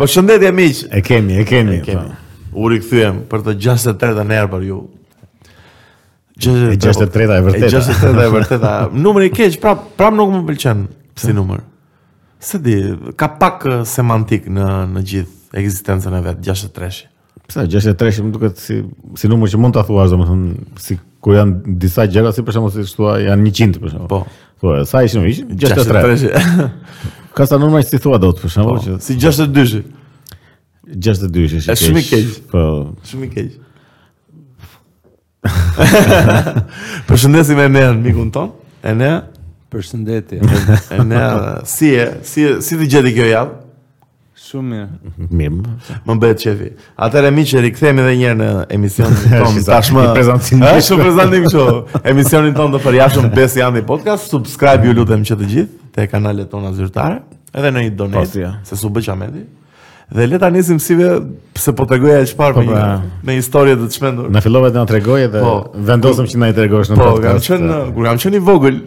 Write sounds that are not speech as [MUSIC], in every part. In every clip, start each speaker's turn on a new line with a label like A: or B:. A: Përshëndetje miq.
B: E kemi, e kemi.
A: E kemi. po. U rikthyem për të 63-ën herë për ju.
B: E 63-a e vërteta.
A: E 63-a e vërteta. Numri i keq, prap prap nuk më pëlqen si numër. Se di, ka pak eh, semantik në në gjithë ekzistencën e vet 63-shi.
B: Pse 63 më duket si si numër që mund ta thuash domethënë si kur janë disa gjëra si për shembull si thua janë 100 për shembull.
A: Po.
B: Thua, sa ishin ish? 63. [LAUGHS] Ka sa numra që si thua dot për shembull Po, që
A: si 62-shi.
B: 62 ish.
A: Është shumë i keq.
B: Po.
A: Shumë i
B: [LAUGHS]
A: keq. Përshëndesim e nean mikun ton. E ne,
C: [LAUGHS] Përshëndetje.
A: e ne,
B: [LAUGHS]
A: si e, si e, si të gjeti kjo javë?
C: Shumë mirë.
B: Mirë.
A: Më bëhet qefi. Atëherë miq, rikthehemi edhe një herë në
B: [LAUGHS]
A: emisionin ton
B: Është sa-
A: tashmë.
B: i
A: [LAUGHS]
B: prezantim.
A: Është shumë prezantim kështu. Emisionin ton të përjashtëm Besi Andi Podcast. Subscribe ju lutem që të gjithë te kanalet tona zyrtare, edhe në një donate,
B: Po, si, ja.
A: se su bë çameti. Dhe le ta nisim si ve, se po tregoja çfarë me, një-
B: pra.
A: me historie të çmendur.
B: Na fillove të na tregoje dhe
A: Po.
B: vendosëm që na i tregosh në
A: Po, kam
B: podcast.
A: qenë, kur kam qenë i vogël,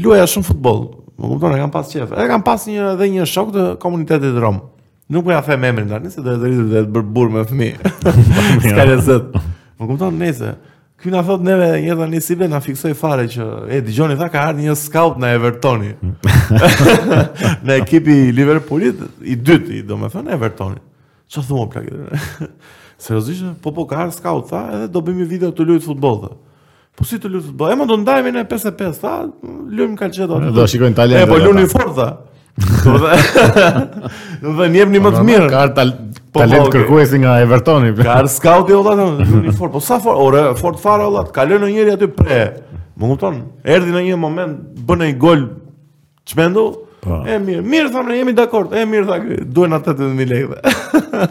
A: luaja shumë futboll. Më kupton, e kam pas qef. E kam pas një edhe një shok të komunitetit rom. Nuk po ja them emrin tani, se do të rritur dhe të bër burr me
B: [LAUGHS]
A: fëmijë. S'ka lezet. Më kupton, nëse Ky na thot neve një tani si be na fiksoi fare që e dëgjoni tha ka ardhur një scout në Evertoni.
B: Mm.
A: [LAUGHS] në ekipi i Liverpoolit i dytë, i domethënë Evertoni. Ço thua plakë? [LAUGHS] Seriozisht, po po ka ardhur scout tha, edhe do bëjmë një video të luajt futboll tha. Po si të luajt futboll? E më do ndajmë në 55, tha, luajmë kalçeto atë.
B: Do shikojnë talent
A: E po
B: edhe
A: luajnë
B: ata.
A: fort tha. [LAUGHS] Do të [LAUGHS] do të jepni më të mirë.
B: Ka ardhur tal
A: Po,
B: talent
A: po, okay.
B: kërkuesi nga Evertoni.
A: Ka ardhë skauti o vllatë, luajnë fort. Po sa fort, ore, fort fare o vllatë. Kaloi në njëri aty pre. Më kupton? Erdhi në një moment, bën një gol çmendu.
B: Po.
A: E mirë, mirë thamë, ne jemi dakord. E mirë tha ky. Duhen na 18000 lekë. tha.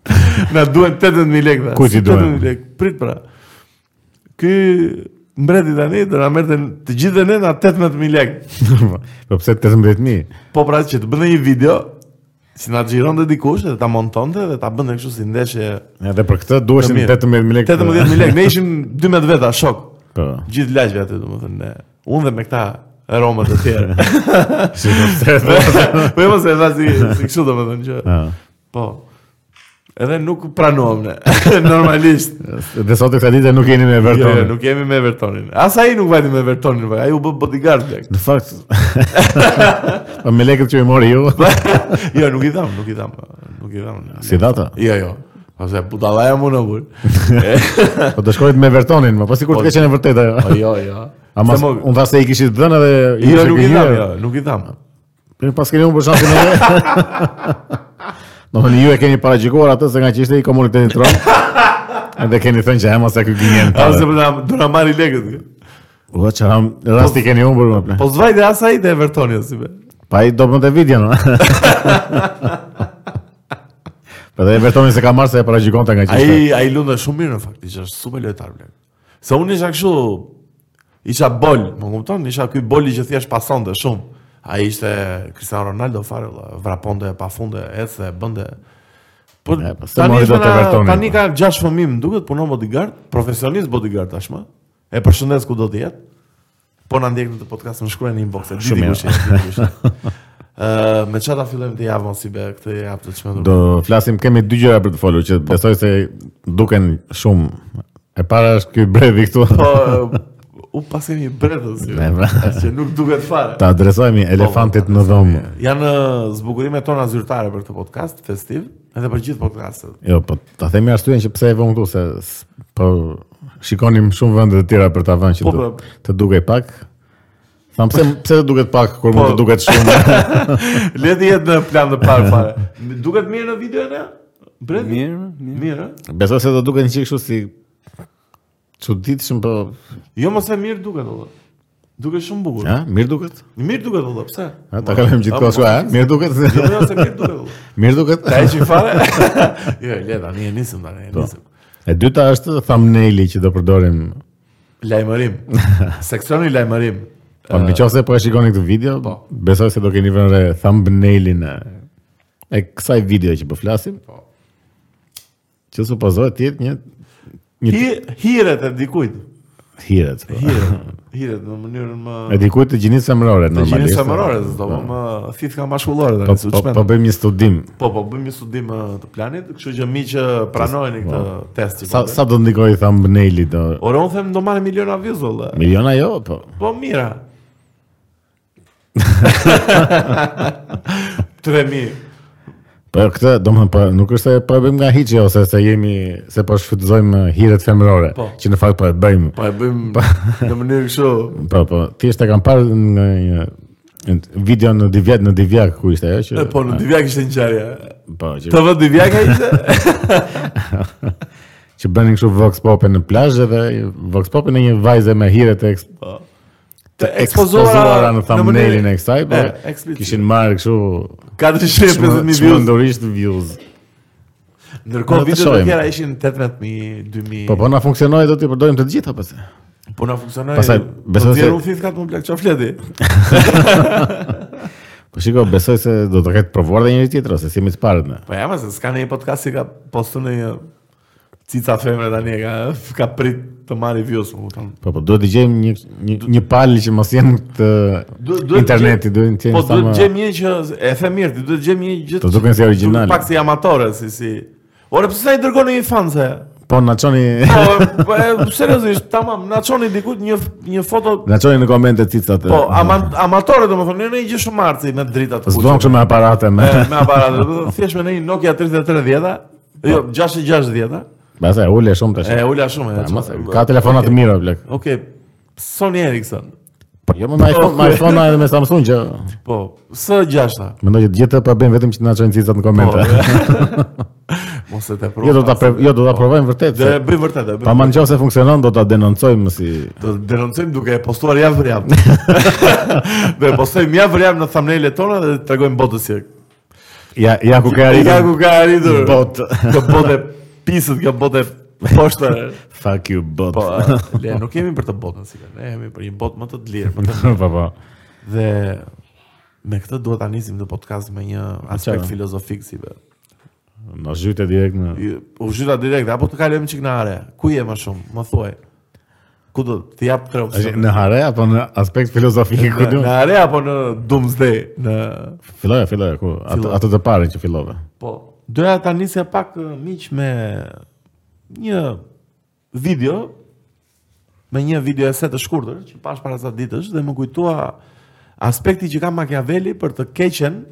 A: [LAUGHS] na duhen 18000 lekë. tha.
B: Kujt i
A: Si
B: duhen?
A: 18000 lekë. Prit pra. Ky mbreti tani do na merrte të gjithë dhe ne na 18000 lekë.
B: [LAUGHS] po pse 18000?
A: Po pra që të bënte një video që na xhironte dikush dhe ta montonte dhe ta bënte kështu si ndeshje
B: Edhe për këtë duheshin
A: Të mirë.
B: 18000 lekë.
A: 18000
B: [LAUGHS]
A: lekë. Ne ishim 12 veta shok.
B: Po.
A: Gjithë lagje aty domethënë. ne. Unë dhe me këta romët të tjerë.
B: [LAUGHS] Si do të
A: [LAUGHS]
B: thotë.
A: po e mos e tha si, si kështu domethënë që
B: Ah.
A: po. Edhe nuk pranuam ne. [LAUGHS] Normalisht.
B: Dhe sot e këta ditë nuk jeni me
A: Jo, jo,
B: Evertonin.
A: nuk jemi me Evertonin. As ai nuk vajti me Evertonin, vaj. ai u bë bodyguard
B: [LAUGHS]
A: lek.
B: Në fakt, po me lekët që i mori ju,
A: jo, nuk i dham, nuk i dham, nuk i dham.
B: si data,
A: Jo, jo. Ose butallaja më në burë.
B: po të shkojit me Evertonin, ma pasi kur
A: Po.
B: të ka qenë e vërtetë. ajo.
A: Po jo, jo.
B: Ama
A: Se mo-
B: unë tha se i kishit dhënë edhe
A: jo,
B: kishte
A: nuk i dham,
B: gënjur.
A: jo, nuk i dham.
B: Mirë, pas keni unë për shansin
A: [LAUGHS]
B: e re. Do të ju e keni paraqikuar atë se nga që ishte i komunitetit tron. Edhe keni thënë që hema se ky gënjen.
A: A se përna, do na marri lekët. kjo.
B: Ua çam, rasti keni humbur më.
A: Po zvajte as ai te Evertoni o, si be.
B: Pa i do më të vidjen.
A: [LAUGHS]
B: Po dhe Evertonin se ka marrë se e paraqikon nga që ishte.
A: Ai ai lundë shumë mirë në fakt, ishte super lojtar blek. Se unë isha kështu isha bol, më kupton? Isha ky boli që thjesht pasonte shumë. Ai ishte Cristiano Ronaldo fare, valla, vraponte pafunde, ecë, bënte. Po
B: E, po, se mori
A: është
B: dot
A: na-
B: Evertonin,
A: tani
B: po.
A: ka 6 fëmijë, më duket punon bodyguard, profesionist bodyguard tashmë. E përshëndes ku do të jetë. Po na ndjek në të podcast, më shkruaj në inbox, e di
B: Shumë
A: dikush. e di dikush. Ë, me çfarë ta fillojmë të javën si be këtë javë të çmendur?
B: Do flasim kemi dy gjëra për të folur që besoj se duken shumë. E para është ky brevi këtu.
A: Po, u pas kemi bredhës, jo.
B: Ne, pra.
A: që nuk duket fare.
B: Ta adresojmë
A: Po,
B: elefantit në dhomë.
A: Janë ë, zbukurimet tona zyrtare për këtë podcast festiv, edhe për gjithë podcastet.
B: Jo, po ta themi arsyen që pse e vëmë këtu se s- po shikonim shumë vende të tjera për ta vënë që
A: Po,
B: du,
A: po.
B: të dukej pak. Tham pse pse të duket pak kur mund
A: Po.
B: të duket shumë.
A: [LAUGHS] Le të jetë në plan të parë fare. M- Duket mirë në video ne? Bredhi?
C: Mirë, mirë.
A: Mirë, eh? ë?
B: Besoj se do duken një çik kështu si çuditshëm po,
A: Jo mos e mirë duket valla. Duket shumë bukur.
B: ha, mirë duket.
A: Mirë duket valla, pse?
B: Ha, ta kalojmë gjithkohë
A: Po,
B: kështu, ha, mirë duket.
A: Jo, [LAUGHS] jo, se mirë duket
B: [LAUGHS]
A: valla.
B: Mirë duket.
A: Ta heqim fare? [LAUGHS] Jo, le tani e nisim tani, e
B: Po.
A: nisim.
B: E dyta është thumbnaili që do përdorim [LAUGHS]
A: Lajmërim. Seksioni lajmërim. po.
B: Po në qoftë se po e shikoni këtë video, besoj se do keni vënë re thumbnailin e e kësaj video që po flasim. Po. Që supozohet të jetë një
A: Hi, hiret e dikujt.
B: hiret. Po.
A: Hiret. Hiret në mënyrën më
B: E dikujt të gjinisë emërore
A: të gjinë
B: normalisht.
A: samërore, do të më thith ka mashkullore
B: Po,
A: tani,
B: po, po bëjmë një studim.
A: Po, po, bëjmë një studim ë, të planit, kështu që mi që pranojnë këtë test. që
B: Sa
A: po bëjmë.
B: sa do ndikoj thumbnail-i do
A: Ora unë them do marrë miliona views valla.
B: miliona jo, po.
A: Po mira.
B: [LAUGHS]
A: 3000.
B: Po jo, këtë, do më thënë, po nuk është se po e bëjmë nga hiçi ose se jemi se po shfrytëzojmë eh, hiret femërore,
A: Po.
B: që në fakt po e bëjmë.
A: Po e bëjmë në mënyrë kështu.
B: Po, po, thjesht e kam parë nga një një video në Divjak, në Divjak ku ishte ajo që
A: E, Po në Divjak ishte ngjarje.
B: po që,
A: Të vë Divjak ishte?
B: [LAUGHS] që bënin kështu vox popin në plazh dhe vox popin në një vajze me hiret e eks-
A: Të
B: Po. ekspozuara në thumbnailin
A: mënyrë-
B: e kësaj, po
A: E, eksplicit.
B: kishin marrë kështu
A: 450.000 views.
B: çmendurisht views.
A: Ndërkohë
B: Ne të
A: videot e
B: shohim.
A: tjera ishin 18000, 2000.
B: Po po na funksionoi do t'i përdorim të gjitha pse.
A: Po na funksionoi. Po
B: Pastaj, besoj
A: se
B: se-
A: u thith kat më blaq çafleti.
B: Po shiko, besoj se do të ketë provuar dhe njëri tjetër ose si më të parët ne.
A: Po ja, mas s'ka një podcast që ka postu në një cica femre tani e ka ka prit të marrë views, më kupton.
B: Po po duhet të gjejmë një një, një palë që mos jenë të
A: Du- duhet të
B: interneti, duhet të jenë
A: Po
B: sa
A: duhet
B: më-
A: gjejmë një që e the mirë, ti duhet gjejmë një gjë.
B: Të duken si origjinale.
A: Pak si amatore, si si. Ore pse sa i dërgon një fan se?
B: Po na çoni
A: Po, po e, seriozisht, tamam, na çoni diku një një foto
B: na çoni në komente eh, cicat. e-
A: Po, ama, amatore domethënë, jo në një gjë shumë artsi me drita të
B: po, s'duam kështu me aparate Eh, me.
A: Me, me aparat, domethënë, thjesht me në një Nokia 3310-a, jo 6610-a.
B: Pastaj ule shumë tash.
A: E ula shumë. e,
B: Ama se,
A: çfarë-
B: Pra, Ka telefona të mira blek.
A: Okej, Sony Ericsson.
B: Po jo me me iPhone, me iPhone edhe me Samsung që
A: Po, S6-a.
B: mendoj që të gjithë po e bëjmë vetëm që na çojnë cicat në komente.
A: po. [LAUGHS] Mos e te
B: [LAUGHS] Jo do ta pre- jo do ta provojmë vërtet.
A: Do
B: se-
A: e bëj vërtet, do e bëj.
B: Pa më nëse funksionon do ta denoncojmë si
A: Do të denoncojmë duke e postuar javë për javë.
B: [LAUGHS]
A: do e postojmë javë për javë në thumbnail-et tona dhe të tregojmë botës se
B: ja ja ku ka
A: ja
B: arritur.
A: ku ka arritur.
B: Botë.
A: Kjo botë e pisët, kjo
B: [LAUGHS]
A: botë e poshtë.
B: Fuck you bot.
A: Po,
B: Po
A: le, nuk jemi për të botën si ne jemi për një botë më të të lirë. Më të...
B: [LAUGHS] po.
A: Dhe me këtë duhet ta nisim në podcast me një aspekt
B: Çfarë?
A: filozofik si be.
B: Na zhyte direkt në
A: Ju- U zhyta direkt, apo të kalojmë çik në are. Ku je më shumë? Më thuaj. Ku do të jap tre
B: Është
A: opsione?
B: në hare apo në aspekt filozofik ku
A: Në,
B: do?
A: në are apo në Doomsday? Në
B: Filloja, filloja ku. Ato
A: Filloj.
B: ato të parën që fillove.
A: po, doja ta nisja pak eh, miq me një video me një video ese të shkurtër që pash para sa ditësh dhe më kujtua aspekti që ka Machiavelli për të keqen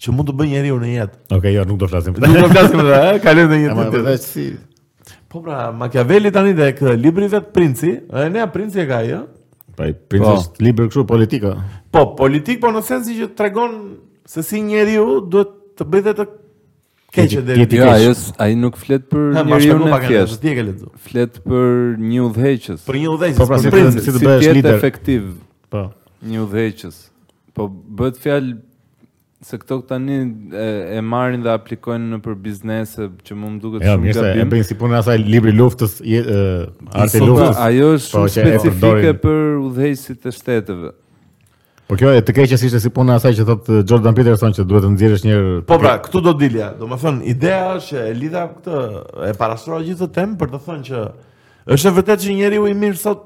A: që mund të bëjë njeriu në jetë.
B: Okej, jo, nuk do flasim
A: Nuk
B: [LAUGHS] këtë.
A: do eh? flasim për të, kalojmë në një [LAUGHS]
B: Ama
A: tjetër.
B: vetë si
A: Po pra, Machiavelli tani dhe kë libri vet Princi, e nea Princi e ka ajo.
B: pa i princ është libër kështu politika.
A: Po, politik po në sensi që tregon se si njeriu duhet të bëjë dhe të keqe
B: Jeti-
A: deri.
B: jeti-
A: Jeti,
C: Jo,
B: keq.
C: ajo s- ai nuk flet për njeriu në thjesht,
A: ti e ke lexuar.
C: flet për një udhëheqës.
A: Për një udhëheqës,
B: Po pra,
A: për
B: si
A: princin.
B: si të
C: si
B: bëhesh
C: tjetë
B: lider.
C: efektiv
B: Po.
C: një udhëheqës. Po bëhet fjalë se këto tani e, e marrin dhe aplikojnë në për biznese që mu më duket
B: Ja,
C: shumë
B: mirë se e
C: gabim.
B: bën si punë e asaj libri luftës, je- e, arti
C: Po, pra,
B: luftës.
C: ajo është
B: Po,
C: shumë
B: që e
C: specifike
B: përdorin.
C: për udhëheqësit e shteteve.
B: Po kjo e të keqes ishte si puna e asaj që thot e, Jordan Peterson që duhet të nxjerrësh një herë.
A: Po pra, këtu do dilja. Do më thënë, ideja është që e lidha këtë, e parastrova gjithë të temë për të thënë që është e vërtet që njeriu i mirë sot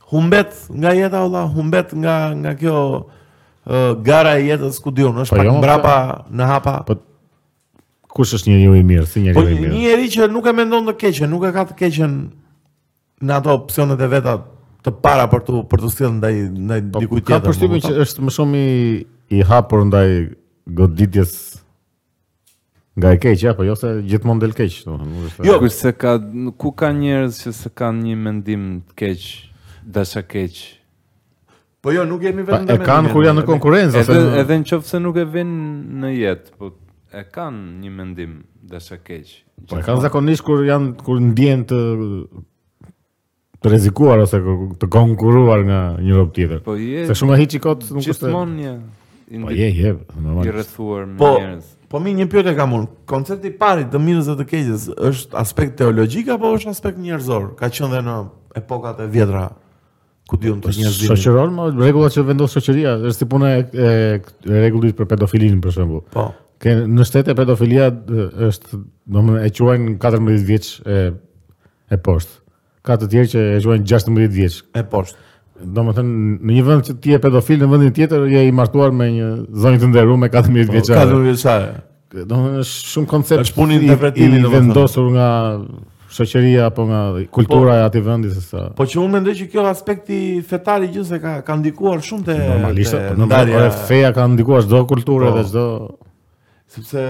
A: humbet nga jeta olla, humbet nga nga kjo uh, gara e jetës ku diun, është
B: Po
A: pak
B: jo,
A: mbrapa në hapa.
B: Po, jo, kush është njeriu i mirë, si
A: Po
B: njeriu i
A: një
B: mirë.
A: njeri që nuk e mendon të keqen, nuk e ka të keqen në ato opsionet e veta të para për të për të sjellë ndaj ndaj dikujt
B: Po, Ka
A: tjetër.
B: përshtypjen
A: më
B: që
A: kupton?
B: është më shumë i i hapur ndaj goditjes nga e keq, apo jo se gjithmonë del keq, domethënë, nuk është.
A: Jo,
C: Kush se ka ku ka njerëz që se kanë një mendim të keq, dasha keq.
A: po jo, nuk jemi
B: Pa,
A: vetëm
B: e kanë kur janë në konkurrencë ose
C: Edhe
B: në-
C: edhe nëse nuk e vin në jetë, po e kanë një mendim dasha keq.
B: po e kanë zakonisht kur janë kur ndjen të të rrezikuar ose kur- të konkuruar nga një rob tjetër.
C: Po je
B: Se shumë e hiçi kot nuk është.
C: gjithmonë një
B: Po
C: individ
B: je, je,
C: i
B: normal.
C: rrethuar me
A: Po,
C: njerëz.
A: po mi një pyetje kam unë. Koncepti i parë i të mirës dhe të keqes është aspekt teologjik apo është aspekt njerëzor? Ka qenë dhe në epokat e vjetra Ku diun
B: Po,
A: të njerëzit.
B: Shoqëron, ma rregulla që vendos shoqëria, është si puna e, e, e rregullit për pedofilin për shembull.
A: Po.
B: Ke në shtete pedofilia d- është, domethënë e quajnë 14 vjeç e e poshtë. Ka të tjerë që e quajnë 16 vjeç.
A: E poshtë.
B: Domethënë në një vend që ti je pedofil në vendin tjetër je i martuar me një zonjë të nderuar me 14
A: Ka
B: vjeçare.
A: të vjeçare.
B: Domethënë është shumë koncept
A: Po, Është punë
B: i-
A: interpretimi,
B: i
A: domethënë.
B: vendosur nga shoqëria apo nga kultura e atij vendi se sa.
A: Po që unë mendoj që kjo aspekti fetar i gjithë se ka ka ndikuar shumë te
B: Normalisht,
A: te
B: normalisht
A: ndarja-
B: ore, feja ka ndikuar çdo kulturë
A: Po.
B: dhe çdo
A: sepse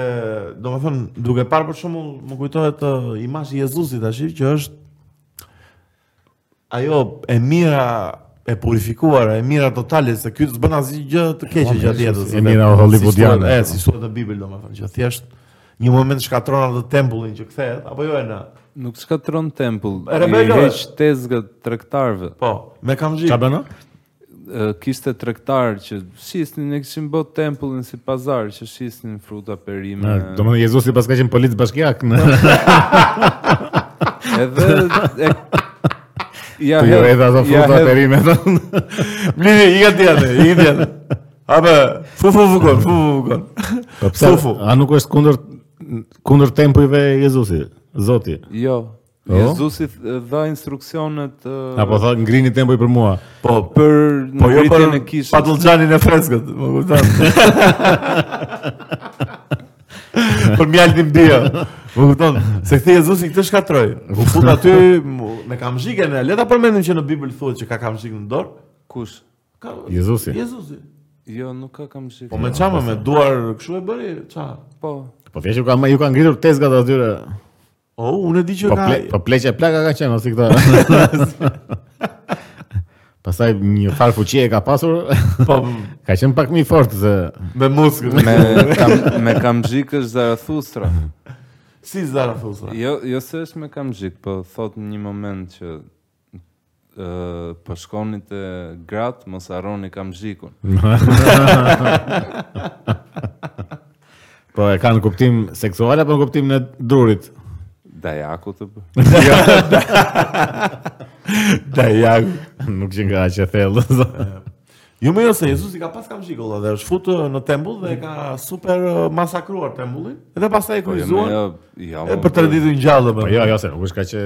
A: domethënë duke parë për shembull më kujtohet ë, imazhi i Jezusit tash që është ajo e mira e purifikuar, e mira totale se ky s'bën asgjë gjë të keqe
B: Po,
A: gjatë
B: si-
A: jetës.
B: e mira
A: vetë.
B: hollywoodiane.
A: Si thuhet- E si thuhet në Bibël domethënë që thjesht një moment shkatron atë tempullin që kthehet apo jo e na.
C: Nuk shkatron tempull,
A: E
C: i
A: rebelove.
C: heq tezgat tregtarëve.
A: Po, me kamxhi.
B: Çfarë bëna?
C: Ë, Kishte tregtarë që shisnin e kishin bot tempullin si pazar, që shisnin fruta perime.
B: Domethënë Jezusi pas ka qenë polic bashkiak në
C: [LAUGHS] Edhe
B: [LAUGHS]
C: e, ja
B: jo
C: hedh-
B: edhe ato
C: ja
B: fruta
C: hedh-
B: të rinë.
A: Blini, i ka tjetër, i ka tjetër. Apo, fu fu fu kon, fu fu kon.
B: Po pse?
A: Fufu.
B: A nuk është kundër kundër tempujve e Jezusit, Zoti?
C: Jo.
B: Po?
C: Jezusi th- dha instruksionet ë,
B: Apo tha ngrini tempuj për mua.
A: Po,
C: për
A: po jo për
C: ngritjen e kishës.
A: patulxhanin e freskët, më
B: [LAUGHS]
A: kupton. për mjaltin bia. Më kupton, se kthej Jezusi këtë shkatroi. U fut aty mu- me kamzhikën, e le ta përmendim që në Bibël thuhet që ka kamzhikën në dorë.
C: Kush?
A: Ka
B: Jezusi.
A: Jezusi.
C: Jo, nuk ka kam shikë.
A: Po me çamë me duar kështu e bëri, ça.
C: Po.
A: [LAUGHS]
B: Po thjesht ju ka ju ka ngritur tezgat atyre.
A: O, unë e di që
B: Po
A: ka.
B: ple, po pleqe plaka ka qenë ose këta. Pastaj një farë fuqie e ka pasur,
A: [LAUGHS] Po
B: ka qenë pak më i fortë se
A: me muskë.
C: Me kam me kam shikë është
A: [LAUGHS]
C: Zarathustra.
A: Si Zarathustra.
C: Jo, jo se është me kam shikë, po thot në një moment që ë po shkoni te grat mos harroni kam shikun.
B: po e kanë kuptim seksual apo në kuptim në drurit.
C: Dajaku të bë.
A: Dajaku.
B: Nuk që nga që thellë.
A: [LAUGHS] Jo më jo se Jezusi ka pas kam shikolla dhe është futur në tembull dhe ka super uh, masakruar tembullin dhe pastaj e kryzuar
C: Jo, jo.
A: e
C: mo,
A: për të ditën gjallë më.
B: po jo, jo se nuk është ka që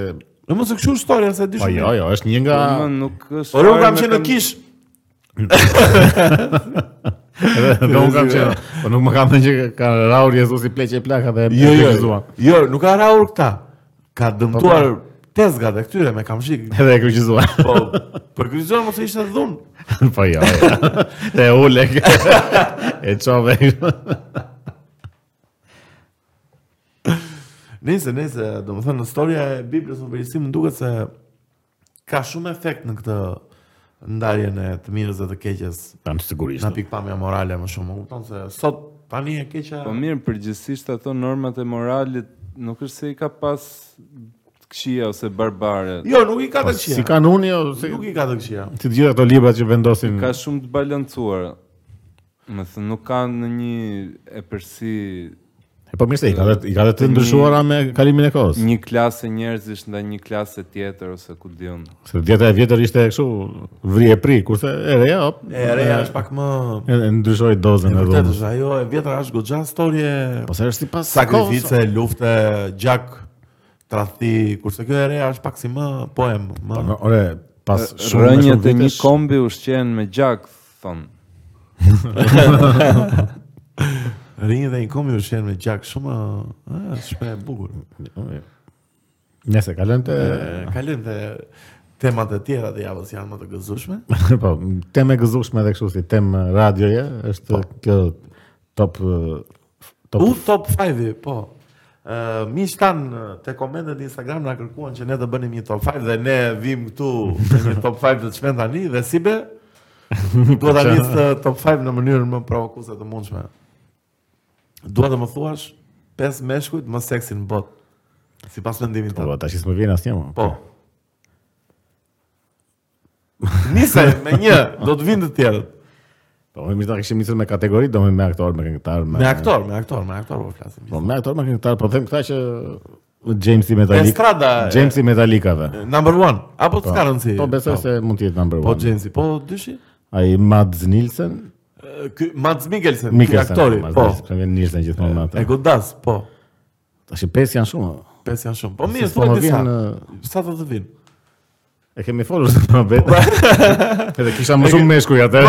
A: Në mos e kështu historia se di
B: Po
A: shumë.
B: jo, jo, është një nga [LAUGHS]
C: po, mo, nuk është.
A: Por unë
C: fare
A: kam
C: me
A: qenë në kish.
B: Edhe unë kam qenë, po nuk më kam thënë që ka raur Jezusi pleqe e plaka dhe
A: Jo,
B: e
A: jo.
B: kryqëzuan.
A: Jo, nuk ka raur këta. Ka
B: Po,
A: dëmtuar tezgat e këtyre me kamshik.
B: Edhe e kryqëzuan.
A: [LAUGHS] Po, për kryzuar mos e ishte dhun.
B: [LAUGHS] po jo. jo.
A: [LAUGHS]
B: Te ule. e çove.
A: Nëse, nëse, domethënë në historia e Biblës në përgjithësi më duket se ka shumë efekt në këtë ndarjen e të mirës dhe të keqes
B: Tam sigurisht.
A: Në pikpamja morale më shumë, më kupton se sot tani e keqja.
C: Po mirë, përgjithsisht ato normat e moralit nuk është se i ka pas këshia ose barbare.
A: Jo, nuk i ka të
B: Si
A: këqija.
B: kanuni jo, si
A: Nuk i ka të këqija.
B: si të gjitha ato libra që vendosin
C: Ka shumë të balancuara. Më thënë, nuk ka në një e përsi
B: E po mirë se i ka dhe, i ka dhe të ndryshuara me kalimin e kohës.
C: një klasë njerëzish nda një klasë tjetër ose ku dion.
B: Se djeta e vjetër ishte kështu vri e pri, kurse e reja hop,
A: E reja është pak më
B: e, e ndryshoi dozën
A: e
B: e
A: vërtetë
B: dhunës.
A: është ajo e vjetra është goxha storje
B: Po se është sipas
A: sakrifice, lufte, gjak, tradhti, kurse kjo e reja është pak si më poem,
B: kohës.
A: më
B: Në- Ore, pas shumë me shumë
C: Rënjët e një
B: vitesh,
C: kombi ushqen me gjak, thonë.
A: rinj dhe inkomi u shën me gjak shumë ë, është shpreh e bukur.
B: Nëse kalojmë te [LAUGHS]
A: E, Kalojmë te temat e tjera të javës janë më të gëzueshme.
B: po temë e gëzueshme edhe kështu si temë radioje është kjo top eh, top
A: U top 5, po. Uh, mi shtan te komentet në Instagram na kërkuan që ne të bënim një top 5 dhe ne vim këtu me një top 5 të çmend tani dhe si
B: [LAUGHS]
A: be do ta nis të top 5 në mënyrën më provokuese të mundshme. Dua të më thuash pesë meshkujt më seksi në botë. Sipas mendimit
B: Po
A: tënd.
B: tash s'më vjen asnjë. mo. [LAUGHS]
A: Po. Nise me një, do të vinë të tjerët.
B: Po më mirë ta kishim nisur me kategori, do me me aktor, me këngëtar, me
A: Me aktor, me aktor, me aktor po flasim.
B: Po me aktor, me këngëtar, po them këta që Jamesi Metallica.
A: Estrada.
B: Jamesi Metallicave.
A: Number one. Apo të s'ka rëndësi.
B: Po besoj se mund të jetë number 1.
A: Po Jamesi, po dyshi?
B: Ai Mads Nielsen,
A: E, Ky Mads Mikkelsen, ky
B: Mikkelsen.
A: aktori,
B: Mads
A: po.
B: Nielsen, ka vënë Nielsen gjithmonë me
A: E
B: atë.
A: godas, po.
B: Tash pesë janë shumë.
A: Pesë janë shumë. Po
B: Se
A: mirë,
B: s'po
A: thuaj
B: më
A: disa.
B: vjen,
A: Sa do të vinë?
B: E kemi folur se pra
A: Po.
B: vetë. [LAUGHS] Edhe kisha më shumë meshkuj
A: [LAUGHS]
B: atë.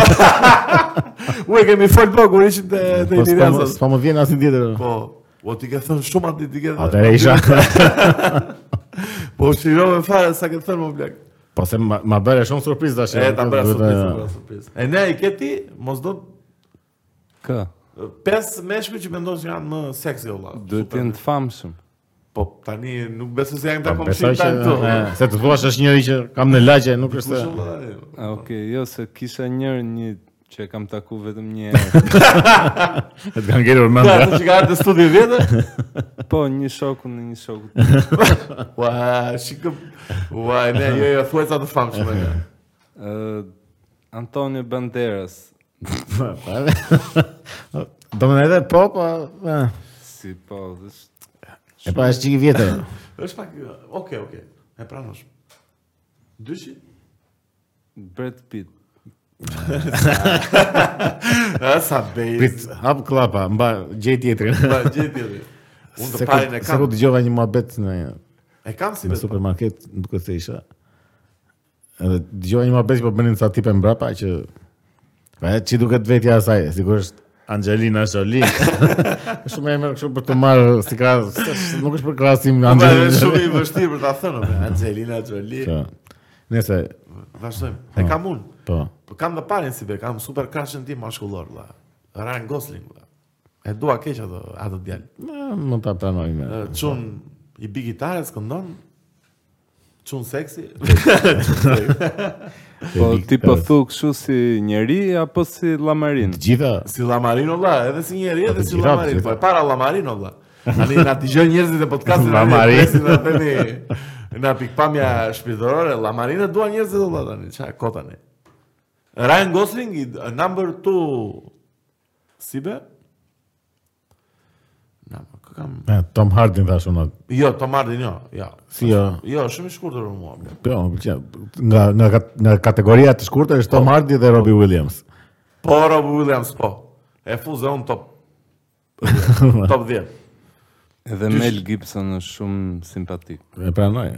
A: U e kemi fol po kur ishim te te
B: Po s'po më-
A: Tiranë.
B: s'po më vjen asnjë tjetër.
A: Po, o ti ke thënë shumë atë ti ke thënë.
B: Atëre isha. [LAUGHS]
A: Po shirove fare sa ke thënë më blek.
B: Po se ma ma bëre shumë surprizë tash.
A: E ta bëra
B: Duhet,
A: surprizë,
B: eh,
A: po.
B: e,
A: ta bëra surprizë. E ne i ke ti, mos do
C: Kë?
A: pesë meshkuj që mendon se janë më seksi valla.
C: Duhet të jenë të famshëm.
A: Po tani nuk besoj se janë ta
B: Po
A: komshin
B: besoj që
A: tani këtu.
B: e, se të thuash është njëri që kam në lagje, nuk është
A: Kush
B: se-
A: valla tani?
C: A, Okej, jo se kisha njërë një që e kam taku vetëm një [LAUGHS] herë.
B: se [LAUGHS] të kanë ngelur
A: Ka
B: [LAUGHS] mendja.
A: atë që ka ardhur në studio vetë.
C: Po, një shoku në një shoku.
A: Ua, shikoj. Ua, ne jo jo thuaj sa të
B: [LAUGHS]
A: famshme. ne.
C: Ë Antonio Banderas,
B: [LAUGHS] Do më edhe po, po. e.
C: si po, është
B: E pa është çik i vjetër.
A: [LAUGHS] Është pak okay, okay. E pranosh. Dyshi?
C: Brad Pitt.
A: A sa bej.
B: Prit, hap klapa, mba gjej tjetrin.
A: Ba gjë tjetër. Unë
B: [LAUGHS] Se
A: të
B: ku-
A: parin e
B: Se ku
A: kam.
B: dëgjova një muhabet në
A: E kam si
B: në
A: vetë.
B: supermarket, duket se isha. Edhe dëgjova një muhabet që po bënin sa tipe mbrapa që pa e çi duket vetja e saj, sigurisht Angelina Jolie. Është [LAUGHS] Shumë e merr kështu për të marrë si ka, nuk është për krahasim me
A: Ba,
B: Angelina.
A: është shumë i vështirë për ta thënë.
B: [LAUGHS]
A: be. Angelina Jolie.
B: Po. Nëse,
A: Vazhdojmë. E kam unë.
B: po.
A: Po kam dhe parin si be, kam super krashën tim mashkullor, valla. Ryan Gosling, valla. E dua keq atë atë djalë.
B: Na, mund ta pranoj me.
A: Ë, Çun i bi gitares këndon. Çun seksi. [LAUGHS]
C: Po,
B: Te
C: ti po
B: Viktorës.
C: thu këshu si njeri, apo si lamarin?
B: Të gjitha
A: Si Lamarino valla, edhe si njeri, edhe
B: të
A: si
B: gjitha, të
A: Lamarino.
B: gjitha.
A: Po e para Lamarino valla. Ani na dëgjoj njerëzit e podcastit.
B: Lamari.
A: Na thëni na pikpamja shpirtërore, Lamarino dua njerëzit valla tani, çka kot tani. Ryan Gosling i number 2 si be? Na, po kë kam
B: E, Tom Hardy thash unë. atë.
A: Jo, të mardin, jo, jo.
B: Si jo.
A: Jo, shumë i shkurtër për mua. bre.
B: Po, më pëlqen. Nga nga kat- nga kategoria të shkurtër është Tom Hardy dhe Robbie Williams.
A: Po, Rob Williams, po. E fuze unë top.
B: [LAUGHS]
A: top 10.
C: Edhe Mel Gibson është shumë simpatik.
B: E pranoj.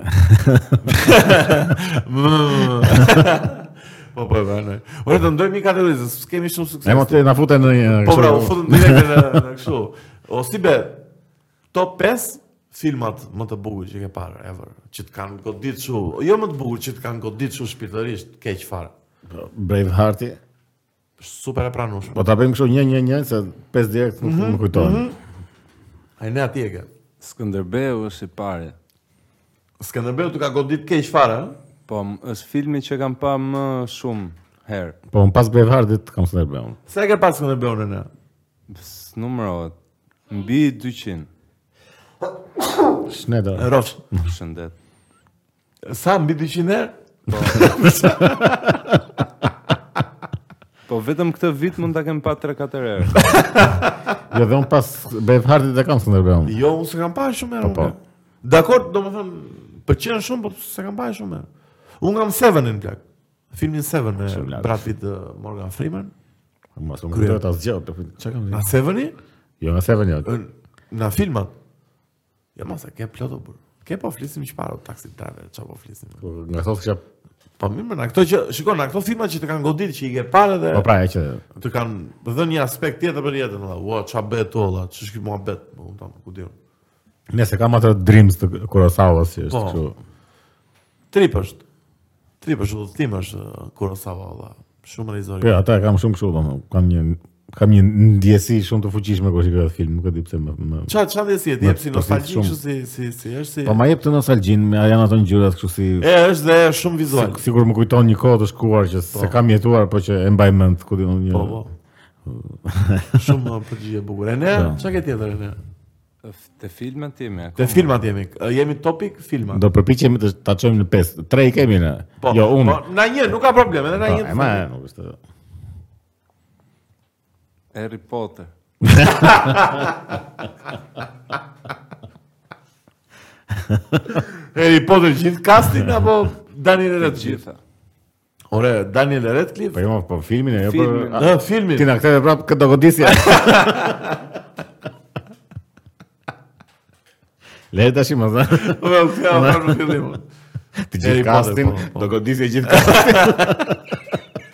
A: Po, po, e vërnoj. Ore, të ndojmë një kategorizë, s'kemi shumë
B: E
A: sukses.
B: mo të na futen në një
A: po,
B: kështu-
A: bra, u futëm direkt në, në kështu. O, si be, top 5 filmat më të bukur që ke parë, ever, që të kanë godit shu, jo më të bukur, që të kanë godit shu shpirtërisht, keq fare.
B: Bravehearti.
A: Super e pranushme.
B: Po ta bëjmë kështu 1 1 1 se pesë direkt nuk më kujtohen.
A: Ai ne atje ke.
C: Skënderbeu është i pari.
A: Skënderbeu të ka godit keq fare, ëh?
C: Po, m- është filmi që kam pa më shumë herë.
B: Po un pas Braveheartit kam së bëu.
A: Sa e ke pas Skënderbeu në ne?
C: Numërohet. Mbi 200.
B: Shnedor.
A: Rofsh.
C: Shëndet.
A: Sa mbi 200 herë?
C: Po vetëm këtë vit mund ta kem pa 3-4 herë.
B: Jo dhe un pas Braveheartit e kam së bëu.
A: Jo, unë s'kam parë shumë herë.
B: Po, po.
A: unë. Dakor, domethënë, pëlqen shumë, po s'kam parë shumë herë. Unë kam Seven-in plak. Filmin Seven me
B: Shumë lartë.
A: Brad Pitt dhe Morgan Freeman.
B: Mos më kujtohet asgjë. po, Çka kam?
A: Na
B: thënë?
A: Seven-i?
B: Jo, nga Seven jo.
A: Ën, Na filmat. Ja mos e ke plotë burr. Ke po flisim çfarë o taksi driver, çfarë po flisim.
B: Po, Nga thos kisha.
A: Po mirë, më, na këto që shikon, na këto filma që të kanë goditur që i ke parë dhe
B: Po pra e që
A: të kanë dhënë një aspekt tjetër për jetën, valla. Ua, ç'a bëhet tu, valla? Ç'është ky muhabet? Po, Unë tam ku di unë.
B: Nëse kam atë Dreams të Kurosawas që është
A: Po.
B: kështu.
A: Trip është. Trip është udhëtim është uh, Kurosawa valla. Shumë
B: Po
A: realizori.
B: jo, ata e kam shumë kështu domethënë, kam një kam një ndjesi shumë të fuqishme kur shikoj atë film, nuk e di pse më, më...
A: Ça ça ndjesi e jep si
B: Ma-
A: nostalgjik
B: shumë.
A: kështu si si si është si.
B: Po ma jep të nostalgjin, me janë ato ngjyrat kështu si
A: E është dhe shumë vizual.
B: sigur më kujton një kohë të shkuar që se kam jetuar, po që e mbaj mend, ku di unë një.
A: Po
B: [LAUGHS]
A: po. Shumë uh, përgjigje e bukur. E ne,
B: Po.
A: çka ke tjetër e ne?
C: Te filmet jemi
A: Te
C: akoma.
A: filmat jemi. Uh, Jemi topik filma.
B: Do përpiqemi të ta çojmë në 5. 3 i kemi ne. jo, unë.
A: Po, na një, nuk ka problem, edhe na
B: Po,
A: një.
B: e ma, nuk është.
C: Harry Potter.
A: Harry Potter gjithë casting apo Daniel
C: Të
A: Red gjithë?
C: gjitha.
A: Ore, Daniel Radcliffe.
B: Po jo, po filmin e jo për...
C: Filmin.
B: A,
A: Ë, filmin.
B: Ti na ktheve prapë këtë
A: [LAUGHS]
B: dogodisje. Le tash më tha.
A: Po, po,
B: [LAUGHS]
A: po, në fillim.
B: Të
A: Harry
B: gjithë
A: Potter,
B: kastin,
A: po, po.
B: dogodisje gjithë kastin.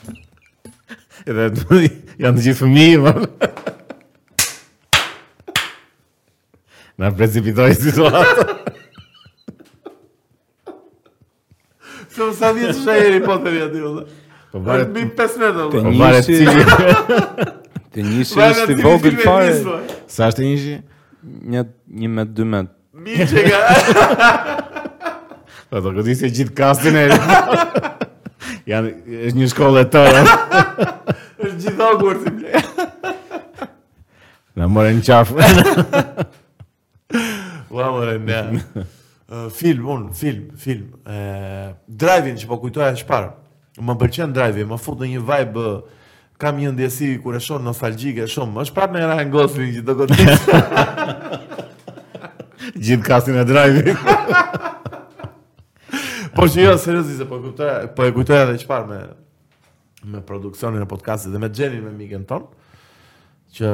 B: [LAUGHS] Edhe të- janë të gjithë fëmijë. po. më. Na precipitoi po situata.
A: Se sa vjeç është ai Harry Potter i aty vëlla.
B: Po
A: Varet
B: varet
A: mbi 15
C: Të
A: vëlla.
B: Po varet
C: Njësi-
B: cili.
C: Të njëshi është i vogël fare,
B: [LAUGHS] Sa është njëshi?
C: një një me dy me.
A: Mi që ka
C: [LAUGHS]
A: [LAUGHS]
B: Po do godisje gjithë kastin e [LAUGHS] Janë është një shkollë e tërë.
A: është gjithë Hogwarts i ble.
B: Na morën në qafë.
A: Ua more ne. [LAUGHS] Ë, Film, un, film, film. Ë, Drive-in që po kujtoja çfarë. Më pëlqen drive-in, më fut në një vibe ë, kam një ndjesi kur e shoh nostalgjike shumë. Është prapë me Ryan Gosling që do [LAUGHS] godit.
B: [LAUGHS] Gjithë kastin e drive
A: po që jo seriozisht se po kujtoja, po e kujtoja edhe çfarë me me produksionin e podcastit dhe me Xhenin me mikën ton që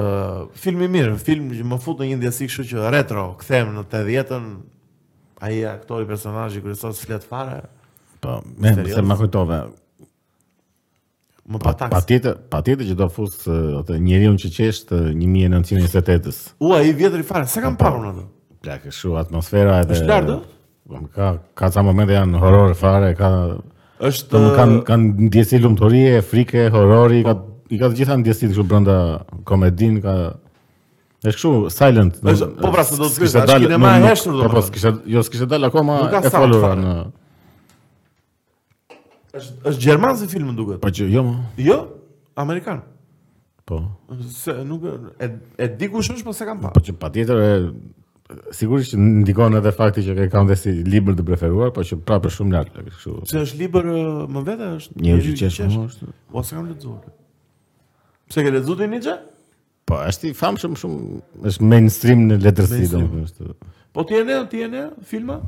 A: film i mirë, film që më fut në një ndjesi kështu që retro, kthehem në 80-ën, ai aktori personazhi kryesor s'flet fare,
B: Po, me,
A: Serios?
B: se më kujtove.
A: më
B: Pa,
A: pa taks.
B: pa tjetër, pa tjetër që do fusë uh, atë njeriu që qeshtë 1928-ës.
A: Ua, i vjetri fare, se kam parë unë atë.
B: Plak, shu atmosfera edhe...
A: Është lartë, ë?
B: Po, më Ka, ka ca momente janë horror fare, ka...
A: Është
B: Do më kanë kanë ndjesi lumturie, frike, horrori, ka i ka të gjitha ndjesit kështu brenda komedin, ka është kështu silent. do-
A: Është- po pra, se do të
B: s'kishte
A: pyes, a
B: dalë-
A: kinema
B: nuk-
A: e
B: nuk-
A: heshtur, do
B: Po,
A: më
B: po,
A: thënë.
B: s'kishte jo s'kishte dal akoma
A: Nuk ka
B: e
A: sound
B: folura
A: fare.
B: në.
A: është është gjerman si filmi duket.
B: Po që jo, mo,
A: Jo, amerikan.
B: po.
A: Se nuk e e di kush është, po se kam
B: Po
A: parë.
B: që patjetër e sigurisht që ndikon edhe fakti që e kanë dhe si libër të preferuar, po që prapë është shumë lart, plak, kështu.
A: Se është libër ë, më vete është.
B: Njeriu që
A: njeriu
B: qesh
A: qesh.
B: më është.
A: Po se kam lexuar. Pse ke lexuar ti Nietzsche?
B: Po, është i famshëm shumë, është mainstream në letërsi,
A: Mainstream.
B: domethënë është.
A: Po ti e ne, ti e ne filma?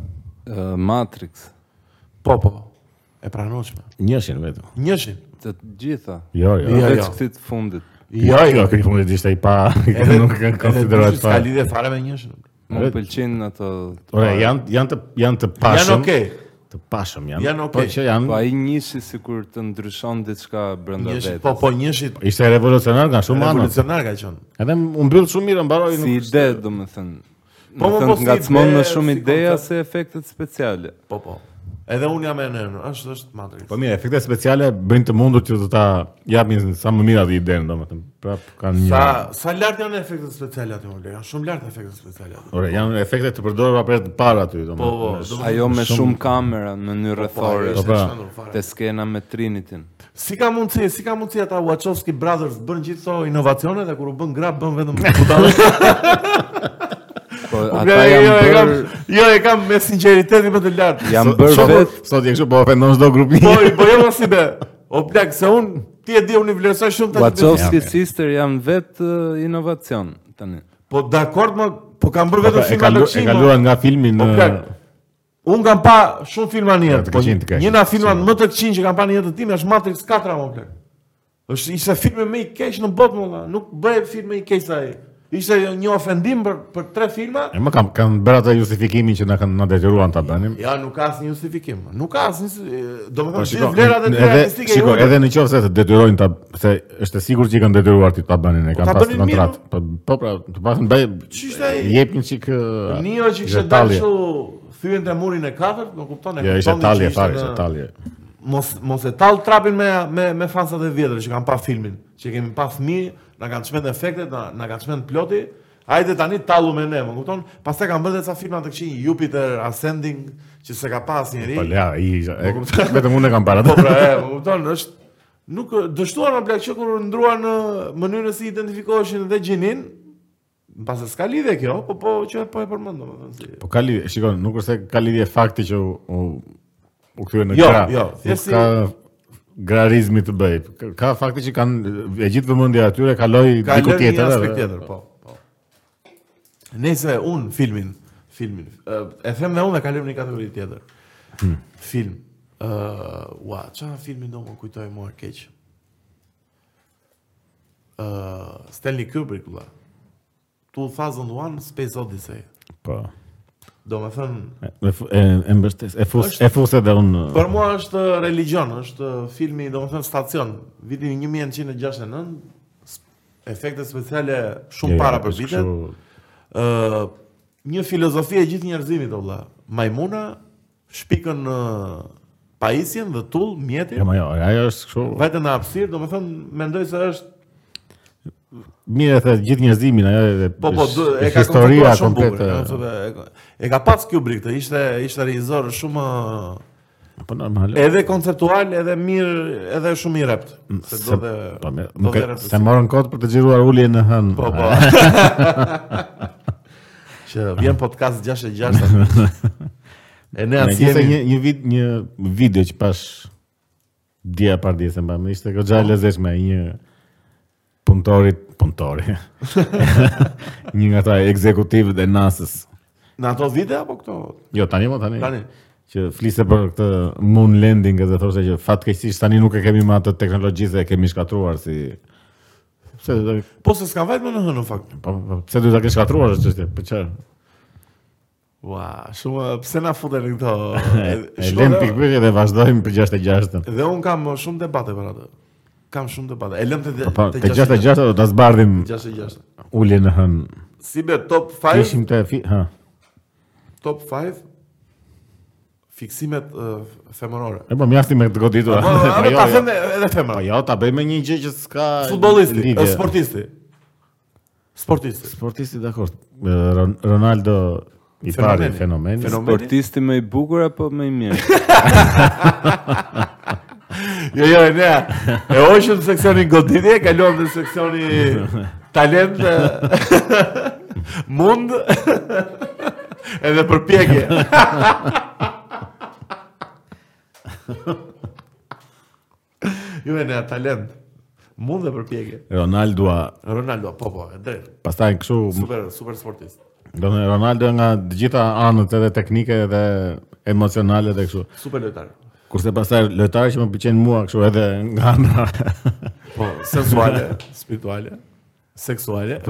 C: Ë, Matrix,
A: Po, po. E pranoshme.
B: Njëshin vetëm.
A: Njëshin.
C: të gjitha.
B: Jo, jo.
A: Jo,
C: Veç
A: jo.
C: këtit të fundit.
B: Jo, jo, keni punë ishte i pa, [LAUGHS] nuk e konsiderohet
A: pa.
B: pa.
A: Ka lidhje fare me njëshin.
C: Më
B: Vetë-
C: pëlqejnë ato.
B: Ore, janë janë të janë të pashëm.
A: Janë okay.
B: Të pashëm janë.
A: Janë
B: Po
A: okay.
B: që
C: Po
B: janë
C: ai njëshi sikur të ndryshon diçka brenda
A: Njëshin,
C: vetes.
A: po po njëshin.
B: ishte revolucionar nga shumë anë.
A: Revolucionar ka qenë.
B: Edhe u mbyll shumë mirë mbaroi
C: Si
B: nuk.
C: ide, do më thënë.
A: Po,
C: Po,
A: po,
C: thënë,
A: po,
C: po,
A: si
C: ngacmon më
A: ide,
C: shumë
A: si
C: ideja
A: koncept.
C: se efektet speciale.
A: Po, po. Edhe unë jam e në, është është Matrix.
B: Po mirë, efekte speciale bëjnë të mundur që të ta japin sa më mirë atë idenë, domethënë. Prap kanë një
A: Sa sa lart janë efektet speciale aty më Janë shumë lart efektet speciale aty.
B: Ore, janë efekte të përdorura për të parë aty,
A: Po, po,
B: domethënë.
A: do më
C: Ajo me shumë kamera në mënyrë rrethore.
B: po,
A: është
B: pra.
A: e çmendur
C: Te
A: fare.
C: skena me Trinitin.
A: Si ka mundësi, si ka mundësi ata Wachowski Brothers bën gjithë këto inovacione dhe kur u bën grab bën [LAUGHS] vetëm butallë.
C: Po ata janë bërë
A: jo e kam me sinqeritetin më të lartë.
C: janë
B: Sot-
C: bërë
B: sot-
C: vetë
B: Sot je kështu po ofendon çdo grup.
A: [LAUGHS]
B: [LAUGHS]
A: Po, i- po jo mos si be. O plak se un ti e di unë i vlerësoj shumë të
C: Wachowski
B: Ja, okay.
C: Sister janë vetë eh, inovacion tani.
A: Po dakord më, po kam bërë vetëm
B: E
A: filma
B: kalu- e
A: lëkshim. mo.
B: kaluan nga filmi
A: Po plak.
B: në
A: Un kam pa shumë filma në
B: Ja,
A: jetë.
B: të
A: Po
B: këqin, të këqin.
A: një nga filmat më të këqij që kam pa në jetën time është Matrix 4 më plak. Është ishte filmi më i keq në botë më valla. Nuk bëhet film më i keq se ai. Ishte një ofendim për për tre filma.
B: E më kam kanë bërë atë justifikimin që na kanë na detyruan ta bënim.
A: Ja, nuk ka asnjë justifikim. Nuk ka asnjë,
B: Po
A: domethënë
B: shiko,
A: gjithë vlerat e
B: edhe-
A: realistike
B: Shiko,
A: janë.
B: edhe në qoftë se të detyrojnë ta se është e sigurt që i kanë detyruar ti ta bënin, e kanë
A: ta
B: pasur
A: bënin
B: kontratë. Po po pra, të paktën bëj
A: Ç'ishte ai?
B: jep një çik ë,
A: Nio që kishte dalë Po,
B: detalje.
A: kështu thyen te murin e katërt, më kupton e
B: Ja, ishte
A: kuptonin që
B: talje
A: ishte
B: fare,
A: në-
B: ishte talje.
A: mos mos e tall trapin me me me fansat e vjetër që kanë pa filmin, që kemi pa fëmijë, na kanë çmend efektet, na, na kanë çmend ploti. Hajde tani tallu me ne, më kupton? Pastaj kanë bërë dhe ca filma të këqij, Jupiter Ascending, që s'e ka pas
B: Po
A: njëri.
B: ja, i
A: [LAUGHS]
B: e-
A: kuptoj.
B: vetëm unë e kam parë.
A: Po
B: atë.
A: pra, e, më kupton, është nuk dështuar në plak që kur ndruan në mënyrën si identifikoheshin dhe gjinin, mbase s'ka lidhje kjo, po po që po e përmend domethënë si.
B: Po ka lidhje, shikon, nuk është se ka lidhje fakti që u u, u kthye në
A: Jo,
B: gra.
A: jo,
B: nuk
A: thjesht si-
B: ka grarizmi të bëj. Ka- Ka fakti që kanë e gjithë vëmendja atyre kaloi
A: Ka
B: diku
A: lënë një
B: tjetër.
A: aspekt
B: edhe-
A: tjetër, po, po. Nëse un filmin filmin. Ë, E them dhe unë dhe kalojmë në një kategori tjetër. Film. Ë, ua, çfarë filmi do më kujtoj më keq? Ë, Eh, Stanley Kubrick vëlla. 2001 Space Odyssey.
B: Po.
A: Do me thënë,
B: E, e, fu- e, e mbështes, e fus,
A: Është-
B: e fus edhe unë.
A: Për mua është religion, është filmi, domethënë stacion, vitin 1969, s- efekte speciale shumë
B: Jo, jo,
A: para për
B: është
A: vitet.
B: kështu-
A: Ë një filozofi e gjithë njerëzimit o vlla. Majmuna shpikën në pajisjen dhe tull
B: Jo,
A: mjetin.
B: ma jo, ajo është kështu.
A: Vajte në hapësirë, domethënë mendoj se është
B: Mirë e the gjithë njerëzimin, ajo e
A: po po du- e
B: është
A: ka
B: historia
A: konceptuar shumë bukur.
B: komplete.
A: domethënë, e ka- E ka pas Kubrick, të ishte ishte regjisor shumë ë,
B: Po normal.
A: edhe konceptual, edhe mirë, edhe shumë i rept. Se do
B: Mm, Se-
A: dhe
B: Po mirë,
A: do
B: nuk
A: dhe
B: e
A: reptësi.
B: se morën kot për të xhiruar uljen në hën.
A: Po,
B: [LAUGHS]
A: po. që vjen podcast 66.
B: [LAUGHS]
A: e ne
B: Ja,
A: atë
B: Megjithëse
A: jemi
B: një një vid një video që pash dia par dia se mbam, ishte goxha e lezetshme një punëtorit, punëtori. [LAUGHS] një nga ata ekzekutivët e NASA-s.
A: në ato vite apo këto?
B: Jo, tani më tani.
A: Tani.
B: Që fliste për këtë moon landing dhe thoshte që fatkeqësisht tani nuk e kemi më atë teknologji se e kemi shkatruar si Pse do të
A: Po se s'kan vajtë më në hënë në fakt.
B: po, po, pse do ta kesh shkatruar është çështje? Po çfarë?
A: Ua, shumë pse na futen në
B: [LAUGHS]
A: këto.
B: E
A: Shiko,
B: lëm
A: dhe-
B: pikpyetje dhe vazhdojmë për 66-ën.
A: Dhe un kam shumë debate për atë. Kam shumë debate. E lëm te
B: Po,
A: te
B: te 66 do ta zbardhim
A: 66.
B: uljen në hën.
A: Si be top 5,
B: Ishim te fi, ha.
A: top 5 fiksimet uh,
B: [LAUGHS]
A: femërore.
B: E po mjafti me këtë goditur.
A: Po,
B: [LAUGHS]
A: ato ta them
B: jo.
A: edhe
B: Po
A: femra.
B: jo, ta bëjmë një gjë që s'ka
A: Futbollisti,
B: lidhje.
A: ë, sportisti. Sportisti.
B: sportisti dakord. E, Ron- Ronaldo i pari fenomen.
A: Fenomeni.
C: Sportisti më i bukur apo më i
A: [LAUGHS]
C: mirë?
A: Jo, jo, e ne. E hoqëm seksionin goditje, kalon në seksioni talent, e, [LAUGHS] mund, edhe përpjekje. [LAUGHS] jo, e ne, talent, mund dhe përpjekje.
B: Ronaldo,
A: Ronaldo, po, po, e drejt.
B: pastaj kështu,
A: Super, super sportist.
B: do të thënë Ronaldo nga të gjitha anët edhe teknike dhe emocionale dhe kështu.
A: Super lojtar.
B: Kurse pastaj lojtarë që më pëlqejnë mua kështu edhe nga ana [LAUGHS]
A: Po, sensuale, spirituale, seksuale.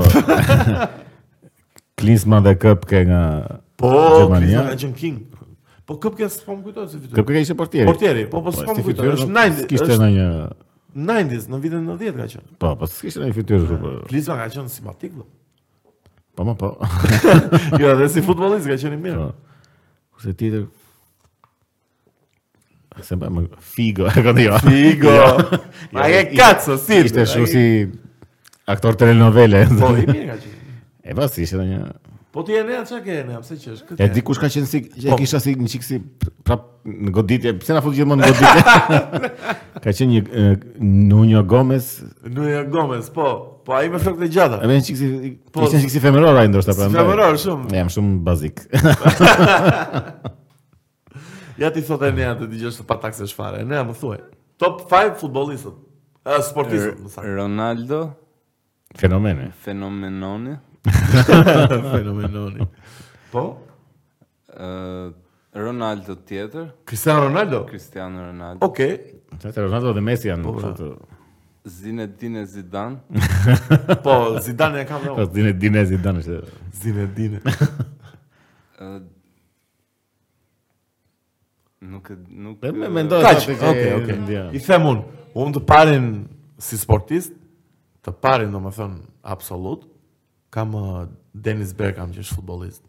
B: Klinsmann dhe Köpke nga
A: Po,
B: Gjermania.
A: Gjermania. Gjermania King. Po Këpke s'po më kujtohet se fitoi.
B: Köpke ka ishte portieri.
A: Portieri, po po s'po
B: si
A: më kujtohet.
B: fytyrë,
A: Është
B: nuk-
A: 90,
B: Kishte
A: është
B: në një
A: 90s, në vitin 90 ka qenë.
B: Po, po s'kishte në një fytyrë kështu, po.
A: Klinsma ka qenë simpatik do.
B: Po, po, [LAUGHS] po.
A: [LAUGHS] Jo, edhe si futbollist ka qenë i mirë.
B: Po. Kurse tjetër se më më Figo, e kanë jo.
A: Figo. [LAUGHS] Ma ke kaco si.
B: Ishte shumë si aktor telenovele.
A: Po, i mirë ka qenë.
B: [LAUGHS] E pas ishte në një
A: Po ti e ne çka ke ne, pse që është
B: E
A: këtë?
B: di kush ka qenë si që
A: Po.
B: e kisha si një çik si prap në goditje. Pse na fut gjithmonë në goditje? [LAUGHS] ka qenë një e, Nuno Gomez,
A: Nuja Gomez, po. Po ai me flokët e gjata.
B: e me një çik si
A: Po.
B: ishte një çik si femëror ai ndoshta pra.
A: Femëror shumë.
B: Jam shumë bazik. [LAUGHS]
A: Ja ti thotë ne atë dëgjosh të pa takse çfarë. Ne më thuaj. Top 5 futbollistët. Ë, sportistët, më saktë.
C: Ronaldo,
B: Fenomene.
C: fenomenoni,
A: Fenomenoni. Po,
C: ë uh, Ronaldo tjetër,
A: Cristiano Ronaldo.
C: Cristiano Ronaldo,
A: Okej.
B: Atë Ronaldo dhe Messi janë.
A: Po,
B: kështu.
C: Zinedine Zidane,
A: Po, Zidane e kam
B: [LAUGHS]
A: dhe
B: Po
A: unë.
B: dinë dinë Zidane është.
A: Zinedine.
C: ë nuk e nuk
B: Po më
C: e-
B: mendoj
A: Kaq,
B: atë që
A: okay, okay. I them unë, unë të parin si sportist, të parin do më thënë absolut, kam uh, Dennis Bergkamp që është futbolist.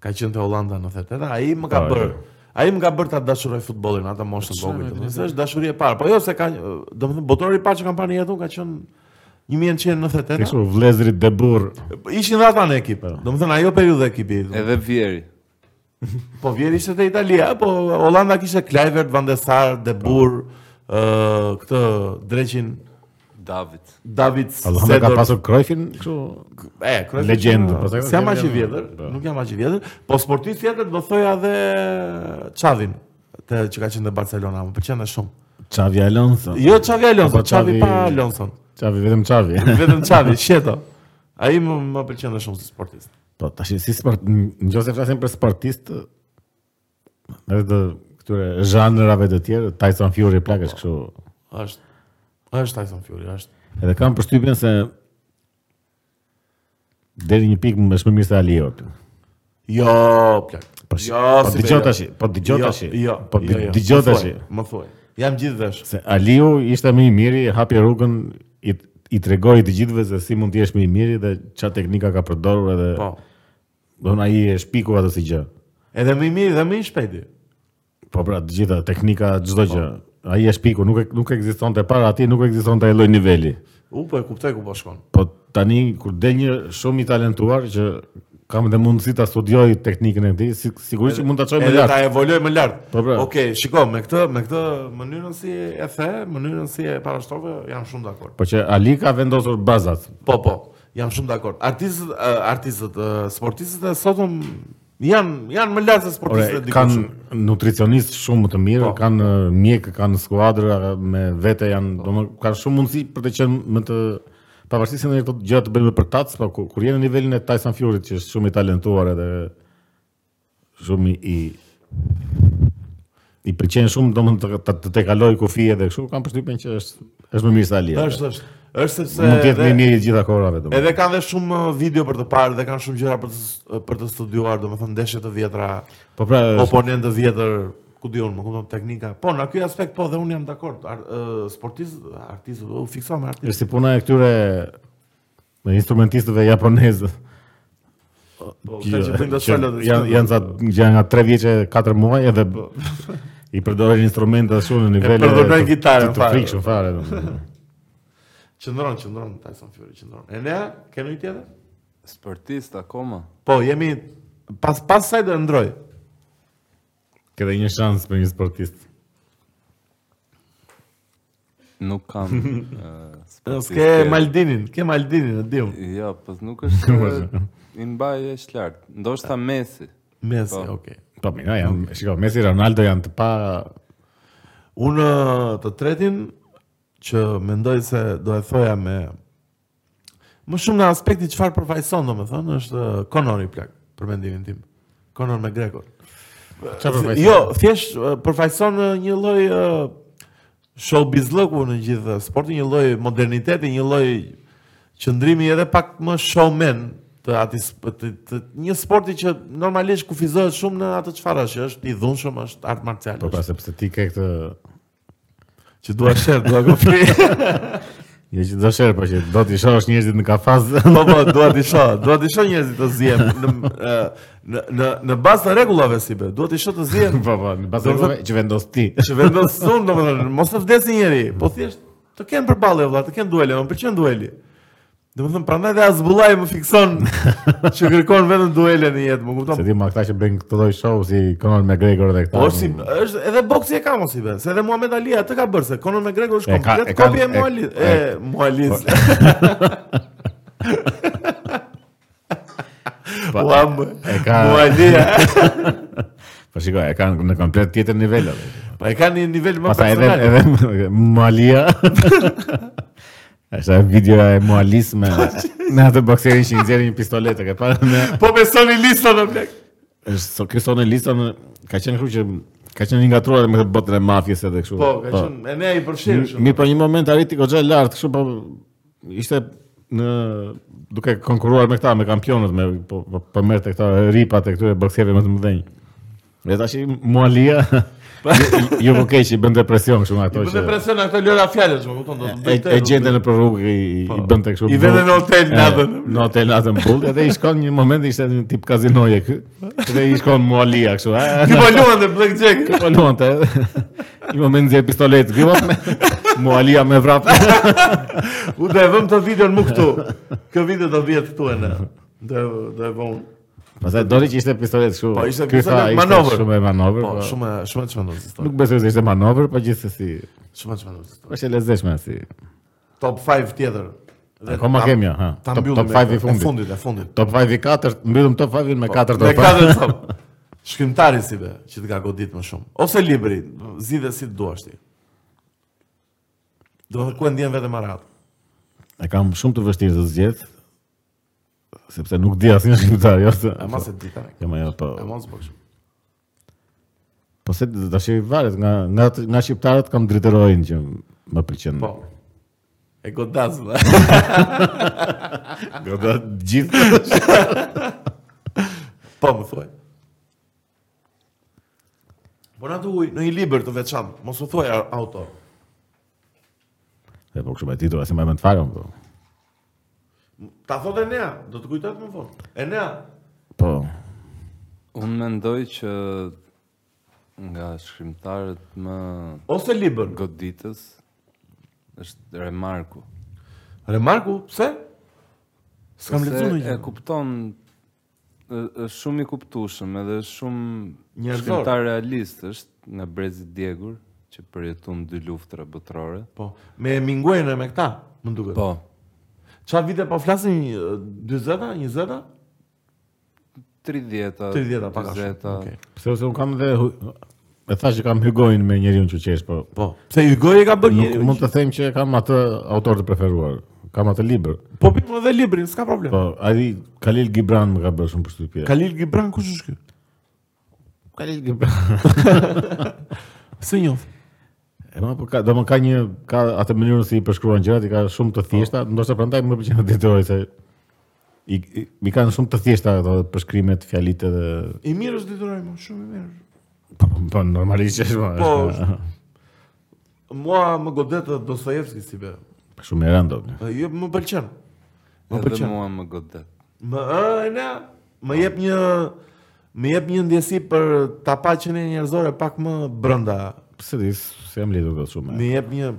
A: Ka qenë te Holanda në 98, ai më ka
B: Po,
A: bërë
B: jo.
A: ai më ka bërë ta dashuroj futbollin atë moshën e vogël. domethënë, se Është dashuri e parë. Po jo se ka, uh, domethënë botori i parë që kam parë në jetë unë ka qenë 1998.
B: Kështu Po. vlezrit dhe burr.
A: Ishin dhe ata në ekip. Domethënë ajo periudhë ekipi.
C: edhe Vieri.
A: Po vjen ishte te Italia, po Holanda kishte Kluivert, Van de Sar, De Boer,
B: Po.
A: ë këtë dreqin
C: David.
A: David
B: Hollanda ka po,
A: Seedorf.
B: pasur Cruyffin kështu.
A: e Cruyff
B: Legjend,
A: ishte-
B: pastaj-
A: Se jam aq i vjetër,
B: Po.
A: nuk jam aq i vjetër, po sportist tjetër do thoja edhe Xhavin, te që ka qenë te Barcelona, më pëlqen shumë.
B: Xavi Alonso.
A: Jo Xhavi Alonso,
B: Apo
A: Xhavi
B: Po, Xavi-
A: pa Alonso.
B: Xavi vetëm Xavi.
A: Vetëm Xhavi, sheto. Ai më, më pëlqen shumë si sportist.
B: Po tash si sport, nëse flasim për sportist, edhe të këtyre zhanrave të tjerë, Tyson Fury plak është kështu.
A: Është është Tyson Fury, është.
B: Edhe kam përshtypjen se deri një pikë më është më mirë se Aliu.
A: Jo, plak.
B: Po si- po dëgjoj tash, po dëgjoj
A: Jo,
B: tash.
A: Jo,
B: po
A: jo, jo.
B: dëgjoj
A: Më
B: tash.
A: thuaj, Më thuaj. Jam gjithë vesh.
B: Se Aliu ishte më i miri, hapi rrugën i i tregoi të gjithëve se si mund të jesh më i miri dhe çfarë teknika ka përdorur edhe
A: Po.
B: do na i e shpiku atë si gjë.
A: Edhe më i mirë dhe më i shpejti.
B: Po pra, të gjitha teknika,
A: Po.
B: çdo gjë. Ai e shpiku, nuk e, nuk ekzistonte para atij, nuk ekzistonte ai lloj niveli.
A: U po e kuptoj ku po shkon.
B: Po tani kur del një shumë i talentuar që kam dhe mundësi ta studioj teknikën e tij, si, sigurisht që mund ta çoj më
A: Edhe
B: lart.
A: ta evoloj më lart.
B: Po, pra.
A: Okej, shiko, me këtë, me këtë mënyrën si e the, mënyrën si e parashtrove, jam shumë dakord.
B: Po që Ali ka vendosur bazat.
A: Po, po, jam shumë dakord. Artistët, ë, artistët, ë, sportistët e sotëm janë janë më lart se
B: Ore,
A: sportistët e dikush.
B: kanë nutricionist shumë të mirë,
A: Po.
B: kanë eh, mjek, kanë skuadra me vete janë, domethënë kanë shumë mundësi për të qenë më të pavarësisht se ndonjë këto gjëra të bëjnë me përtac, po kur, kur jeni në nivelin e Tyson Fury që është shumë i talentuar edhe shumë i i, i pëlqen shumë domethënë të, të, të, të kaloj kufi edhe kështu, kanë përshtypjen që është është më mirë se Ali.
A: Është, është. Është sepse
B: Mund të jetë më
A: edhe-
B: i miri i gjitha kohërave domethënë.
A: Edhe kanë dhe shumë uh, video për të parë dhe kanë shumë gjëra për të për të studiuar, domethënë ndeshje të vjetra,
B: Po pra, është-
A: oponent të vjetër, ku diun, më kupton teknika. Po, në ky aspekt po dhe unë jam dakord. Ar, uh, sportist, artist, u fiksa me artist.
B: është si puna e këtyre me instrumentistëve japonezë.
A: Po,
B: Që-
A: këta që bëjnë të
B: që
A: solo. dhe-
B: Janë janë ca janë nga 3 vjeçë 4 muaj edhe b- i përdorin instrumente ashtu në nivele
A: përdorin
B: të-
A: gitarën
B: të-
A: fare.
B: Të frikshëm fare. domethënë.
A: Qëndron, qëndron Tyson Fury, qëndron. E ne kemi një tjetër?
C: Sportist akoma.
A: Po, jemi pas pas saj do ndroj.
B: Ke dhe një shans për një sportist.
C: Nuk [LAUGHS] kam. ë, sportist.
A: Ke Maldinin, ke Maldinin, e diun.
C: Jo, po nuk është ë, i mbaj është lart. Ndoshta Messi.
A: Messi,
C: Po.
A: okay.
B: Po mira, janë, shiko, Messi, Ronaldo janë të pa
A: Unë të tretin që mendoj se do e thoja me më shumë nga aspekti çfarë përfaqëson domethënë është Conor i plak për mendimin tim. Conor me Gregor.
B: çfarë përfaqëson.
A: Jo, thjesht eh, përfaqëson eh, një lloj eh, showbiz lëku në gjithë sportin, një lloj moderniteti, një lloj qëndrimi edhe pak më showman të atij sp- të, të, një sporti që normalisht kufizohet shumë në atë çfarë është, është i dhunshëm, është art marcial.
B: Po pra sepse ti ke këtë
A: Që dua sher, dua gofri.
B: [LAUGHS] Jo që do shërë, po që do t'i shohësh njerëzit në kafaz. [LAUGHS]
A: Po po, dua të shoh, dua të shoh njerëzit të zihen në e, në në në bazë të rregullave si be. Dua të shoh të zihen
B: Po po, në bazë që vendos ti.
A: që vendos sun domethënë, mos të vdesë njëri, po thjesht të kenë përballje vëlla, të kenë duele, më pëlqen dueli. Domethënë prandaj dhe Azbullaj më
B: [LAUGHS]
A: fikson që kërkon vetëm duele në jetë, më
B: Se
A: kupton?
B: ti ma këta që bëjnë këtë lloj show si Conor McGregor dhe këta.
A: Po është si është edhe boksi e ka mos i be, se edhe Muhamet Ali atë ka bërë se Conor McGregor është
B: E ka-
A: komplet
B: e ka-
A: kopje e
B: e-
A: Mualit, e Mualit.
B: Po,
A: [LAUGHS] Uam.
B: e ka-
A: Mualia.
B: Po shiko, e kanë në komplet tjetër nivel. atë.
A: Po e ka një nivel më
B: Pastaj edhe
A: personal.
B: edhe Malia. Është ajo videoja e Mualis me me atë bokserin që i nxjerrin një pistolet e ke parë me
A: Po besoni listën o plak.
B: është so ky sonë lista në ka qenë kështu që ka qenë i ngatruar me këtë botën e mafjes edhe kështu.
A: Po, ka qenë e ne i përfshin
B: Mi-
A: shumë.
B: Mirë, po një moment arriti goxha lart, kështu po ishte në duke konkuruar me këta, me kampionët, me po, po, po merrte këta ripat e këtyre bokserëve më të mëdhenj. Dhe tash i-
A: [LAUGHS]
B: Mualia ju- ju vokej që i bën depresion kështu nga ato
A: Po
B: që
A: të presion ato lëra fjalësh, më kupton, do të
B: e,
A: bëjte-
B: e gjente në prorrugë i, i bën të kështu.
A: Po. I vete në hotel
B: E,
A: natën.
B: Në hotel natën bull, edhe i shkon një moment ishte një tip kazinoje ky. Edhe i shkon Mualia kështu. a,
A: Ti
B: na-
A: po luan dhe blackjack.
B: Ky po luante. Një moment nxjerr pistolet. Ky po me- [LAUGHS] Mualia me vrap.
A: U do e vëm të videon më këtu. Kjo video do vjet këtu e ne. Do e- do e vëm. unë.
B: Pastaj doli që ishte pistolet kështu.
A: Po, ishte
B: Ky tha,
A: pistolet,
B: ishte
A: manovër.
B: Shumë e manovër.
A: Po,
B: Po,
A: shumë po. e- shumë e çmendur histori.
B: Nuk besoj se ishte manovër, po gjithsesi
A: Shumë e çmendur histori.
B: është e lezetshme si.
A: Top 5 tjetër.
B: Akoma
A: ta-
B: kemi ja, ha.
A: Ta
B: Top-
A: mbyllim
B: Top
A: me
B: 5 i
A: këtë. E
B: fundit.
A: fundit, e fundit.
B: Top 5 i 4, mbyllëm top 5-in me 4
A: Po, Me
B: top 5.
A: katër top. [LAUGHS] Shkrimtari si be, që të ka godit më shumë. Ose libri, zgjidhe si të duash ti. Do të ku e ndjen vetëm arat.
B: E kam shumë të vështirë të zgjedh. sepse nuk di asnjë shqiptar, jo se.
A: E mos e di tani.
B: Jo, ma jo, po.
A: E mos bësh.
B: Po se tash i varet nga nga nga shqiptarët kam drejtërojnë që më pëlqen.
A: Po. E godas. dhe.
B: Gjata gjithë.
A: Po më thuaj. Po na duaj në një libër të veçantë, mos u thuaj a- autor.
B: E po kështu me titull, asnjë më më të fare. unë, Po.
A: Ta thot Enea, do të kujtohet më vonë. Enea,
B: po.
C: Unë mendoj që nga shkrimtarët më
A: ose libër.
C: goditës është Remarku.
A: Remarku, pse? S'kam
C: Sepse
A: lexuar
C: E
A: ndonjë.
C: kupton ë- është shumë i kuptueshëm edhe shumë
A: Njerëzor.
C: shkrimtar realist është nga Brezi Djegur që përjeton dy luftra botërore.
A: Po, me Minguajën e me këta, më duket.
C: Po,
A: Qa vite po flasim 40-a, 20-a?
C: 30-ta,
A: 30-a pak a shumë.
C: 40-ta.
A: Okej.
B: Pse ose un kam dhe hu- e thash që kam hygoin me njeriu që qesh, po.
A: Po. Pse Hygoj e ka bërë
B: Nuk
A: njeriu.
B: mund të them që kam atë autor të preferuar. Kam atë libër.
A: Po pimë edhe librin, s'ka problem.
B: Po, ai Khalil Gibran më ka bërë shumë përshtypje.
A: Kalil Gibran kush është ky?
B: Khalil Gibran.
A: Së njoh.
B: E ma po ka, do më ka një ka atë mënyrën si i përshkruan gjërat, i ka shumë të thjeshta, ndoshta prandaj më pëlqen editori se i, i, i kanë shumë të thjeshta ato përshkrimet, fjalitë dhe
A: I mirë është detyrai më, shumë i mirë.
B: po, po, po normalisht është. ma,
A: Po,
B: është,
A: Mua më godet edhe Dostojevski si be.
B: shumë e rëndom.
A: E, Jo më pëlqen. Më
C: Edhe
A: pëlqen.
C: mua më godet.
A: Më ë ne më jep një më jep një ndjesi për ta paqen e njerëzore pak më brenda.
B: Pse di, se jam lidhur dot shumë.
A: Më jep një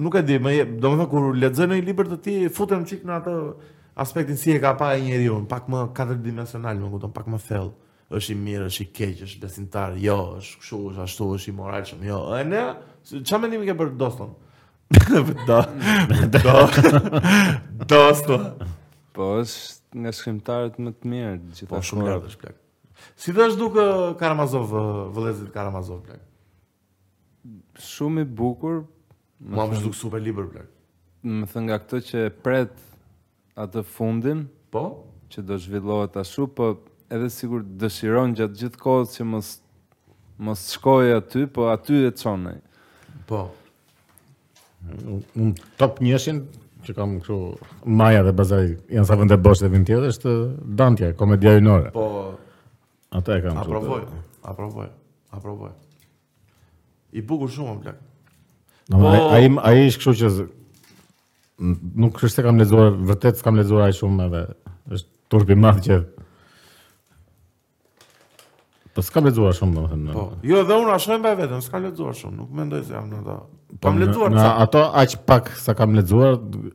A: nuk e di, më jep, domethënë kur lexoj një libër të ti futem çik në atë aspektin si e ka pa e njeriu, pak më katërdimensional, më kupton, pak më thellë. Është i mirë, është i keq, është besimtar, jo, është kështu, është ashtu, është i moralshëm, jo. E ne çfarë mendimi ke për Doston? [LAUGHS] do, do, [LAUGHS] Doston.
C: Po është nga shkrimtarët më të mirë gjithashtu.
A: Po shumë lart është plak. Si të është duke uh, Karamazov, ë, vëllezit Karamazov plak.
C: Shumë i bukur,
A: Mua më duk super libër plak.
C: më thënë nga këto që e pret atë fundin
A: Po?
C: që do zhvillohet ashtu, po edhe sigur dëshiron gjatë gjithë kohës që mos mos shkoj aty, po aty e çonaj.
A: Po.
B: Un top njëshin që kam kështu Maja dhe Bazari janë sa vende bosh dhe vin tjetër është Dantja, komedia jynore.
A: Po,
B: Ata e kam kështu.
A: aprovoj, aprovoj, aprovoj. I bukur shumë plak.
B: Do më
A: Po-
B: thënë, ai ai është kështu që z- n- nuk është se kam lexuar, vërtet s'kam lexuar ai shumë edhe është turp i madh që Po s'kam lexuar shumë domethënë.
A: Po. Jo, dhe unë ashojm pa vetëm, s'kam lexuar shumë, nuk mendoj se jam në ata. Kam
B: Po, në-
A: lexuar
B: Në
A: ca.
B: ato aq pak sa kam lexuar d-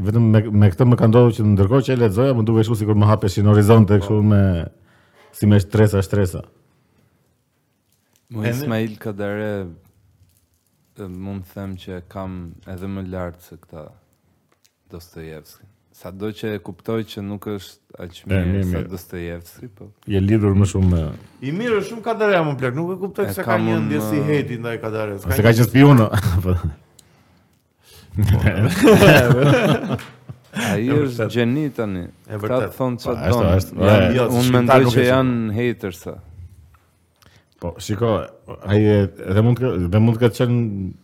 B: vetëm me, me këtë më ka ndodhur që ndërkohë që e lexoja më duke kështu sikur më hapeshin horizonte kështu me si me shtresa shtresa.
C: Mu
A: Edhe-
C: Ismail Kadare e, mund të them që e kam edhe më lartë se këta Dostojevski. Sa do që e kuptoj që nuk është aq mirë,
B: mirë,
C: sa
B: mirë.
C: Dostojevski, po
B: Je lidhur më shumë me
A: I mirë është shumë kadare më plak, nuk e kuptoj
C: E
A: se ka
C: kam
A: një
C: unë,
A: ndjesi
C: ë,
A: hejti ndaj kadares.
B: se ka qenë spionë.
A: [LAUGHS]
B: Po.
C: Ai është gjeni tani.
A: E
C: Këta
A: vërtet.
C: thonë që
B: Pa,
C: donë.
B: është- është-
C: Janë-
A: Jo,
C: Unë
A: shqiptar
C: mendoj
A: nuk
C: që
A: e shohin.
C: janë hatersa.
B: Po, shiko, ai e- edhe mund të dhe mund të ketë qenë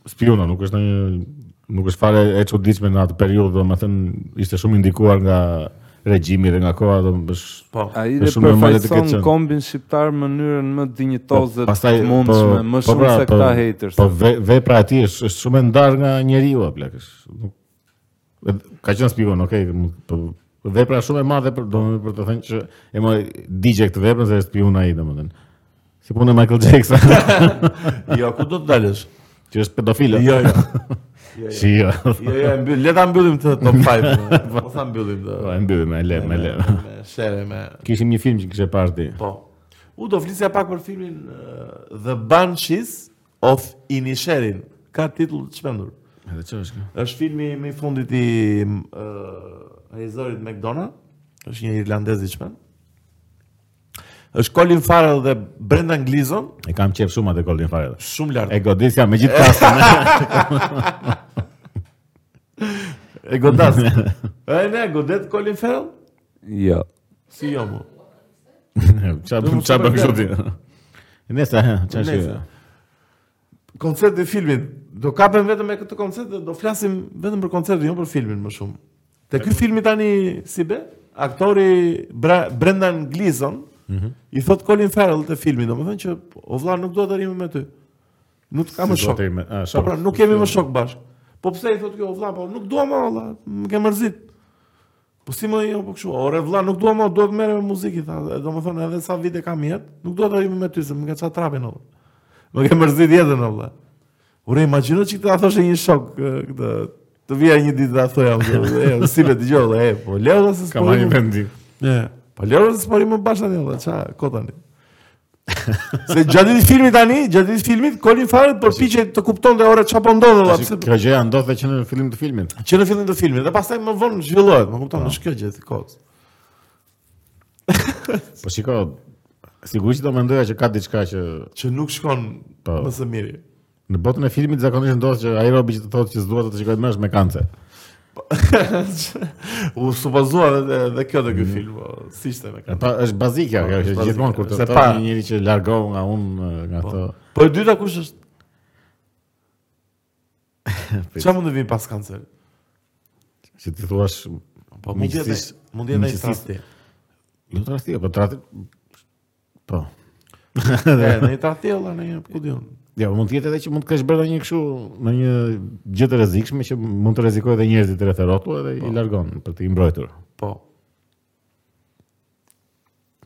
B: spiona, nuk është ndonjë nuk është fare e çuditshme në atë periudhë, domethënë ishte shumë indikuar nga regjimi dhe nga koha, domethënë
A: Po.
C: Ai
B: Është
C: dhe
B: shumë normale të
C: përfaqëson
B: ketë qenë.
C: kombin shqiptar në mënyrën më dinjitoze
B: Po, pastaj,
C: të mundshme, më shumë
B: pra,
C: se këta haters.
B: Po ve- vepra e tij është është shumë e ndar nga njeriu apo plak. është- nuk- edhe- Ka qenë spion, okay, mund- po vepra shumë e madhe për domethënë për të thënë që e më digje këtë veprën se është spion ai domethënë. Si punë e Michael Jackson, [LAUGHS]
A: Jo, ku do të dalësh?
B: që është pedofil.
A: Jo, [LAUGHS] jo. Jo, jo.
B: Si, jo.
A: Jo, jo, e mbyll, le ta mbyllim të top 5. Po sa mbyllim të.
B: Po e mbyll me le, me le.
A: Me shere me
B: [LAUGHS] Kishim një film që kishe parë ti.
A: Po. U do flisja pak për filmin uh, The Banshees of Inisherin. Ka titull të shpendur.
B: Edhe çfarë është kjo?
A: Është filmi më i fundit i uh, regjisorit McDonagh. Është një irlandez i shpend. Është Colin Farrell dhe Brendan Gleeson,
B: E kam qep shumë atë Colin Farrell.
A: shumë lart.
B: E godisja me gjithë [LAUGHS] kasën. [LAUGHS]
A: E godas. e ne godet Colin Farrell?
C: Jo.
A: Si jo mu.
B: Qa
A: Do mu
B: qa bën kështu ti?
A: supergler.
B: [LAUGHS] Nese, ha, qa
A: Nese.
B: shkjo?
A: Koncerti i filmit, do kapem vetëm me këtë koncert dhe do flasim vetëm për koncertin, jo për filmin më shumë. Te ky filmi tani si be? Aktori Bra Brendan Gleeson
B: Mhm.
A: i thot Colin Farrell te filmi, domethënë që o vlla nuk do të rrimi me ty. Nuk ka më
B: Si do
A: shok.
B: të rrimi- a,
A: Po
B: shok.
A: pra, nuk kemi më shok bashk. Po pse i thot kjo, o vlla, po nuk dua më vlla, më ke mërzit. Po si më jo, po kështu, ore vlla, nuk dua më, duhet merrem me muzikë, tha. E, Domethënë edhe sa vite kam jetë, nuk dua të rrimi me ty, se më ka ça trapin o. vlla. Më ke mërzit jetën o vlla. Ure, imagjino që këtë a thoshe një shok e, këtë të vija një ditë ta thoja, "E, si be dëgjoj, vlla, e, po leo dhe se s'po.
B: Ka marrë një
A: rrim-
B: vendim.
A: E, po leo dhe se s'po më bash tani, vlla, ça ko tani. Se gjatë ditë filmit tani, gjatë ditë filmit Colin Farrell përpiqej të kuptonte ore çfarë po ndodhte, vlla, pse po-
B: Kjo gjëja ndodhte që në fillim të filmit.
A: që në fillim të filmit dhe pastaj më vonë zhvillohet, më kupton, është kjo gjë e kohës.
B: Po shiko, sigurisht do mendoja që ka diçka që
A: Që nuk shkon
B: Po.
A: më së miri. [LAUGHS]
B: në botën e filmit zakonisht ndodh që ai robi që të thotë që s'dua të të shikoj më është me kancer.
A: U supozua edhe edhe kjo te ky film, po, si ishte me
B: E
A: këtë.
B: Pa, është bazikja
A: Po,
B: kjo
A: është
B: që
A: bazike.
B: gjithmonë kur të
A: Se
B: thotë
A: pa-
B: një njeri që largohu nga unë nga ato.
A: Po e dyta kush është? Çfarë mund të vi pas kancer?
B: që ti thua
A: Po mund të jetë,
B: Miqësisht-
A: mund të jetë ai
B: miqësisht-
A: trasti.
B: jo trasti, po trasti po.
A: E, në i trasti olla në një ku diun.
B: Jo, mund të jetë edhe që mund të kesh bërë një kështu në një gjë të rrezikshme që mund të rrezikojë edhe njerëzit të referotu edhe i largon për të i mbrojtur.
A: Po.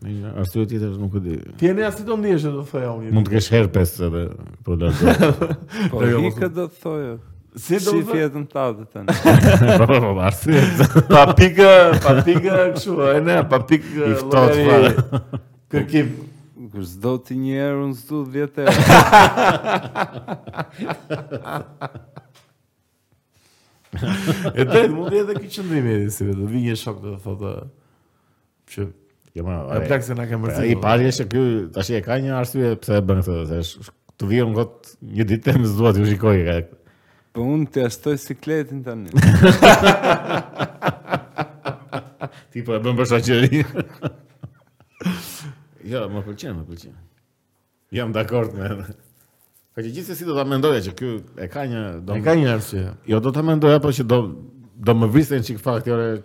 B: Në një arsye tjetër nuk e di.
A: Ti jeni as si do ndihesh do thoja unë.
B: Mund të kesh herpes edhe po
A: [LAUGHS]
B: largon.
C: Po
A: Jo,
C: i do të thojë.
A: si do
C: Si
A: të thotë?
C: fjetën tatë [LAUGHS] tani.
B: Po, po, po, arsye.
A: pa pikë, [LAUGHS] pa pikë kështu, e ne, pa pikë
B: I ftohtë
A: llogari- kërkim.
C: Kur s'do ti një herë, unë s'du 10 [LAUGHS] herë.
A: E drejt, mund të jetë edhe ky qëndrimi si vetë, vi një shok do të thotë që
B: Jo, ma,
A: e plak se na ke
B: Po,
A: mërzit.
B: Ai pari është ky, tash e ka një arsye pse e bën këtë, se është- është- të vjen kot një ditë [LAUGHS] më s'dua t'ju shikoj. ka-
C: Po unë të ashtoj sikletin tani.
B: Ti po e bën për shoqëri. [LAUGHS] jo, më pëlqen, më pëlqen. Jam dakord me. Po që gjithsesi do ta mendoja që ky e ka një do.
A: E ka një arsye.
B: Jo, do ta mendoja, po që do do më vrisen çik faktore.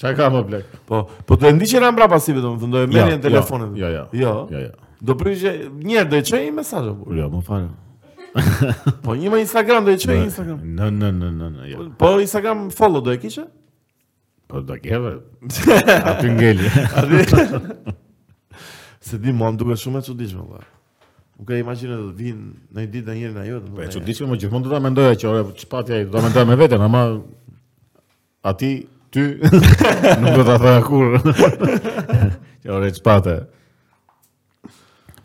B: Çfarë ka më plek?
A: Po, po do e ndiqen an brapa si vetëm, do e merrje në
B: Jo,
A: telefonin.
B: jo, jo.
A: Jo.
B: Jo, jo.
A: Do prishë një herë do e çoj një mesazh apo.
B: Jo, më fal.
A: Po një me Instagram do e çoj Instagram.
B: No, no, no, no, no, jo.
A: Po Instagram follow do e kishe?
B: Po do keve. [LAUGHS] Aty ngeli.
A: Se di mua më duket shumë e çuditshme valla. Nuk e imagjinoj do të vinë në një ditë në njërin ajo.
B: Po e çuditshme, më gjithmonë do ta mendoja që ore çpatja do ta mendoj me veten, ama aty ty [LAUGHS] nuk do ta thoja
A: [LAUGHS]
B: kurrë. që ore çpate.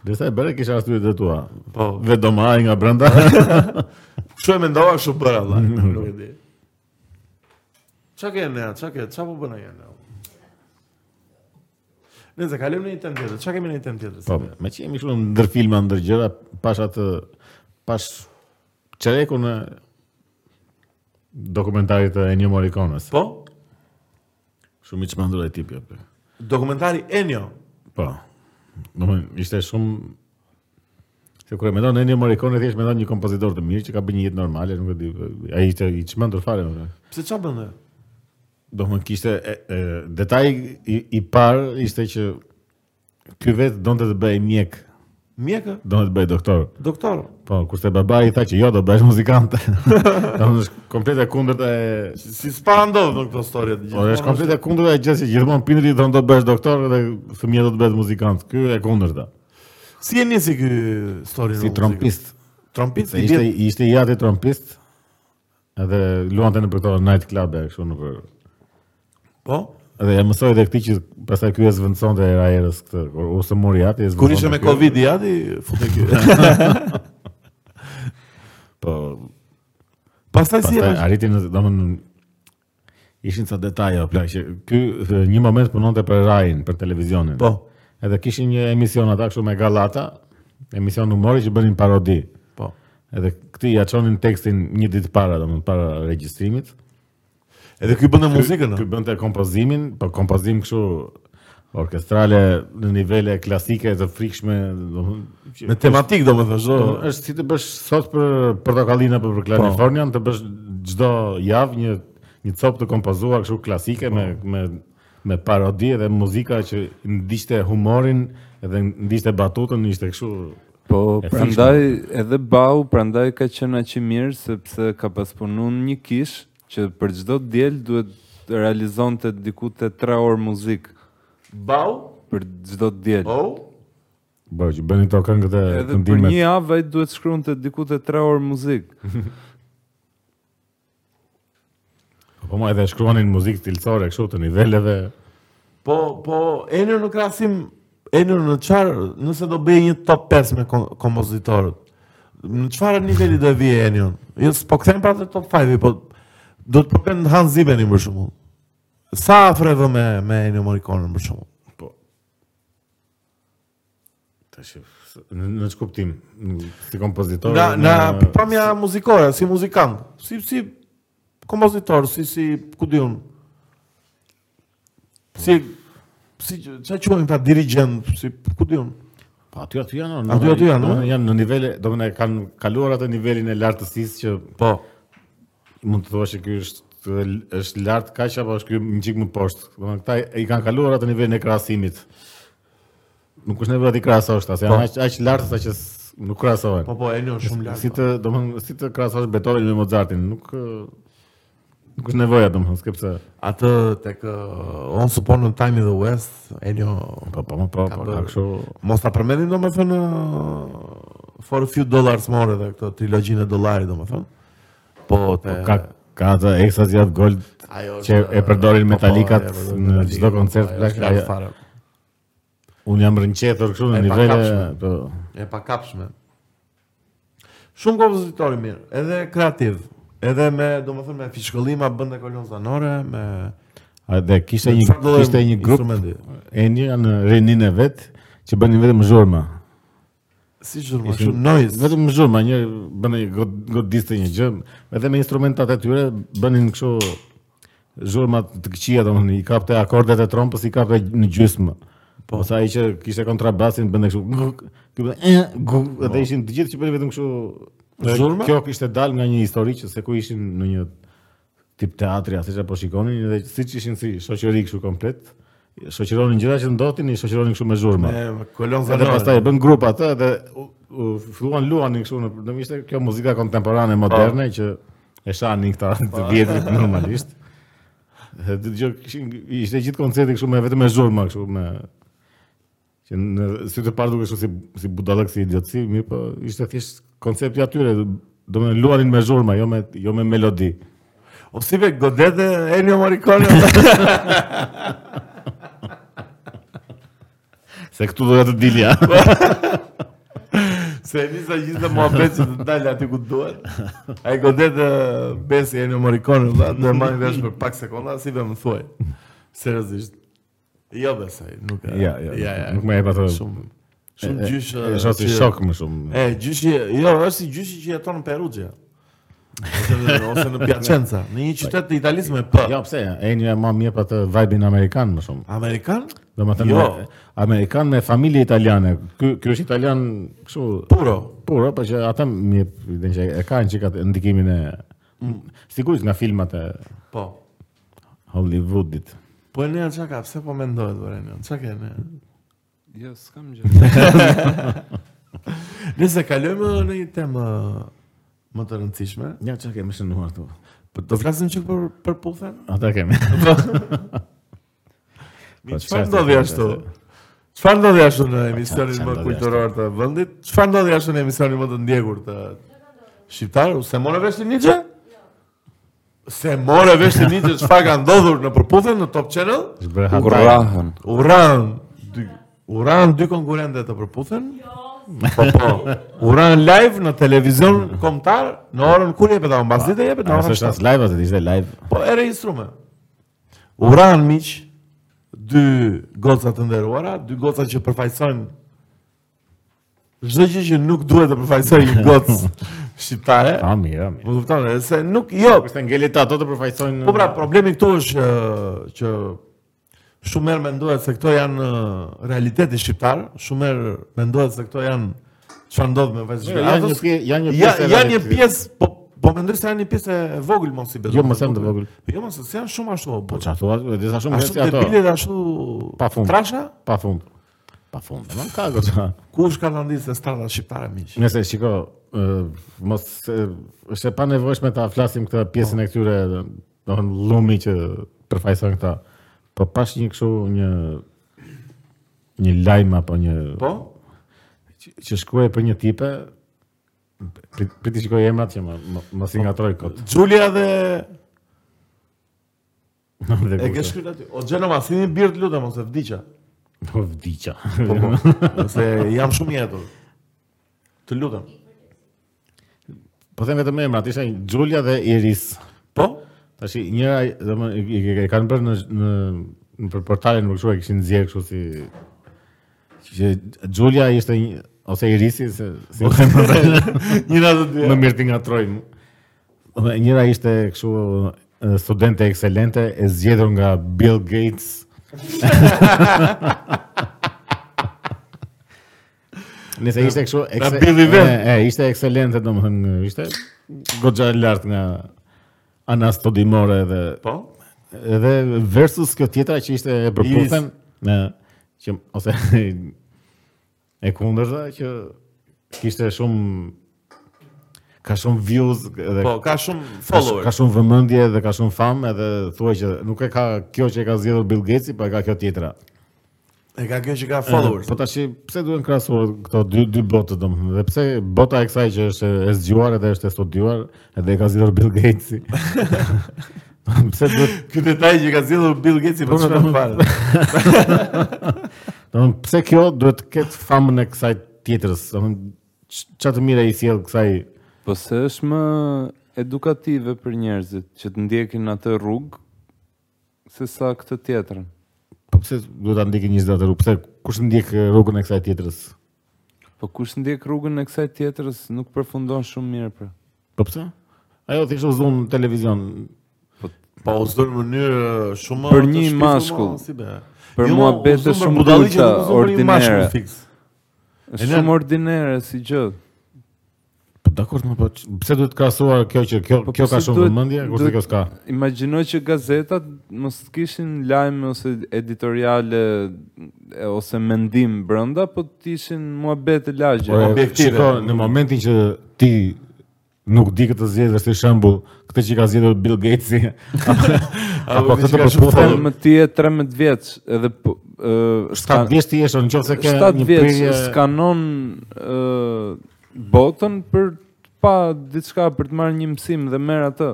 B: Dhe sa e bëre kisha arsye të tua.
A: Po,
B: Vetëm ai nga
A: [LAUGHS]
B: brenda.
A: kështu e mendova kështu bëra valla. [LAUGHS] Nuk e di. Çka ke ne, çka ke, çka po bën ai ne? Nëse kalojmë në një temë tjetër, çka kemi në një temë tjetër?
B: po, me që jemi shumë ndër filma, ndër gjëra, pash atë pash çerekun e dokumentarit të Ennio Morricones.
A: Po,
B: Shumë i çmendur ai jo, tipi apo.
A: dokumentari Enio.
B: Po. Do më ishte shumë Se kur e mendon Ennio Morricone thjesht mendon një kompozitor të mirë që ka bërë një jetë normale, nuk e di. Ai ishte i çmendur fare. më thënë.
A: Pse çfarë bën? ai?
B: Do më kishte e, e, detaj i, i parë ishte që ky vetë donte të bëhej mjek,
A: Mjekë,
B: donte të bëhej doktor.
A: doktor.
B: Po, kurse babai i tha që jo, do bëhesh [LAUGHS] muzikant. Domethënë është komplet e kundërta e
A: Si s'para ndodh në këto histori të
B: Ora Po, është komplet e kundërta e gjë që gjithmonë prindrit thonë do bësh doktor dhe fëmia do të bëhet muzikant. Ky e kundërta.
A: Si e nisi ky histori
B: Si trompist.
A: Trompist
B: Se
A: i
B: ishte
A: vjet.
B: ishte i ati trompist. Edhe luante në për këto night club e kështu në për.
A: Po.
B: Edhe e mësoi edhe këtij që pastaj ky e zvendësonte e Rajerës këtë kur u së mori ati. e
A: Kur
B: zvendësonte
A: ishte me
B: Po, kjo.
A: Covid i ati, futë ky.
B: [LAUGHS] Po
A: Pastaj si e
B: pastaj arriti në domethënë ishin ca detaje o plak që ky e, një moment punonte për Rajin, për televizionin.
A: Po.
B: Edhe kishin një emision ata kështu me Gallata, emision humori që bënin parodi.
A: Po.
B: Edhe këtë ja çonin tekstin një ditë para, domethënë para regjistrimit.
A: Edhe ky bënte muzikën.
B: Ky bënte kompozimin, po kompozim kështu orkestrale në nivele klasike të frikshme, domethënë që-
A: Me tematik domethënë, çdo
B: Po, është si të bësh sot për portokallinë apo për Kalifornian, të bësh çdo javë një një copë të kompozuar kështu klasike me me me parodi dhe muzika që ndiqte humorin dhe ndiqte batutën, ishte kështu
C: Po,
B: E
C: prandaj edhe Bau, prandaj ka qenë aq i mirë sepse ka pas punuar në një kish që për çdo diel duhet të realizonte diku te 3 orë muzikë
A: bau,
C: për çdo diel.
A: bau.
B: bëj që bënin to këngët e
C: edhe për
B: këndimet.
C: një javë ai duhet shkruante diku te 3 orë muzikë.
B: Po më edhe shkruanin muzikë stilcore kështu të niveleve.
A: Po, po, Enër në krasim, Enër në çfarë, nëse do bëj një top 5 me kom- kompozitorët. Në çfarë niveli do e vijë Enër? Jo, po kthem pra te top 5, po do të përmend Hans Zimmerin për shembull. Sa afreve me me Ennio Morricone për shembull.
B: Po. Tash në në që kuptim, Në- si kompozitor.
A: Nga
B: në-
A: nga pamja muzikore, si muzikant, si si kompozitor, si si ku diun. Si si çfarë quhen ta dirigjent, si ku diun.
B: Po aty aty janë. në-
A: Aty aty janë, eh?
B: domethënë Janë në nivele, domethënë kanë kaluar atë nivelin e lartësisë që
A: Po.
B: mund të thuash që ky është është lart kaq apo është ky një çik më poshtë. Domethënë këta i kanë kaluar atë nivelin e krahasimit. Nuk është nevojë ti krahasosh ta, se janë
A: Po.
B: aq aq lartë sa që s- nuk krahasohen.
A: Po po, Enio është shumë lart.
B: Si të, domethënë, si të krahasosh Beethovenin me Mozartin, nuk ë, nuk është nevoja domethënë, sepse
A: Atë tek uh, Once Upon a Time in the West, Enio
B: po po po po
A: bërë-
B: ka kështu
A: mos ta përmendim domethënë uh, for a few dollars more edhe këtë trilogjinë e dollarit domethënë. Po te
B: ka ka atë ekstazi atë gold
A: ajo
B: që e përdorin
A: po, po,
B: Metallicat
A: e përdorin
B: në
A: Metallica.
B: çdo koncert,
A: po, Ajo
B: plak,
A: është lart
B: ajo-
A: fare.
B: un jam rënqetur kështu në
A: E
B: nivele
A: pakapshme.
B: po
A: E pakapshme. Shumë kompozitor i mirë, edhe kreativ, edhe me, domethënë me fishkëllima bënte kolon zanore, me
B: a dhe kishte
A: me
B: një
A: çfarë lloj
B: kishte një grup
A: instrumenti.
B: e një në rinin e vet që bënin vetëm zhurma.
A: si shumë shumë noise.
B: Vetëm zhurma, një bënë një god, godiste një gjë, edhe me instrumentat e tyre bënin kështu zhurma të këqija domethënë i kapte akordet e trompës i kapte në gjysmë. Po sa ai që kishte kontrabasin bënte kështu nguk, ky bënte e guk, edhe ishin të gjithë që bënin vetëm kështu Po. Dhe
A: Zhurma?
B: Kjo kishte dalë nga një histori që se ku ishin në një tip teatri asaj që po shikonin edhe siç ishin si shoqëri kështu komplet. Shoqëronin gjëra që ndodhin, i shoqëronin kështu me zhurma.
A: E kolon
B: Edhe
A: zanore.
B: pastaj e bën grup atë dhe u- u filluan luanin kështu në do ishte kjo muzika kontemporane moderne që e shanin këta të vjetrit normalisht. Dhe gjë kishin ishte gjithë koncerti kështu me vetëm me zhurma kështu me që në sy të parë duke kështu si si budallëk si idiotsi, mirë po ishte thjesht koncepti atyre, do me luanin me zhurma, jo me jo me melodi.
A: O si ve godet e Ennio
B: [LAUGHS]
A: Morricone.
B: Se këtu doja të dilja.
A: Se e nisa gjithë dhe muhabet që të dalë aty ku duhet. Ai godet e Besi Ennio Morricone, valla, do e marr vesh për pak sekonda, si ve më thuaj. Seriozisht. Jo besoj, nuk
B: [LAUGHS]
A: e.
B: ja, ja, nuk më jep atë.
A: Shumë shumë
B: e-
A: gjysh.
B: e shoh si
A: që-
B: shok më shumë.
A: E, gjyshi, jo, është si gjyshi që jeton në Perugia. Ose në, ose në Piacenza, në një qytet të Italisë me P.
B: Jo, pse? Eni e më mjep atë vibe-in amerikan më shumë.
A: Amerikan?
B: Do më thënë,
A: Jo.
B: me- Amerikan me familje italiane. Ky ky është italian kështu
A: Puro.
B: puro, po që ata më jep idenë që e kanë çka ndikimin e Mm. sigurisht nga filmat e
A: Po.
B: Hollywoodit.
A: Po e nea çka ka, pse po mendohet për e nea? Çka ke nea?
C: Jo,
B: [LAUGHS]
C: s'kam gjë.
A: Nëse kalojmë në një temë më të rëndësishme,
B: Ja çka kemi shënuar këtu.
A: po do flasim çik për për puthen?
B: Ata [LAUGHS] kemi.
A: Mi
B: Po,
A: çfarë
B: çfarë
A: ndodhi
B: do të
A: ashtu?
B: thotë?
A: Çfarë ndodhi ashtu në
B: çfarë
A: emisionin më
B: ndodhi
A: kulturor të vendit? Çfarë ndodhi ashtu në emisionin më të ndjekur të shqiptar? U se morë vesh ti Nietzsche? Se morë vesh ti Nietzsche çfarë ka ndodhur në përputhen në Top Channel?
B: Zbreha.
C: Kurrahën.
A: U ran dy u ran dy konkurrentë të përputhen? Po po. U ran live në televizion kombëtar në orën kur jepet apo mbas dite jepet në
B: Nëse
A: orën
B: është
A: 7.
B: as live atë ishte live.
A: Po e regjistrume. U ran miq dy goca të nderuara, dy goca që përfaqësojnë çdo gjë që nuk duhet të përfaqësoj një gocë shqiptare.
B: A mirë, a mirë.
A: Më kupton e, se nuk jo.
B: Kështë ngelit ato të përfaqësojnë.
A: Po pra problemi këtu është ë, që shumë herë mendohet se këto janë ë, realiteti shqiptar, shumë herë mendohet se këto janë çfarë ndodh me vajzë
B: janë një
A: shqiptare.
B: pje- janë një
A: Ja,
B: pjesë. e
A: janë një
B: realitetit.
A: pjesë, po po mendoj se janë një pjesë e vogël mos i bedo.
B: Jo, mos janë të vogël.
A: Jo, mos se janë shumë ashtu. Po
B: Po çfarë thua? E disa shumë
A: Ashtu
B: herë si ato.
A: debile dhe ashtu
B: Pa fund.
A: Trasha?
B: Pa fund. Pa fund. Më ka goca.
A: Ku është kalandisë e strada shqiptare miq?
B: Nëse shiko, ë, mos e, është e panevojshme ta flasim këtë pjesën e këtyre, domthon llumi që përfaqësojnë këta. Po pash një kështu një një lajm apo një
A: Po?
B: që, që shkruaj për një tipe prit- priti shikoj emrat që më- më- mos i ngatroj kot.
A: Julia dhe
B: [LAUGHS] Dhe
A: e
B: kushte.
A: ke shkruar aty. O Xheno Masini bir të lutem ose vdiqa.
B: Po vdiqa. [LAUGHS]
A: Po po. Se jam shumë i hetur. Të lutem.
B: Po them vetëm emrat, isha një- Julia dhe Iris.
A: Po?
B: Tashi njëra, domethënë i- i- i kanë bërë në në në për portalin më kështu e kishin nxjerr kështu si që Julia ishte një ose Irisi se si e them
A: [LAUGHS] Njëra të dyja.
B: më mirë ti ngatrojmë. Domethënë njëra ishte kështu e, studente ekselente e zgjedhur nga Bill [LAUGHS] Gates. Nëse ishte kështu
A: Nga
B: ekse-
A: Billy Van.
B: e, e, ishte ekselente domethënë ishte goxha e lartë nga ana studimore dhe
A: Po?
B: Edhe versus kjo tjetra që ishte e përputhen në që ose [LAUGHS] e kundërta që kishte shumë ka shumë views edhe
A: Po, ka shumë
B: ka, sh-
A: follower.
B: ka shumë vëmendje dhe ka shumë famë edhe thuaj që nuk e ka kjo që e ka zgjedhur Bill Gates, po e ka kjo tjetra.
A: E ka kjo që ka followers.
B: Po tash pse duhen krahasuar këto dy dy botë domethënë? Dhe pse bota e kësaj që është e zgjuar edhe është e studiuar edhe e ka zgjedhur Bill Gates?
A: [LAUGHS]
B: [LAUGHS] pse duhet
A: Ky detaj që ka zgjedhur Bill Gates po
B: Po,
A: çfarë fare.
B: Domthon pse kjo duhet të ketë famën e kësaj tjetrës? Domthon çfarë të mira i sjell kësaj?
C: Po se është më edukative për njerëzit që të ndjekin atë rrugë se sa këtë tjetrën.
B: Po pse duhet ta ndjekin njerëzit atë rrugë? Pse kush ndjek eh, rrugën e kësaj tjetrës?
C: Po kush ndjek rrugën e kësaj tjetrës nuk përfundon shumë mirë pra.
B: Po pse? Ajo thjesht u zon në televizion.
A: Po, u zgjon në mënyrë uh, shumë
C: Për
A: të
C: një
A: shpifur,
C: mashkull.
A: ma, si be. Jo,
C: Për
A: ma,
C: muhabete
A: u zgjon për
C: shumë
A: budalliqe,
C: bruta,
A: nuk u zgjon për një mashkull
C: ordinere.
A: fix.
C: Është
A: E ne-
C: shumë ordinere si gjë.
B: Po dakor, ma, po ç- pse duhet krahasuar kjo që kjo
C: Po
B: kjo ka
C: pse
B: shumë
C: duhet-
B: vëmendje, kurse
C: duhet-
B: kjo s'ka.
C: Imagjinoj që gazetat mos të kishin lajme ose editoriale e, ose mendim brenda, po të ishin muhabete lagje.
B: Po e,
A: objektive.
B: shiko, në momentin që ti nuk di këtë zgjedhje si shembull, këtë që ka zgjedhur Bill Gatesi.
A: këtë
B: Apo këtë po
A: që ka
B: të
A: shumë
B: përputhen,
A: follower.
C: më ti e 13 vjeç, edhe po ë,
B: Sa
C: skan-
B: vjeç ti jesh, nëse ke
C: 7
B: një
C: vjeç
B: prirje
C: skanon ë botën për të pa diçka për të marrë një mësim dhe merr atë.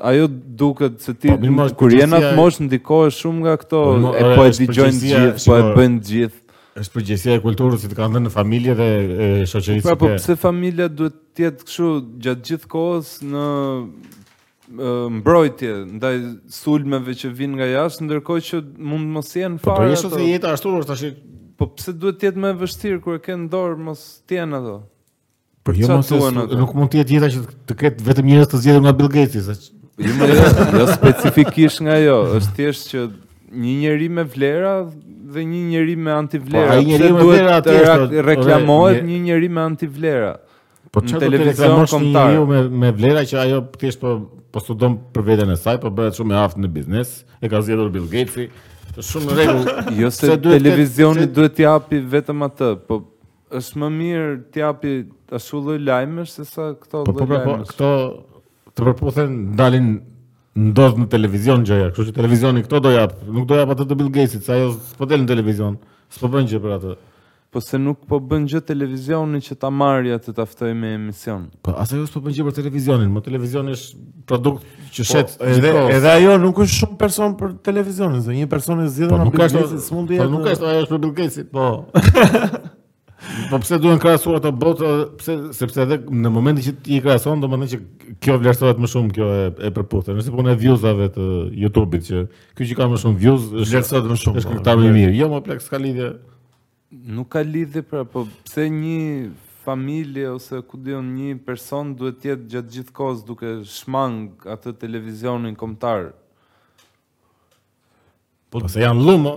C: Ajo duket se ti
B: Po, mirë, mo,
C: kur jena atë
B: përgjithsia-
C: mosh ndikohesh shumë nga këto,
B: Po, mo,
C: e
B: ore,
C: po e
B: është
C: dëgjojnë
B: përgjithsia,
C: gjithë, po e
B: shiko,
C: bëjnë gjithë.
B: është përgjegjësia e kulturës që të kanë dhënë në familje dhe e, shoqërisë.
C: Pra po
B: që-
C: pse familja duhet të jetë kështu gjatë gjithë kohës në ë, mbrojtje ndaj sulmeve që vinë nga jashtë, ndërkohë që mund mos jenë
B: Po
C: fare.
B: jesh
C: ato.
B: ose jeta ashtu është tash.
C: Po pse duhet të jetë më e vështirë kur e ke në dorë mos të jenë ato?
B: Po jo
C: çfarë
B: mos
C: duan ato?
B: nuk mund të jetë jeta që të ketë vetëm njerëz të zgjedhur nga Bill Gates, se ç-
C: Jo, më jo, jo specifikisht nga jo, është thjesht që një njeri me vlera dhe një njeri me
B: Po,
C: antivlera.
B: ai
C: Pse
B: njeri me
C: duhet
B: vlera
C: të
B: atje
C: rak-
B: është,
C: reklamohet
B: ore,
C: një njeri me antivlera?
B: po
C: Në
B: çfarë do të
C: televizion
B: reklamosh një
C: kombëtar.
B: njeriu me me vlera që ajo thjesht po po studon për veten e saj, po bëhet shumë e aftë në biznes, e ka zgjedhur Bill Gatesi. Është [LAUGHS] shumë në rregull.
C: Jo se
B: Se duhet të-
C: televizioni
B: se-
C: duhet t'i japi vetëm atë, po është më mirë t'i japi ashtu lloj lajmesh se sa
B: Po
C: këto
B: po
C: lloj
B: pra, po
C: lajmesh.
B: këto të përputhen dalin ndodh në televizion gjëja, kështu që televizioni këto do jap, nuk do jap atë të Bill Gatesit, se ajo s'po del në televizion, s'po bën gjë për atë.
C: Po se nuk po bën gjë televizioni që ta marrë atë ta ftoj me emision.
B: Po as ajo s'po bën gjë për televizionin, më televizioni është produkt që
A: Po,
B: shet
A: edhe
B: gjithkohës.
A: edhe ajo nuk është shumë person për televizionin, se një person e
B: po
A: zgjedhur
B: nuk ka
A: Bill
B: ashtu,
A: Gates-i s'mund të
B: po
A: jetë.
B: nuk ka ashtu ajo është për Bill Gatesit.
A: Po. [LAUGHS]
B: Po pse duhen krahasuar ato botë, pse sepse edhe në momentin që ti i krahason, domethënë që kjo vlerësohet më shumë kjo e, e përputhen. Nëse punë e viewsave të YouTube-it që ky që ka më shumë views është
A: Vlerësohet më shumë.
B: Është
A: po.
B: këngëtar më i mirë. Jo, më plak s'ka lidhje.
C: Nuk ka lidhje pra, po pse një familje ose ku diun një person duhet të jetë gjatë gjithë kohës duke shmang atë televizionin kombëtar.
B: Po se janë lumë,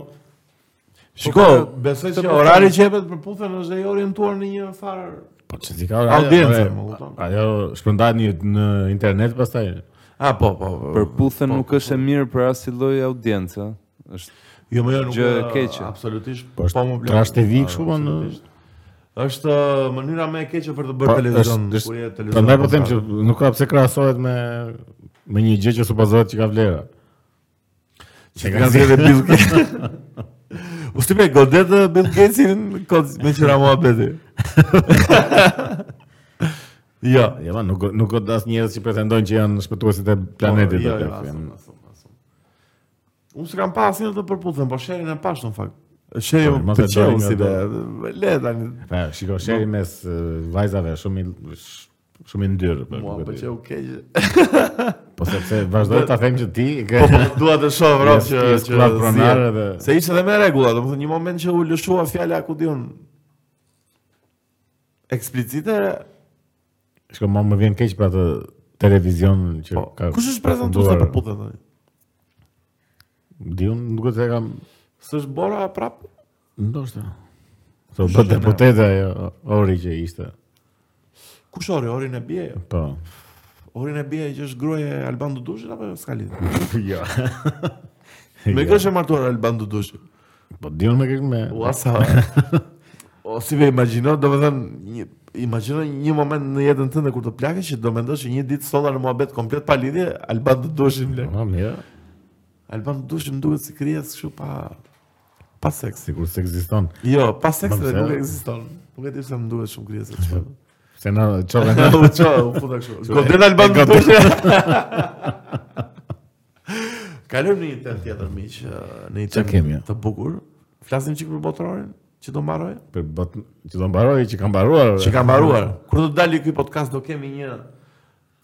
A: Shiko,
C: Po, po,
A: besoj
C: të
A: se
C: po,
A: orari që jepet për puthën është dhe i orientuar në një farë.
B: po që ti ka orë,
A: Audiencë,
B: ajo-
A: më kupton.
B: Ajo shpërndat një në internet pastaj.
A: A, po, po.
C: Për puthën nuk është e mirë për asnjë lloj audiencë, ëh. është
A: Jo, më jo, nuk
C: Gjë
A: ë,
C: keqe.
A: Absolutisht.
B: Po është
A: më blen.
B: trash TV
A: A,
B: kështu po në
A: absolutisht. Është ë, mënyra më e keqe për të
B: Po,
A: bërë televizion.
B: është- është-
A: kur je televizion.
B: Prandaj po them që
A: kombëtar.
B: nuk ka pse krahasohet me me një gjë që supozohet që ka vlera. Që
A: Nga [LAUGHS] zgjedhë Bill Gates. U stipe godet ë, Bill Gatesin kod me qira
B: [LAUGHS]
A: muhabeti. Jo.
B: Ja, ma, nuk nuk ka as njerëz që pretendojnë që janë shpëtuesit e planetit.
A: Jo,
B: atë,
A: jo,
B: janë-
A: asum, asum, asum. Unë s'kam pas një të përputhën, po sherin e pash në fakt. Sheri
B: Po,
A: më
B: mos e
A: të
B: bëri
A: qenë
B: nga
A: si
B: do.
A: dhe, le tani.
B: Pa, Pra, shiko, sheri
A: Po.
B: mes e, vajzave shumë i sh- shumë i ndyrë. po,
A: Mua
B: nuk e di.
A: pëlqeu keq.
B: Po sepse vazhdoj ta them që ti ke
A: Po
B: [LAUGHS]
A: po dua të shoh vrap
B: Yes,
A: që
B: yes,
A: që
B: plat pronare
A: zjerr.
B: dhe-
A: se ishte edhe me rregulla, domethënë një moment që u lëshua fjala ku diun eksplicite
B: Shko ma më vjen keq për atë televizion që
A: po.
B: ka.
A: Kush është prezantuesi
B: funduar.
A: për putë tani?
B: Di unë duket se kam
A: S'është Bora prap?
B: ndoshta. Po po deputete ajo ori që ishte.
A: Kush ori, ori në bie jo. [LAUGHS]
B: Po.
A: Ori në bie që është gruaja e Alban Dudushit apo s'ka lidhje?
B: [LAUGHS] Jo.
A: Me kë është e martuar Alban Dudushi?
B: Po di unë me kë me.
A: Ua
B: [LAUGHS]
A: sa. o si ve imagjino, domethënë një imagjino një moment në jetën tënde kur të plakesh që do mendosh që një ditë solla në muhabet komplet pa lidhje, Alban
B: [LAUGHS]
A: Dudushi më
B: Po mirë.
A: Alban Dushi më duket si krijes kështu pa pa seks.
B: Sigur se ekziston.
A: Jo, pa seks
B: Ma
A: dhe
B: pse?
A: nuk ekziston. Nuk e di pse më duket shumë krijes kështu.
B: [LAUGHS] Se na
A: [LAUGHS]
B: çove na.
A: U ço, u futa kështu. Godet Alban Dushi.
B: [LAUGHS]
A: Kalojmë në një temë tjetër miq, në një
B: Çfarë kemi, ja?
A: temë të bukur. Flasim çik për botërorin që do mbaroj.
B: Për bot që do mbaroj, që ka mbaruar.
A: Që ka mbaruar. Kur do dali ky podcast do kemi një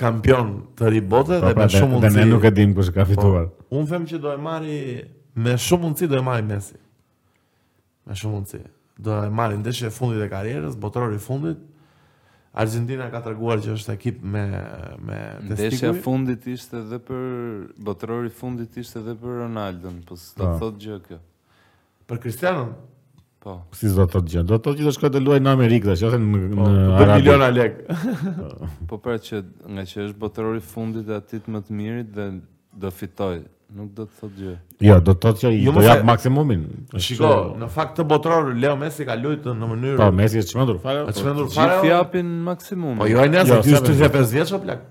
A: kampion të ri bote
B: Po,
A: dhe
B: pra,
A: me shumë
B: Dhe ne
A: mundësi. Po.
B: nuk e dim kush ka fituar.
A: Unë them që do e marri me shumë mundësi do e marri Messi. Me shumë mundësi. Do e marri ndeshje e fundit e karrierës, botror i fundit. Argentina ka treguar që është ekip me me
C: ndeshja e
A: testikuj.
C: fundit ishte edhe për botërori i fundit ishte edhe për Ronaldon, po s'do
B: Po.
C: të thotë gjë kjo.
A: Për Cristiano,
C: Po.
B: Si do të thotë gjë? Do të thotë që do shkoj të luaj në Amerikë, tash ose në
A: po,
B: në
A: për
B: Arabi.
A: miliona lek.
C: Po pra që nga që është botërori i fundit e atit më të mirit dhe do fitoj. Nuk do të thotë gjë.
B: Jo, do të thotë që i
A: Jo,
B: do
A: mos
B: jap
A: e-
B: maksimumin.
A: Shiko, në fakt të botror Leo Messi ka luajtur në mënyrë
B: Po, Messi është çmendur, fare.
A: të çmendur fare.
C: Gjithë japin maksimum.
A: Po jo ai
B: Jo,
A: nëse ti
B: sa
A: është
B: besoj.
A: 35 vjeç o plak.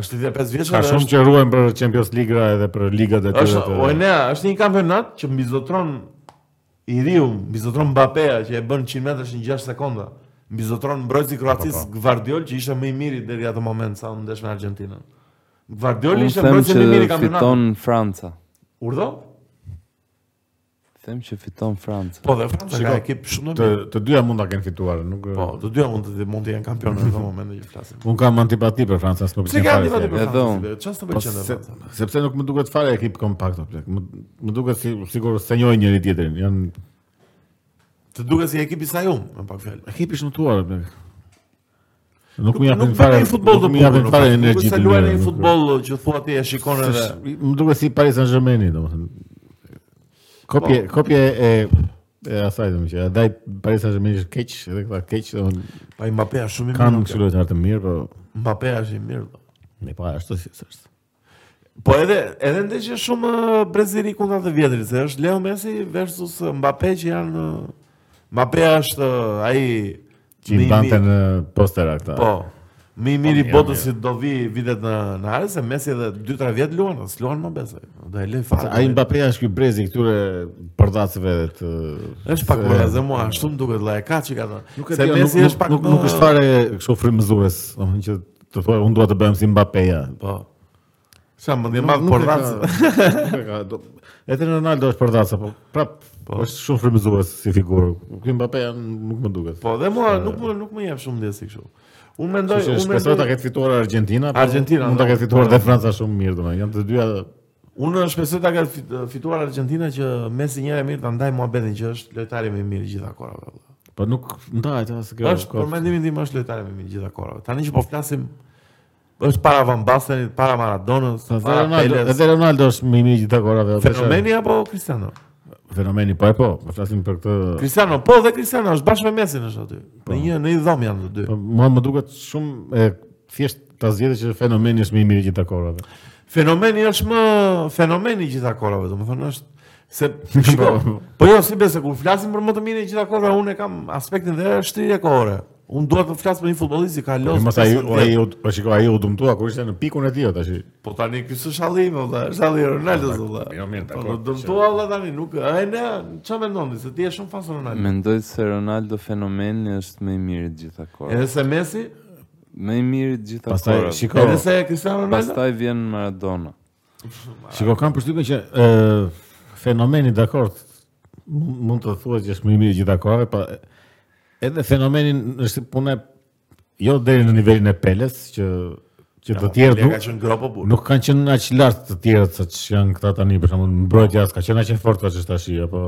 A: Është 35 vjeç
B: Ka shumë që ruajnë për Champions League-ra edhe për ligat e tyre.
A: është
B: të-
A: Oenea, është një kampionat që mbizotron i riu, mbizotron Mbappé-a që e bën 100 metrash në 6 sekonda. Mbizotron mbrojtësi
B: Po,
A: kroacis Gvardiol që ishte më i miri deri atë moment sa u ndesh me Argjentinën. Gvardiol
C: Unë
A: jo, ishte
C: them
A: mbrojtësi
C: që
A: më i miri i kampionatit.
C: fiton Franca.
A: Urdhë?
C: Them që fiton Franca.
A: Po dhe Franca
B: Shiko,
A: ka ekip shumë të
B: Të
A: mirë.
B: të dyja mund ta kenë fituar, nuk.
A: Po, të dyja mund të mund të jenë kampionë në këtë moment që flasim.
B: Un kam antipati për Francën, s'më
A: Pse
B: pëlqen
A: ka
B: fare.
A: ndihmë
B: fjalë.
A: për
C: Edhe unë.
A: Francën? Çfarë të
B: Po,
A: pëlqen
B: se-
A: dhe Franca?
B: sepse nuk më duket fare ekip kompakt o plak. Më, më duket si sigur se njohin njëri tjetrin. Janë
A: Të duket si ekipi sa ju, me pak fjalë.
B: ekipi shëmtuar o plak. Nuk më
A: Nuk
B: japin
A: fare
B: fare.
A: futboll të
B: nuk më
A: bukur.
B: japin fare energji.
A: Sa
B: të
A: luajnë
B: mira,
A: një
B: nuk-
A: futboll që thua ti e shikon edhe
B: Tash, Më duket si Paris Saint-Germain, domethënë. Kopje,
A: Po.
B: kopje e e asaj domethënë që edhe Paris Saint-Germain është keq, edhe këta keq, domethënë
A: pa Mbappé është shumë i
B: kanë
A: mirë.
B: kështu lojtarë të mirë, po
A: Mbappé është i mirë. do.
B: ne pa ashtu si s'është.
A: Po edhe edhe ndeshje shumë ë, breziri kundra të vjetrit, se është Leo Messi versus uh, Mbappé që janë ë, Mbappé është ë, ai
B: Që i
A: më i
B: mbante
A: mirë.
B: në postera këta.
A: Po. Më i miri
B: mirë,
A: botës
B: mirë.
A: që do vi vitet në në Ares, se Messi edhe 2-3 vjet luan, as luan më besoj. Do e lë fare.
B: Ai Mbappé është ky brezi këtyre përdacëve të
A: është pak më dhe mua, ashtu më duket vëlla e ka çka ata.
B: Nuk e
A: Se
B: di,
A: Messi
B: nuk-
A: është pak
B: nuk,
A: më-
B: nuk është fare kështu frymëzues, domethënë që të thua unë dua të bëhem si Mbappé. ja."
A: Po. Sa më ndjen
B: Nuk-
A: madh
B: nuk
A: por
B: e ka- [LAUGHS] nuk e ka, do- Edhe Ronaldo është përdacë, po prap është shumë frymëzues si figurë. Ky Mbappé ja, nuk më duket.
A: Po dhe mua nuk më nuk më jep shumë ndjesi kështu. Unë mendoj,
B: Që
A: unë
B: shpresoj ta
A: mendoj,
B: ketë fituar Argentina, po
A: Argentina,
B: mund ta
A: no.
B: ketë fituar dhe Franca shumë mirë domethënë. Janë të dyja
A: unë shpresoj ta ka fit- fituar Argentina që Messi njëherë mirë ta ndaj muhabetin që është lojtari më i mirë i gjitha kohave. valla.
B: po Po nuk ndahet as kjo.
A: Është për mendimin tim është lojtari me gjitha korave. Tani që po flasim është para Van Bastenit, para Maradonës,
B: Edhe
A: para
B: Ronaldo,
A: Peles.
B: edhe Ronaldo është më i mirë gjithë korave.
A: Fenomeni apo Cristiano?
B: fenomeni po e po, po flasim për këtë.
A: Cristiano, po dhe Cristiano është bashkë me Messi është aty. Në një në një dhomë janë të dy.
B: Po mua më duket shumë e thjesht pas vjetë që fenomeni është më i mirë gjithë korave.
A: Fenomeni është më fenomeni i gjitha korave, domethënë është
B: [LAUGHS]
A: se shiko, po jo si besoj kur flasim për më të mirë i gjitha korave, unë e kam aspektin dhe shtrirje kohore. Unë dua të flas për një futbollist që ka lozë.
B: Mos Po, ai ai u- po shikoj ai u dëmtua kur ishte në pikun e tij o, tash.
A: Po tani ky s'është shallim, valla, është shalli Ronaldo valla.
B: Jo, mirë,
A: Po
B: dakor,
A: do dëmtua valla tani, nuk ai ne çfarë mendoni se ti je shumë fan Ronaldo.
C: Mendoj se Ronaldo fenomeni është më i mirë të gjitha kohë.
A: Edhe se Messi,
C: Më i mirë të gjitha
B: Pastaj
C: kohërave.
B: shiko,
A: edhe se Cristiano Ronaldo.
C: Pastaj vjen Maradona.
B: shiko kam përshtypjen që ë fenomeni dakord mu- mund të thuhet që është më i mirë gjithë korave, pa edhe fenomenin është puna jo deri në nivelin e Peles që që të tjerët
A: Pelé
B: nuk
A: po, ka qenë gropo burr.
B: Nuk kanë qenë aq lart të tjerët sa që janë këta tani, për shembull, mbrojtja s'ka qenë aq e fortë as tash, apo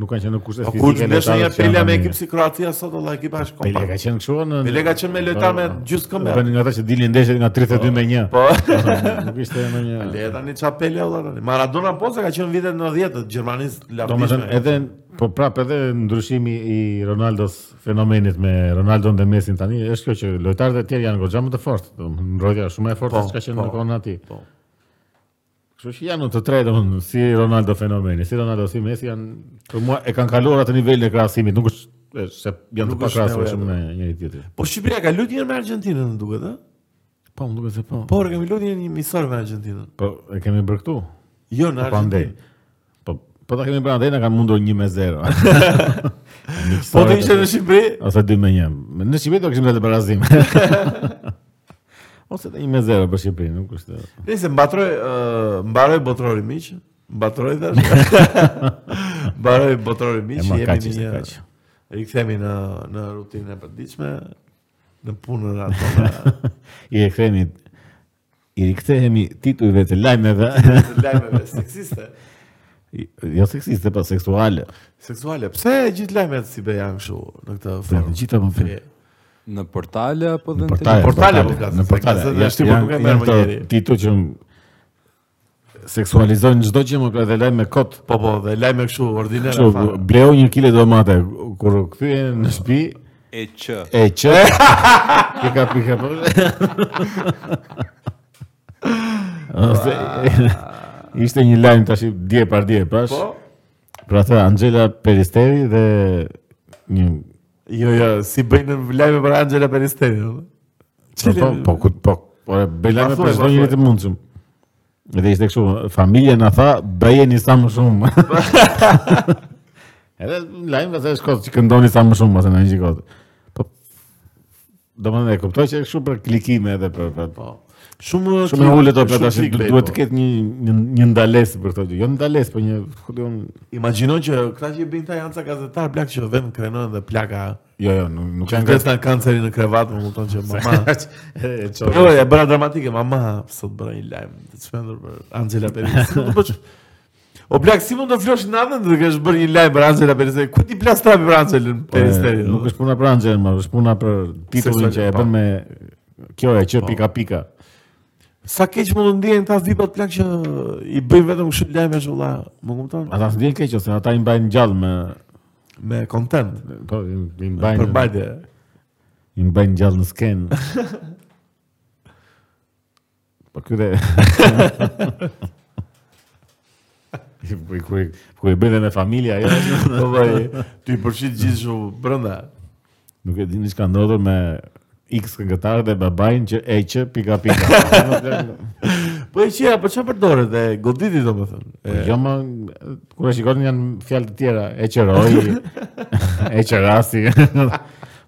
B: nuk kanë qenë në kushte
A: Po
B: fizike.
A: kur të ndesh
B: letare
A: një
B: që janë
A: Pelé me
B: tani.
A: ekip si Kroacia sot valla ekipa është
B: Pele ka
A: kompakt.
B: qenë kështu në
A: Pelé ka qenë me lojtar me gjysmë këmbë.
B: Bën nga ata që dilin ndeshjet nga 32 me 1.
A: Po.
B: [LAUGHS] Nuk ishte më një.
A: Le tani ça Pele valla tani. Maradona po se ka qenë vitet 90 të Gjermanisë
B: Domethënë
A: lavdishme.
B: edhe po prap edhe ndryshimi i Ronaldos fenomenit me Ronaldon dhe Messin tani është kjo që lojtarët e tjerë janë goxha më të fortë. Domethënë mbrojtja është shumë e fortë
A: Po,
B: se ka qenë
A: po.
B: në kohën atij.
A: Po.
B: Kështu që janë të tre domethënë si Ronaldo fenomeni, si Ronaldo si Messi janë për mua e kanë kaluar atë nivelin e krahasimit, nuk është është se janë
A: Nuk
B: të
A: është
B: pakrahasueshëm
A: nevojë,
B: me njëri tjetrin.
A: Po Shqipëria ka luajtur një herë me Argjentinën, më duket, ë?
B: Po, më duket se po.
A: Po, ne kemi luajtur një misor me Argjentinën.
B: Po, e kemi bërë këtu.
A: Jo në
B: Po andej.
A: Argjentinë.
B: Po po ta kemi brenda, na kanë mundur 1 me
A: [LAUGHS]
B: 0.
A: Po të ishte në Shqipëri,
B: ose 2 me 1. Në Shqipëri do kishim dhënë barazim. ose të 1 me 0 për Shqipërinë, nuk është. [LAUGHS]
A: Nëse mbatroj uh, mbaroj botrori miq, mbatroj
B: [LAUGHS]
A: tash. mbaroj botrori miq,
B: E ma
A: jemi
B: kaq
A: në
B: ishte,
A: një
B: kaq.
A: Rikthehemi në në rutinën e përditshme, në punën atë.
B: I rikthehemi i rikthehemi titujve të lajmeve, [LAUGHS]
A: Të lajmeve seksiste,
B: I- jo seksiste, po seksuale.
A: seksuale. Pse gjithë lajmet si be janë kështu në këtë
B: Pra, të
A: formë?
B: gjitha më fal.
A: E,
C: Në portale apo
B: Në
C: dhe në
B: portale,
A: po
C: televizor?
A: portale po flasim,
B: në
A: se
B: portale.
A: gazetë
B: Janë
A: ashtu po nuk e merr
B: janë
A: më
B: këto
A: njeri.
B: tituj që m- seksualizojnë çdo gjë, më dhe lajmë me kot.
A: Po po, dhe lajme kështu ordinare.
B: Kështu,
A: fare.
B: bleu një kile domate, kur u kthye në shtëpi,
C: E që.
B: e që, pika pika po. Ose, [LAUGHS] ishte një lajm tash dje par dje prash.
A: Po.
B: Pra atë Angela Peristeri dhe një
A: Jo, jo, si bëjnë në lajme për Angela Peristeri. jo. do.
B: po po po ku- po po e bëj lajme
A: Ma thuaj,
B: për çdo
A: ma
B: njeri
A: thuaj.
B: të mundshëm. Edhe ishte kështu, familja na tha, bëjeni sa më shumë. Edhe lajm vetë është kohë që këndoni sa më shumë, pastaj na shikoj. Po domethënë e kuptoj që është kështu për klikime edhe për për
A: Po. Shumë
B: Shumë e ulët apo
A: shumë
B: tash du-
A: clickbait,
B: duhet
A: po.
B: të ketë një një, një ndalesë për këto gjë. Jo ndalesë, po një ku diun
A: Imagjino që këta që i bëjnë ta janë ca gazetar blak që vetëm krenohen dhe plaka
B: jo jo, nuk nuk
A: që
B: janë
A: ngresna kanceri në krevat, më kupton që [LAUGHS] mama.
B: e
A: Jo,
B: çfarë.
A: [LAUGHS] e bëra dramatike mama, sot bëra një lajm të çmendur për Angela Perez. Do bësh O blak, si mund të flosh natën dhe të kesh bërë një lajm për Angela Perez? Ku ti plas trapi për Angelën Perez?
B: Nuk është puna pra për Anxhelën, më është puna për titullin që e
A: Seksualitet,
B: bën
A: po.
B: me kjo e që pika pika.
A: Sa keq mund të ndihen këta vipat plak që i bëjnë vetëm kështu lajme që valla, më kupton?
B: Ata s'ndjen keq ose ata i mbajnë gjallë me
A: Me content,
B: po i i
A: për
B: mbajnë
A: bajtje.
B: i mbajnë gjallë në
A: [LAUGHS]
B: skenë. Po ky
A: [LAUGHS]
B: [LAUGHS] dhe Kur- Kur kur e bën dhe me jo? familje ajo është-
A: Po
B: [LAUGHS]
A: vaj, ti përfshit gjithë kështu brenda.
B: Nuk e dini çka ndodhur me X këngëtarët dhe babain që e që pika
A: [LAUGHS]
B: pika.
A: Po e qia, po çfarë përdoret e goditi domethënë.
B: Po jo më kur e shikon janë fjalë të tjera, e qëroi, e [LAUGHS] qërasi.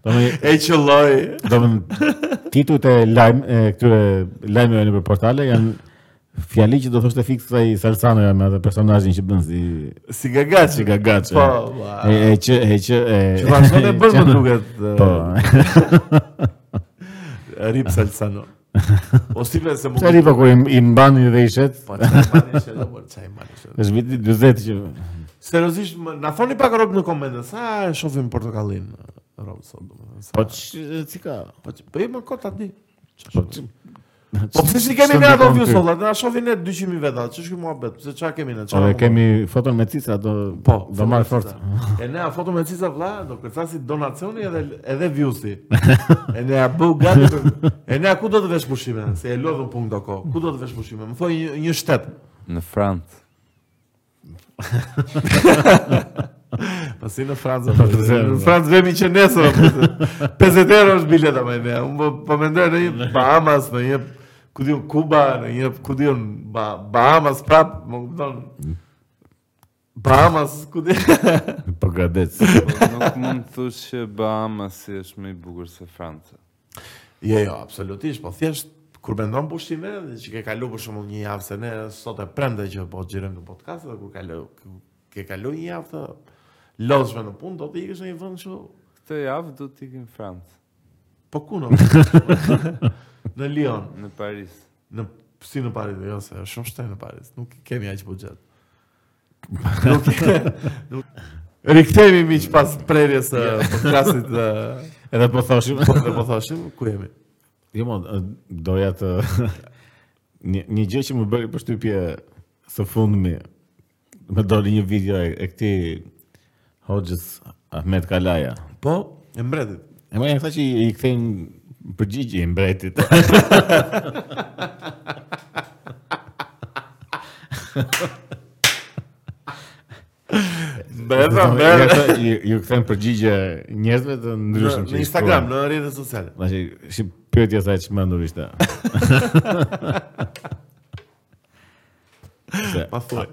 B: Domethënë
A: E qëlloj.
B: domethënë titujt e lajm e këtyre lajmeve nëpër portale janë fjali që do thoshte fiks kësaj Salsanoja me atë personazhin që bën si
A: Si gagaçi.
B: si gagaçe.
A: Po, ba.
B: E e që e që e
A: [LAUGHS] Që vazhdon e bën më
B: [LAUGHS] që-
A: duket.
B: Po.
A: e, Rip
B: [LAUGHS]
A: Salsano. O si se më.
B: Çfarë po kur i- i mbani dhe i shet?
A: Po çaj mani shë, do, po, çaj mani shë.
B: Është viti 40 që
A: Seriozisht, më- na thoni pak rob në komente, sa e shohim portokallin. sot, domethënë.
B: Po
A: Po
B: ç- si ka?
A: po që- po i më kot aty.
B: Po ç-
A: Po pse si kemi ne
B: Ç'ndikon
A: ato view
B: ty?
A: sot? Na shohin ne 200.000 veta. Ç'është ky muhabet? Pse ç'a kemi ne?
B: Ore
A: Çfarë
B: kemi foton me cica do
A: Po,
B: do marr fort.
A: E ne a foto me cica vlla, do kërcasi donacioni edhe edhe viewsi. E ne a bëu gati. për-
B: [LAUGHS]
A: E ne a ku do të vesh pushime? Se e lodhën punë do kohë. Ku do të vesh pushime? Më thoi një, një shtet.
C: Në Francë.
A: Pasi në [LAUGHS] Francë.
B: Po, të zërë,
A: Në Francë vemi që nesër. o, pse- 50 euro është bileta më ne. Unë po- po mendoj në një Bahamas, në një ku diun Kuba, në një ku diun ba, Bahamas prap, më kupton. Bahamas, ku di.
B: [LAUGHS] Po gradec.
C: Po nuk mund të thush që Bahamas si është më i bukur se Franca.
A: [LAUGHS] Jo, jo, absolutisht, po thjesht kur mendon pushime dhe që ke kalu për shembull një javë se ne sot e premte që po xhirojmë në podcast dhe kur kalu ke kalu një javë të lodhshme në punë, do të ikësh në një vend kështu.
C: Këtë javë do të ikim në Francë,
A: Po ku [LAUGHS] në? në Lyon,
C: në Paris.
A: në si në Paris, jo se është shumë shtej në Paris, nuk kemi aq [LAUGHS] buxhet. nuk nuk [LAUGHS] Jo. Rikthehemi miq pas prerjes së podcastit ë, [LAUGHS]
B: Edhe po thoshim.
A: po dhe po thoshim ku jemi.
B: Jo, mo, doja të [LAUGHS] një, një gjë që më bëri përshtypje së fundmi. Më doli një video e, e këtij Hoxhës Ahmet Kalaja.
A: Po, e mbretit.
B: E më e tha që i, i kthejnë përgjigje i
A: [LAUGHS]
B: mbretit.
A: Mbreta,
B: Ja, tha, ju, ju kthejnë përgjigje njerëzve të
A: Në,
B: ndryshëm që
A: në
B: i
A: Instagram, në
B: shkruajnë.
A: rrjetet sociale.
B: Tash si pyetja sa e çmendur ishte. Se,
A: Pa thuaj.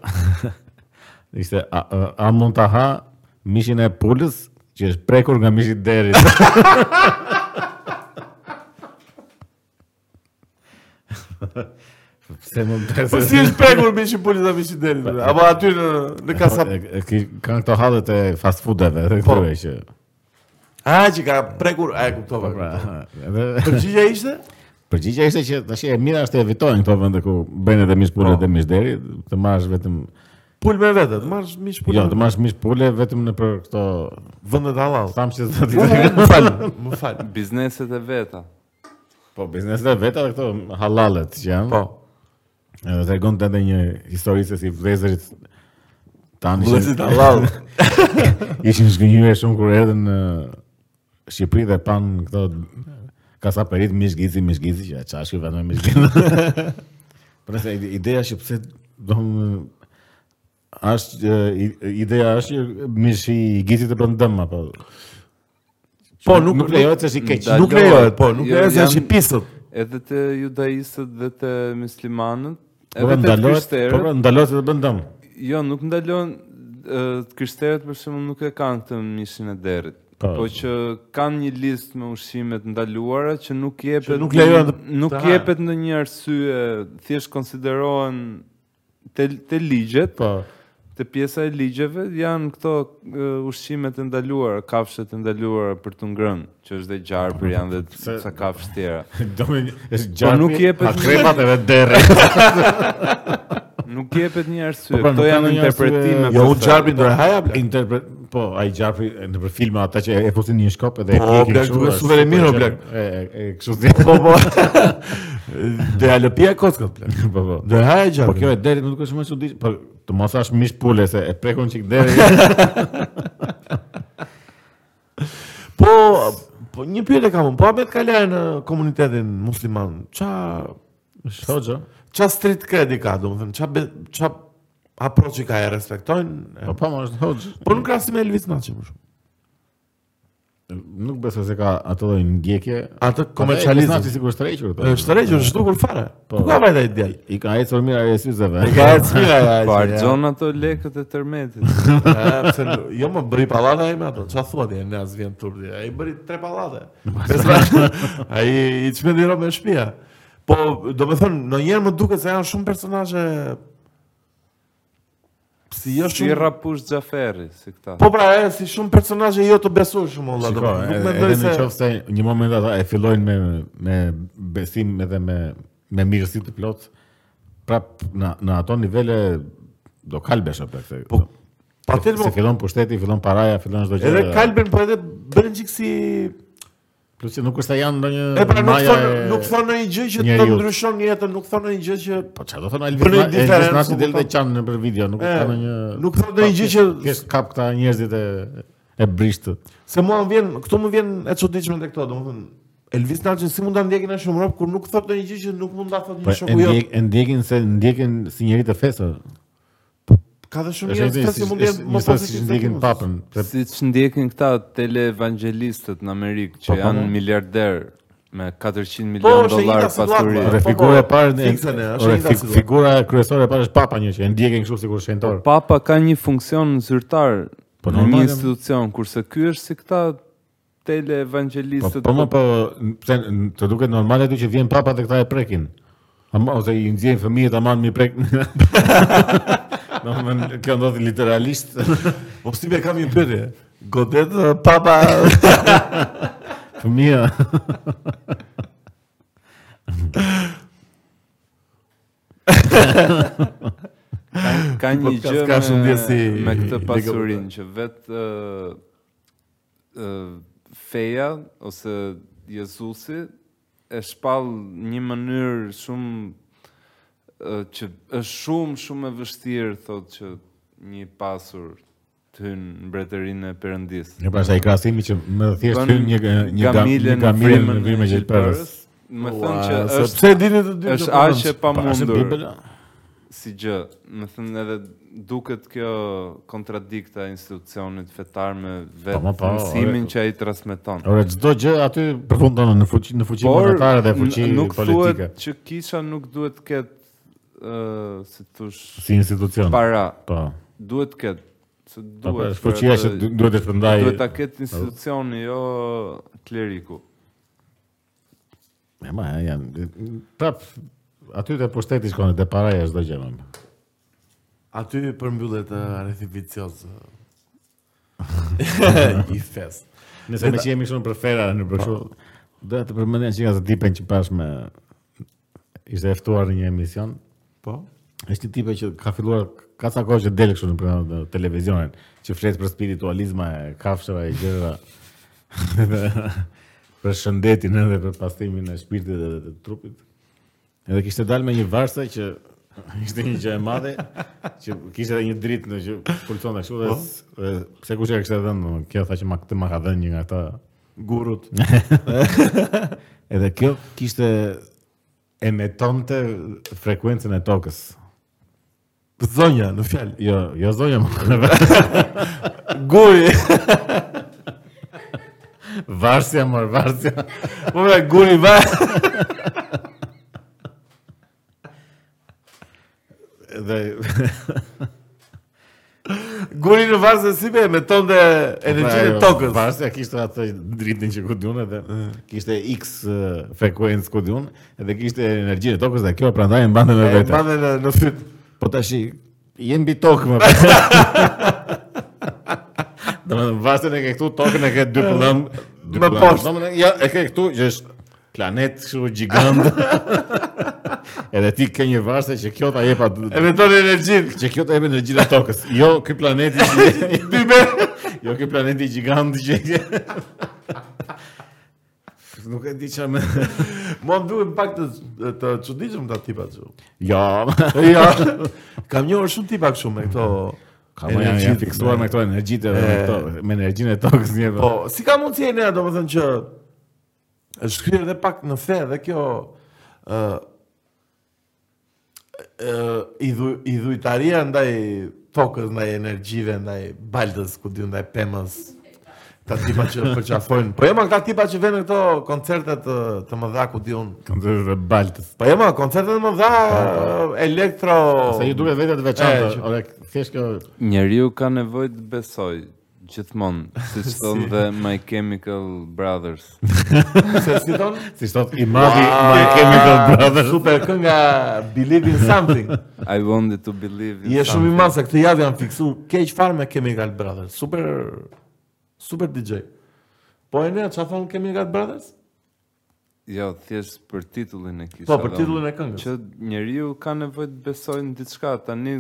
B: Ishte, a, a- a mund të ha mishin e pullës që është prekur nga mishi i derit. Pse më
A: [LAUGHS] Po
B: pse
A: si
B: [LAUGHS]
A: është prekur mishi puli dhe mishi deri. Apo aty në në kasa.
B: kanë këto hallet e fast foodeve, edhe
A: Po.
B: këtyre që.
A: A që ka prekur, a e kuptova.
B: Pra, edhe [LAUGHS]
A: Përgjigja ishte?
B: përgjigjja ishte që tash e mira është të evitojnë këto vende ku bëjnë edhe mish pulë
A: Po.
B: dhe mish deri, të marrësh vetëm
A: Pul me vete, të marrësh mish pul.
B: jo, të marrësh mish pulë vetëm në për këto
A: vende të [LAUGHS] halal.
B: thamë që zoti
A: U, Më fal, më fal.
C: Bizneset e veta.
B: Po, bizneset e veta dhe këto halalet që janë.
A: Po.
B: Edhe të regon të ndë një histori se si vlezërit tanë
A: Vëllezërit
B: [LAUGHS]
A: halal.
B: ishin zgënjur shumë kur erdhën në Shqipëri dhe ε, pan këto kasaperit mishgizi, mishgizi që çashkë vetëm me mishgizi. Por nëse ide- ideja që pse dom është e, i- ideja është që mishi i gizit të bën dëm apo
A: Po, nuk-
B: nuk lejohet se është i keq.
C: Ndal-
A: Nuk lejohet, po, nuk
C: Jo,
A: lejohet se
C: jam-
A: është i pisët.
B: Jo,
C: Edhe të judaistët dhe të muslimanët,
B: Po pra,
C: edhe të
B: ndalohet, po pra,
C: krishterët,
B: ndalohet se të bën dëm.
C: jo nuk ndalon ë, të krishterët për shembull nuk e kanë këtë mishin e derit.
B: Po.
C: Po që kanë një listë me ushqime të ndaluara që nuk jepet
A: nuk lejohen të-
C: nuk
A: të hahen.
C: jepet ndonjë arsye, thjesht konsiderohen te te ligjet,
B: Po. [LAUGHS]
C: Te pjesa e ligjeve janë këto e, ushqimet e ndaluara, kafshët e ndaluara për të ngrënë, që është dhe gjarpër janë dhe
B: Se-
C: ca kafshë tjera.
B: Domi është gjarpi.
C: nuk jepet-
B: akrepat edhe derri.
C: Nuk jepet një arsye,
B: Po, pra,
C: këto
B: nuk
C: janë
B: kanë një arsye-
C: interpretime.
A: Jo,
C: për
B: po,
A: unë
C: sa-
A: xharpin do e
B: [LAUGHS]
A: haja. bla.
B: Interpret, po, ai gjapi në për filma ata që e- e fusin në një shkop edhe
A: Po,
B: e ikin
A: blek,
B: kështu,
A: duke
B: është
A: suver e
B: super
A: mirë, o,
B: gjapi.
A: blek.
B: E e- e kështu si.
A: Po, po. [LAUGHS] Do ja lëpia kockët. bla.
B: [LAUGHS] Po, po.
A: Do e haja
B: Po
A: xharpin.
B: kjo e derit nuk është më çudit, po të mos hash mish pule se e prekon çik deri.
A: [LAUGHS] Po, po një pyetje kam, unë, po Ahmet ka lënë në komunitetin musliman. Ça
B: Shoxha.
A: Qa street credit ka, do më thënë, qa, be, qa approach i ka e respektojnë?
B: Po
A: E,
B: po, më është hoxh.
A: po nuk krasim me Elvis Naçi për shumë.
B: Nuk besoj se ka ato lloj ndjekje.
A: Atë
B: Ata e
A: komercializm.
B: sigurisht tërhequr ato.
A: Është rregjë, është dukur fare.
B: Po.
A: Ku ka vajta i djalë?
B: I ka ecur mirë ai syzeve.
A: E ka e cira ja.
C: Po arxon ato lekët e tërmetit.
A: Jo më bëri pallata e me ato. Qa thua ti, ne as vjen turp ti. Ai bëri tre pallate.
B: [LAUGHS]
A: Pesë- Ai i çmendi ro me shtëpia. Po, do me thënë, në njerë më duket se janë shumë personazhe si jo
C: Si
A: shumë
C: rapush Xhaferi, si këta.
A: Po pra, e, si shumë personazhe jo të besueshëm valla. do të
B: Shiko,
A: thonë, Nuk
B: edhe
A: mendoj
B: edhe në
A: se
B: qoftë se një moment ata e fillojnë me me besim edhe me me mirësi të plot, prap në në ato nivele do kalbesh apo këtë.
A: Po, patjetër
B: se
A: po.
B: fillon pushteti, fillon paraja, fillon çdo gjë.
A: Edhe Kalbin po edhe bënin çik si
B: Plus që nuk është se janë ndonjë
A: e pra nuk
B: maja
A: thon
B: e-
A: nuk thon ndonjë gjë që të
B: njeriut.
A: ndryshon jetën, nuk thon ndonjë gjë që
B: Po çfarë do thon Elvis?
A: Bënë
B: Na-
A: diferencë,
B: Elvis Nasi
A: ku
B: del
A: kupton?
B: të qanë në për video, nuk
A: E,
B: ka ndonjë.
A: nuk thon ndonjë gjë që-
B: kesh kap këta njerëzit e e Po, brishtët.
A: se mua më vjen, këtu më vjen e çuditshme tek këto, domethënë Elvis Nalçi si mund ta ndjekin në shumë rrop kur nuk thot ndonjë gjë që nuk mund ta thotë
B: Po
A: një
B: e
A: shoku jot.
B: ndjek- e ndjekin se ndjekin si njerëz të festë.
A: Ka dhe shumë
B: Është
A: njerëz
B: një
A: që
B: si
A: mund të jenë më
B: njësoj si
A: pozitiv. se
B: ndjekin
A: ti, mos.
B: papën. se
C: Si që ndjekin këta televangelistët në Amerikë, që
B: Po, po,
C: janë
B: po.
C: miliarder me 400
A: Po, është
C: milion
A: e
C: dollar
A: njëjta situatë,
C: pasuri.
A: po,
B: Ore
A: po,
B: figura e parë
A: fikse ne, është
B: ore,
A: e njëjta
B: fi-
A: situatë.
B: figura kryesore e parë është papa një që e ndjekin kështu sikur shenjtor.
A: Po,
C: Papa ka një funksion zyrtar
B: Po,
C: në një
B: normale.
C: institucion, kurse ky është si këta
B: Po
C: televangelistët.
B: po më po n- pse n- të duket normale aty që vjen papa dhe këta e prekin. Ama ose i nxjerrin fëmijët aman mi
A: [LAUGHS]
B: prek. Domethënë kjo ndodhi literalisht.
A: [LAUGHS] Po si be kam një pyetje. Godet eh,
B: [LAUGHS]
A: papa
B: Fëmia.
C: Ka, ka një
A: podcast
C: gjë
A: ka
C: me,
A: shumë ndjesi-
C: me këtë
A: League of
C: pasurinë që vetë ë ë, feja ose Jezusi e shpall një mënyrë shumë ë, që është shumë shumë e vështirë thotë që një pasur të hynë në mbretërinë e Perëndisë.
B: Ne pra sa i krahasimi që më thjesht
C: Bën
B: hyn një një gam- një
C: gamile në
B: gamile në vrim e
C: frymën e
B: gjelperës.
C: gjelperës. Më thënë që
A: Ua,
C: është
A: sepse dini të dy.
C: është
A: do
C: aq e
B: Pa, Pra, është
C: pamundur
B: bibela.
C: si gjë. Më thënë edhe duket kjo kontradikta e institucionit fetar me
B: Po, ma
C: vetë
B: po,
C: mësimin
B: ore.
C: që ai transmeton.
B: Ora çdo gjë aty përfundon në fuqi në fuqi monetare dhe fuqi
C: n- nuk
B: politike
C: thuhet që kisha nuk duhet të ketë ë si të thosh
B: si institucion.
C: para,
B: Po.
C: duhet të ketë se
B: Po, po,
C: duhet.
B: është fuqia
C: për
B: që
C: atë-
B: du- duhet të shpërndaj.
C: duhet ta ketë institucioni, jo kleriku.
B: E ma, janë prap aty te pushteti shkon te paraja çdo gjë. më.
A: Aty përmbyllet eh, rrethi vicioz.
B: [LAUGHS]
A: eh, [LAUGHS] I fest.
B: Nëse me që jemi shumë për fera në për kështu, doja të përmendja që nga të tipen që pash me ishte e ftuar në një emision.
A: Po.
B: Është një tipe që ka filluar ka sa kohë që del kështu në program të televizionin, që flet për spiritualizma e kafshëve e gjëra. [LAUGHS] për shëndetin edhe për pastimin e shpirtit edhe të trupit. Edhe kishte dalë me një varse që [LAUGHS] ishte një gjë e madhe, që kishte edhe një dritë në që pulsonte kështu dhe s- dhe pse kush e kishte dhënë, domethënë, kjo tha që ma këtë ma ka dhënë një nga ata
A: Gurut.
B: Edhe kjo kishte emetonte frekuencën e tokës.
A: Zonja në fjalë.
B: Jo, jo zonja më. [LAUGHS]
A: Guri.
B: Varsja mor, varsja.
A: Po pra guri va. [LAUGHS]
B: Dhe
A: Guri në vazë si be me tonde energjinë e tokës.
B: Varsja kishte atë dritën që ku diun edhe kishte X eh, frekuencë ku diun, edhe kishte energjinë e tokës dhe kjo prandaj e mbante me
A: E
B: vete.
A: mbane në në fyt.
B: Po tash i- je mbi tokë [LAUGHS] më. Domethënë vasen e ke këtu, tokën e ke dy pëllam, dy
A: Më
B: pëllam.
A: poshtë.
B: Domethënë ja e ke këtu që është planet kështu [LAUGHS] gjigant. Edhe ti ke një varse që kjo ta jep atë
A: E me tonë energjinë.
B: që kjo të jep energjinë e tokës. Jo, ky planeti [LAUGHS] që-
A: Dy be.
B: jo ky planeti gjigant që Nuk e di çfarë më.
A: Mo më duhet pak të të çuditshëm ta tipa kështu.
B: [LAUGHS] Jo.
A: Ja. [LAUGHS] Kam njohur shumë tipa kështu me këto
B: Ka më janë
A: energjitë.
B: fiksuar me këto energjitë edhe me këto me energjinë e tokës një.
A: Po, si ka mundësi e nea, domethënë që është kryer edhe pak në fe dhe kjo ë ë i dhu, i dhujtaria ndaj tokës, ndaj energjive, ndaj baltës, ku di, ndaj pemës. Ta tipa që përqafojnë. Po jema këta tipa që vënë këto koncerte të, të mëdha ku di unë.
B: Koncertet e baltës.
A: Po jema koncertet të mëdha Ah. elektro.
B: Se ju duket vetë të
A: E,
B: veçantë.
A: që-
B: Ore, thjesht kjo
C: Njeriu ka nevojë të besoj [LAUGHS] gjithmonë, siç thon dhe My Chemical Brothers.
A: se si [LAUGHS] thon?
B: si thot i madhi
A: Wow.
B: i kemi të brother.
A: Super kënga Believe in [LAUGHS] Something.
C: I wanted to believe in
A: Je shumë i
C: something.
A: madh se këtë javë janë fiksu keq fare me Chemical Brothers. Super super DJ. Po e ne çfarë thon Chemical Brothers?
C: Jo, thjesht për titullin e kisha.
A: Po për
C: dhënë.
A: titullin e këngës.
C: Që njeriu ka nevojë të besojë në diçka. Tani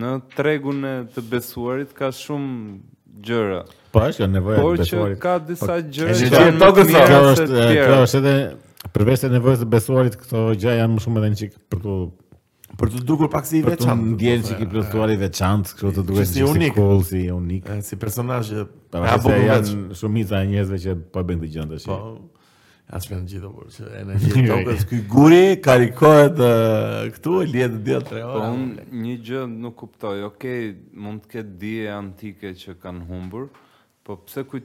C: në tregun e të besuarit ka shumë gjëra.
B: Po është kjo nevoja
C: Por
B: e
C: që
B: besuarit.
C: ka disa
B: E
C: gjëra
A: që
B: gjithë
A: janë më të mira
B: kjo
C: se
B: është
C: të
B: e,
C: tjera.
B: kjo është edhe përveç se nevojës së besuarit këto gjëra janë më shumë edhe një çik për tu
A: Për të dukur pak si i
B: për tu
A: veçantë.
B: ndjerë çik i plotësuar i veçantë, kështu të duhet
A: si
B: si
A: unik.
B: cool, si unik.
A: E, eh, Si personazh e
B: Para se
A: bukur veç.
B: janë shumica e njerëzve që po bëjnë të gjë tash.
A: Po. Ja s'pjën gjithë por që [LAUGHS] energji e tokës ky guri karikohet ë, këtu e lihet në diell 3
C: Po
A: orë.
C: unë një gjë nuk kuptoj. Okej, mund të ketë dije antike që kanë humbur, po pse kujt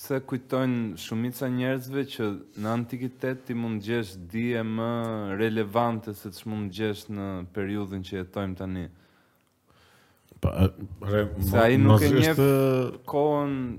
C: pse kujtojnë shumica njerëzve që në antikitet ti mund gjesh dije më relevante se ç'mund gjesh në periudhën që jetojmë tani.
B: Po, re,
C: Se ai nuk
B: mos
C: e njeh
B: është,
C: kohën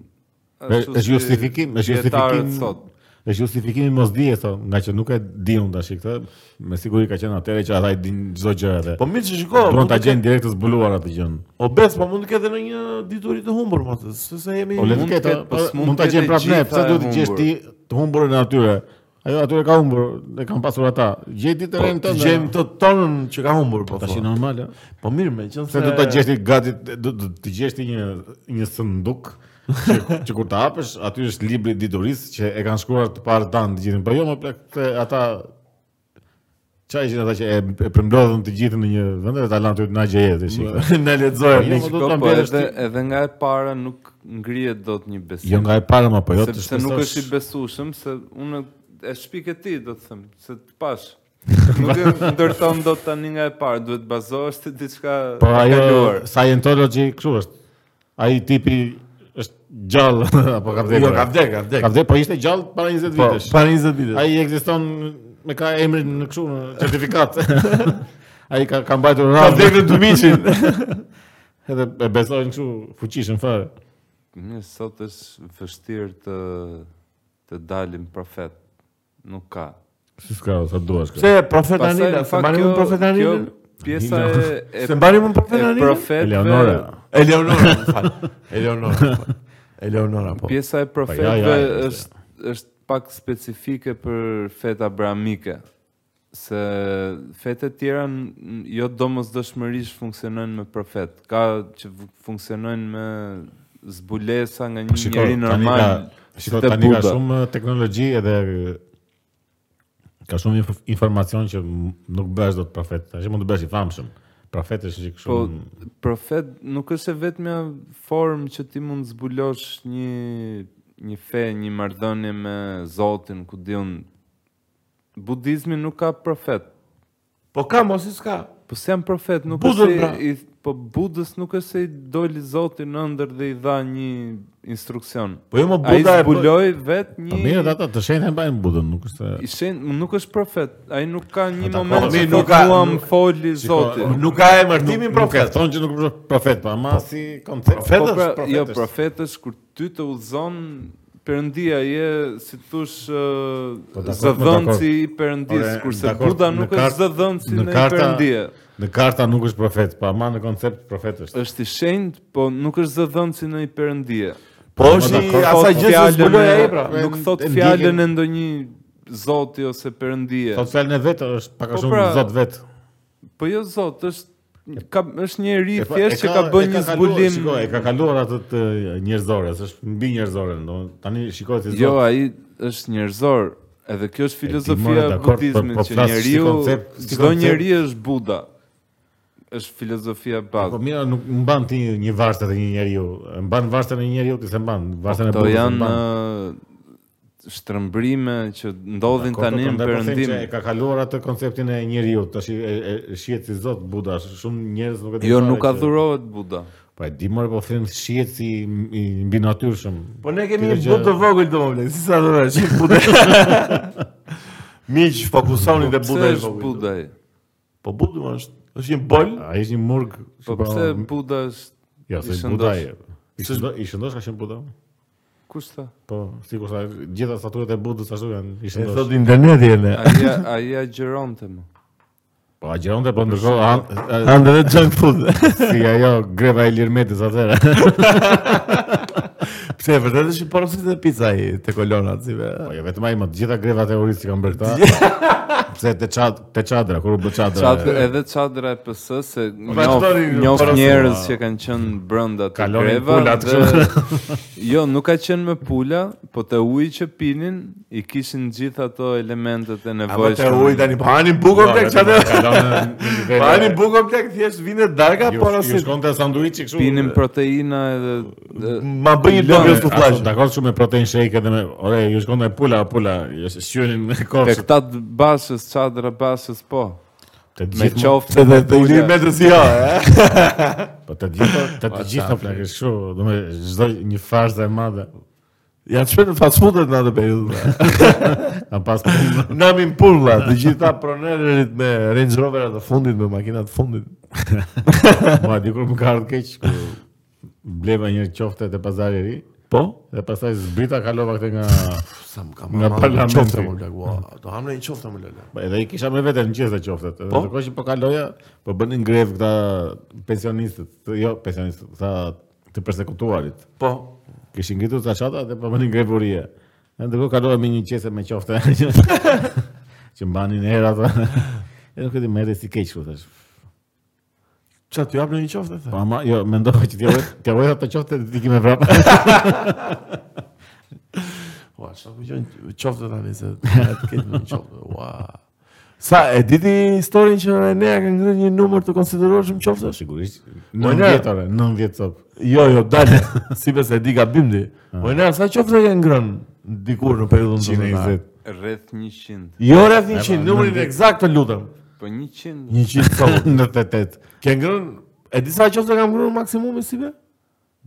B: Re-
C: ashtu
B: është
C: si
B: justifikim, është
C: dietarët
B: justifikim.
C: sot.
B: Është justifikimi mos dije thonë, nga që nuk e di unë tash këtë, me siguri ka qenë atëre që ata i din çdo gjë edhe.
A: Po mirë që shiko.
B: Duan
A: mund
B: ta
A: të
B: gjejnë direkt të zbuluar atë gjën.
A: ketë- Obez, po mund të ketë edhe një dituri të humbur mos, se se jemi
B: Po le të
C: Mund
B: ketë,
C: ketë, po
B: po,
C: s'mund
B: mund ta
C: ketë
B: gjejnë
C: e
B: prapë ne,
C: gjitha
B: pse
C: e
B: duhet të gjesh
C: humbur.
B: ti të humburën e atyre? Ajo atyre ka humbur, e kanë pasur ata. Gjej ti
A: Po,
B: terrenin
A: të
B: tënd.
A: gjejmë të tonën që ka humbur po.
B: tash
A: thua.
B: normal, ë.
A: Po mirë, meqense
B: Se do ta gjesh ti gati, do do të gjesh ti një një sanduk që, që kur ta hapësh, aty është libri i diturisë që e kanë shkruar të parë tan të gjithën. Po jo më plak se ata çaj që ata që e, e përmblodhën të gjithën në një vend dhe ta lanë aty na gjeje ti shik.
A: na lexojmë. ne
B: Po, jo,
A: që-
B: do
C: Shiko,
B: ta
C: po
B: mbjellësh
C: edhe,
B: ti-
C: edhe nga e para nuk ngrihet dot një besim.
B: Jo nga e para më po jo të
C: sepse nuk
B: shpesosh.
C: është i besueshëm se unë e shpik e ti do të them, se të pash. Nuk e ndërton dot tani nga e parë, duhet bazohesh te diçka
B: Po
C: e
B: ajo
C: kaluar.
B: Scientology kështu është. Ai tipi është gjallë [LAUGHS] apo ka vdekur.
A: Jo, ka vdek, ka vdek.
B: Ka vdekur, po ishte gjallë para 20
A: Po,
B: vitesh.
A: para 20 vitesh.
B: Ai ekziston me ka emrin në kështu në [LAUGHS] certifikat. Ai ka ka mbajtur
A: Ka
B: rradhë.
A: vdekur në Dumiçin.
B: [LAUGHS] Edhe e besojnë kështu fuqishëm fare.
C: Mirë, sot është vështirë të të dalim profet. Nuk ka.
B: Si s'ka sa duash kështu.
A: Se profet Anila,
C: në
A: se
C: fakt,
A: mbani
C: kjo-
A: mund profet Anila.
C: kjo Pjesa e, e,
A: Se mbani mund profet
C: e
A: Anila.
C: profetve,
B: Eleonora.
A: Eleonora, më fal.
C: [LAUGHS]
A: Eleonora. më fal. Eleonora po.
C: pjesa e
B: ja,
C: profetëve
B: ja, ja.
C: është është pak specifike për fetë abramike se fetë e tjera n- n- jo domosdoshmërisht funksionojnë me profet. Ka që v- funksionojnë me zbulesa nga një
B: Po, Shiko,
C: njeri
B: tani
C: normal.
B: ka- Shiko
C: si te
B: tani ka
C: Buddha.
B: shumë eh, teknologji edhe ka shumë inf- informacion që m- nuk bësh dot profet. Tash mund të bësh i famshëm. Profeti është një
C: Po
B: kështu.
C: profet nuk është e vetmja formë që ti mund zbulosh një një fe, një marrëdhënie me Zotin, ku diun budizmi nuk ka profet.
A: Po ka mos i s'ka.
C: Po si janë profet, nuk
A: Budën,
C: është
A: pra.
C: se i, po budës nuk është se i doli Zoti në ëndër dhe i dha një instruksion.
A: Po jo më
C: Ai
A: Buda e bë-
C: zbuloi vet
B: Po
C: një
B: mirë, ata të shenjtë e mbajnë budën, nuk është se-
C: i shen, nuk është profet. Ai nuk ka një
B: Po,
C: moment
A: dakor,
C: që
A: mi,
C: nuk
A: nuk ka-
C: mua më
A: nuk-
C: foli Zoti.
A: Nuk ka emërtimin
B: Nuk- Nuk
A: profet.
B: e thonë që nuk është profet, pa ma si koncept.
A: Profet
C: po,
A: është,
C: pra,
B: profet
C: jo
B: është.
C: profet është kur ty të udhzon Perëndia je si thosh
B: Po,
C: uh,
B: dakor,
C: zëdhënci
B: po,
C: i Perëndis,
B: Ore,
C: kurse
B: dakor,
C: Buda
B: në
C: nuk është
B: kart-
C: zëdhënci
B: në
C: në
B: karta-
C: Perëndie.
B: Në karta nuk është profet, pa ma në koncept profet është.
C: Është i shenjtë, po nuk është zëdhënci në i Perëndie.
A: Po është
B: Po, dakor.
A: asaj
C: Thot
A: gjë që
C: fjallën
A: zbuloi
C: e-
A: ai pra.
C: Nuk
B: E-
C: thot
B: e
C: fjalën
B: ndihen-
C: e ndonjë zoti ose perëndie.
B: Sot fjalën e vetë është pak a
C: Po,
B: shumë
C: pra,
B: zot vetë.
C: Po jo zot, është ka është një eri
B: E pa-
C: thjesht
B: e
C: që ka bën
B: e
C: një
B: kaluar,
C: zbulim.
B: Shiko, e ka kaluar atë të njerëzore, është mbi njerëzore, domethënë tani shikoj si
C: Jo,
B: zot.
C: ai është njerëzor. Edhe kjo është filozofia
B: more,
C: e
B: dakor, po-
C: budizmit
B: po
C: që
B: flas si
C: njeriu,
B: koncept, si
C: çdo
B: koncept.
C: njeri është Buda. Është filozofia e
B: Po
C: bazë.
B: mira, nuk mban ti një varste të një njeriu. E Mban varsten e një njeriu, ti se mban, varsten e
C: Këto
B: botës.
C: janë
B: mban.
C: ë, shtrëmbrime që ndodhin
B: Dakor,
C: tani
B: po,
C: në
B: prandaj po them
C: perëndim.
B: që E ka kaluar atë konceptin e njeriu, tash e, e, e shihet si zot Buda, shumë njerëz nuk e din.
C: Jo,
B: fare
C: nuk
B: që-
C: adhurohet Buda.
B: Po e di more, po them shihet si i mbi natyrshëm.
A: Po ne kemi
B: Kjo
A: një
B: gjë-
A: but të vogël domoshta, si sa do të Buda. [LAUGHS] Miq, fokusoni te
C: Pse
A: Buda i
C: është
A: vogël.
C: Buda? ai?
A: Po Buda është, është një bol.
B: Ai është një murg.
C: Po
B: që pra-
C: pse Buda është
B: Ja,
C: i
B: se
C: shëndosh?
B: Buda e. I shëndosh, i shëndosh ka qenë Buda?
C: Kush tha?
B: Po, sikur sa gjitha staturat e Budës ashtu janë, i
A: E thot
B: shëndosh.
A: interneti ene.
C: Ai ai agjeronte më.
B: Po agjeronte po ndërkohë an- a-
A: Ande dhe junk food. [LAUGHS]
C: [LAUGHS]
B: si ajo greva e Lirmetis atëherë.
A: Pse e vërtet është i porosit dhe pizza i te kolonat si be.
B: Po jo vetëm ai, më të gjitha greva terroriste kanë bërë këta.
C: [LAUGHS]
B: Pse te çad, te çadra, kur u bë çadra.
C: Çadra, edhe çadra e PS se njoh
A: Po vazhdoni,
C: njoh
A: porosin,
C: njerëz që kanë qenë brenda të
B: Kalonin
C: greva.
B: pulat,
C: dhe- [LAUGHS] jo, nuk ka qenë me pula, po te uji që pinin i kishin gjithë ato elementet
A: Apo
C: e
A: te
C: nevojshme.
A: uji tani po hani bukën tek çatë. Po hani
B: çadra.
A: bukën tek thjesht vinë darka
B: Ju
A: porosit.
B: shkonte sanduiçi kështu.
C: Pinin proteina edhe dhe,
A: Ma bëj një lëngë të
B: Ato,
A: flash.
B: Dakor shumë me protein shake edhe me ore, ju shkonte pula, pula, ju shqyenin me
C: Te
B: kofshë.
C: këta të bashës, çadra bashës, po.
B: Të
C: Me
B: gjithë
C: qoftë
A: Se
C: me
A: dhe të
C: pula.
A: i me të si ha, e?
B: Po të gjitha, të të gjitha plakë kështu, do me çdo një fazë e madhe.
A: Janë të shpenë fast foodet në atë periudhë.
B: A pas [LAUGHS] punë.
A: Namin pulla, të gjitha pronererit me Range Roverat të fundit, me makinat të fundit.
B: Ma dikur më ka ardhur keq. kur Bleva një qofte te pazari i ri
A: Po?
B: dhe pastaj zbrita kalova këtë nga
A: Sa më kam
B: Nga
A: marrë,
B: parlamenti.
A: qofte më lëk, ua, do hamre një qofte më lëk.
B: Ba, edhe i kisha me veten në gjithë të qoftet. Edhe
A: Po?
B: ndërkohë që po kaloja, po bënin grev këta pensionistët, të- jo pensionistët, këta të përsekutuarit.
A: Po,
B: Kishin ngritur ca çata dhe po bënin grev urie. Edhe ndërkohë kalova me një qese me qofte
A: [LAUGHS]
B: që mbanin herë ato. Edhe nuk e di më erdhi si keq kështu thash.
A: qa t'ju hapë në një qofte?
B: Po ama jo, mendova që t'ja vë, t'ja vë ato qofte ti kimë
A: [LAUGHS]
B: vrap.
A: Ua, sa ku gjojnë qofte tani [LAUGHS] se të ketë në qofte. Ua. Sa e diti historinë që Renea ka ngrënë një numër të konsiderueshëm qofte?
B: Sigurisht.
A: Po,
B: 9
A: ne-
B: vjetore, 9 vjet sot.
A: Jo, jo, [LAUGHS] dalë. si besë e di gabim di. Po ne sa qofte ka ngrënë dikur në periudhën tonë.
B: 120.
C: Rreth 100.
A: Jo rreth 100,
B: po,
A: numrin
B: nëntet.
A: eksakt të lutem.
C: Po 100.
A: 100
B: [LAUGHS]
A: sa.
B: 98.
A: Ke ngrënë e di sa qofte kam ngrënë maksimumi si be?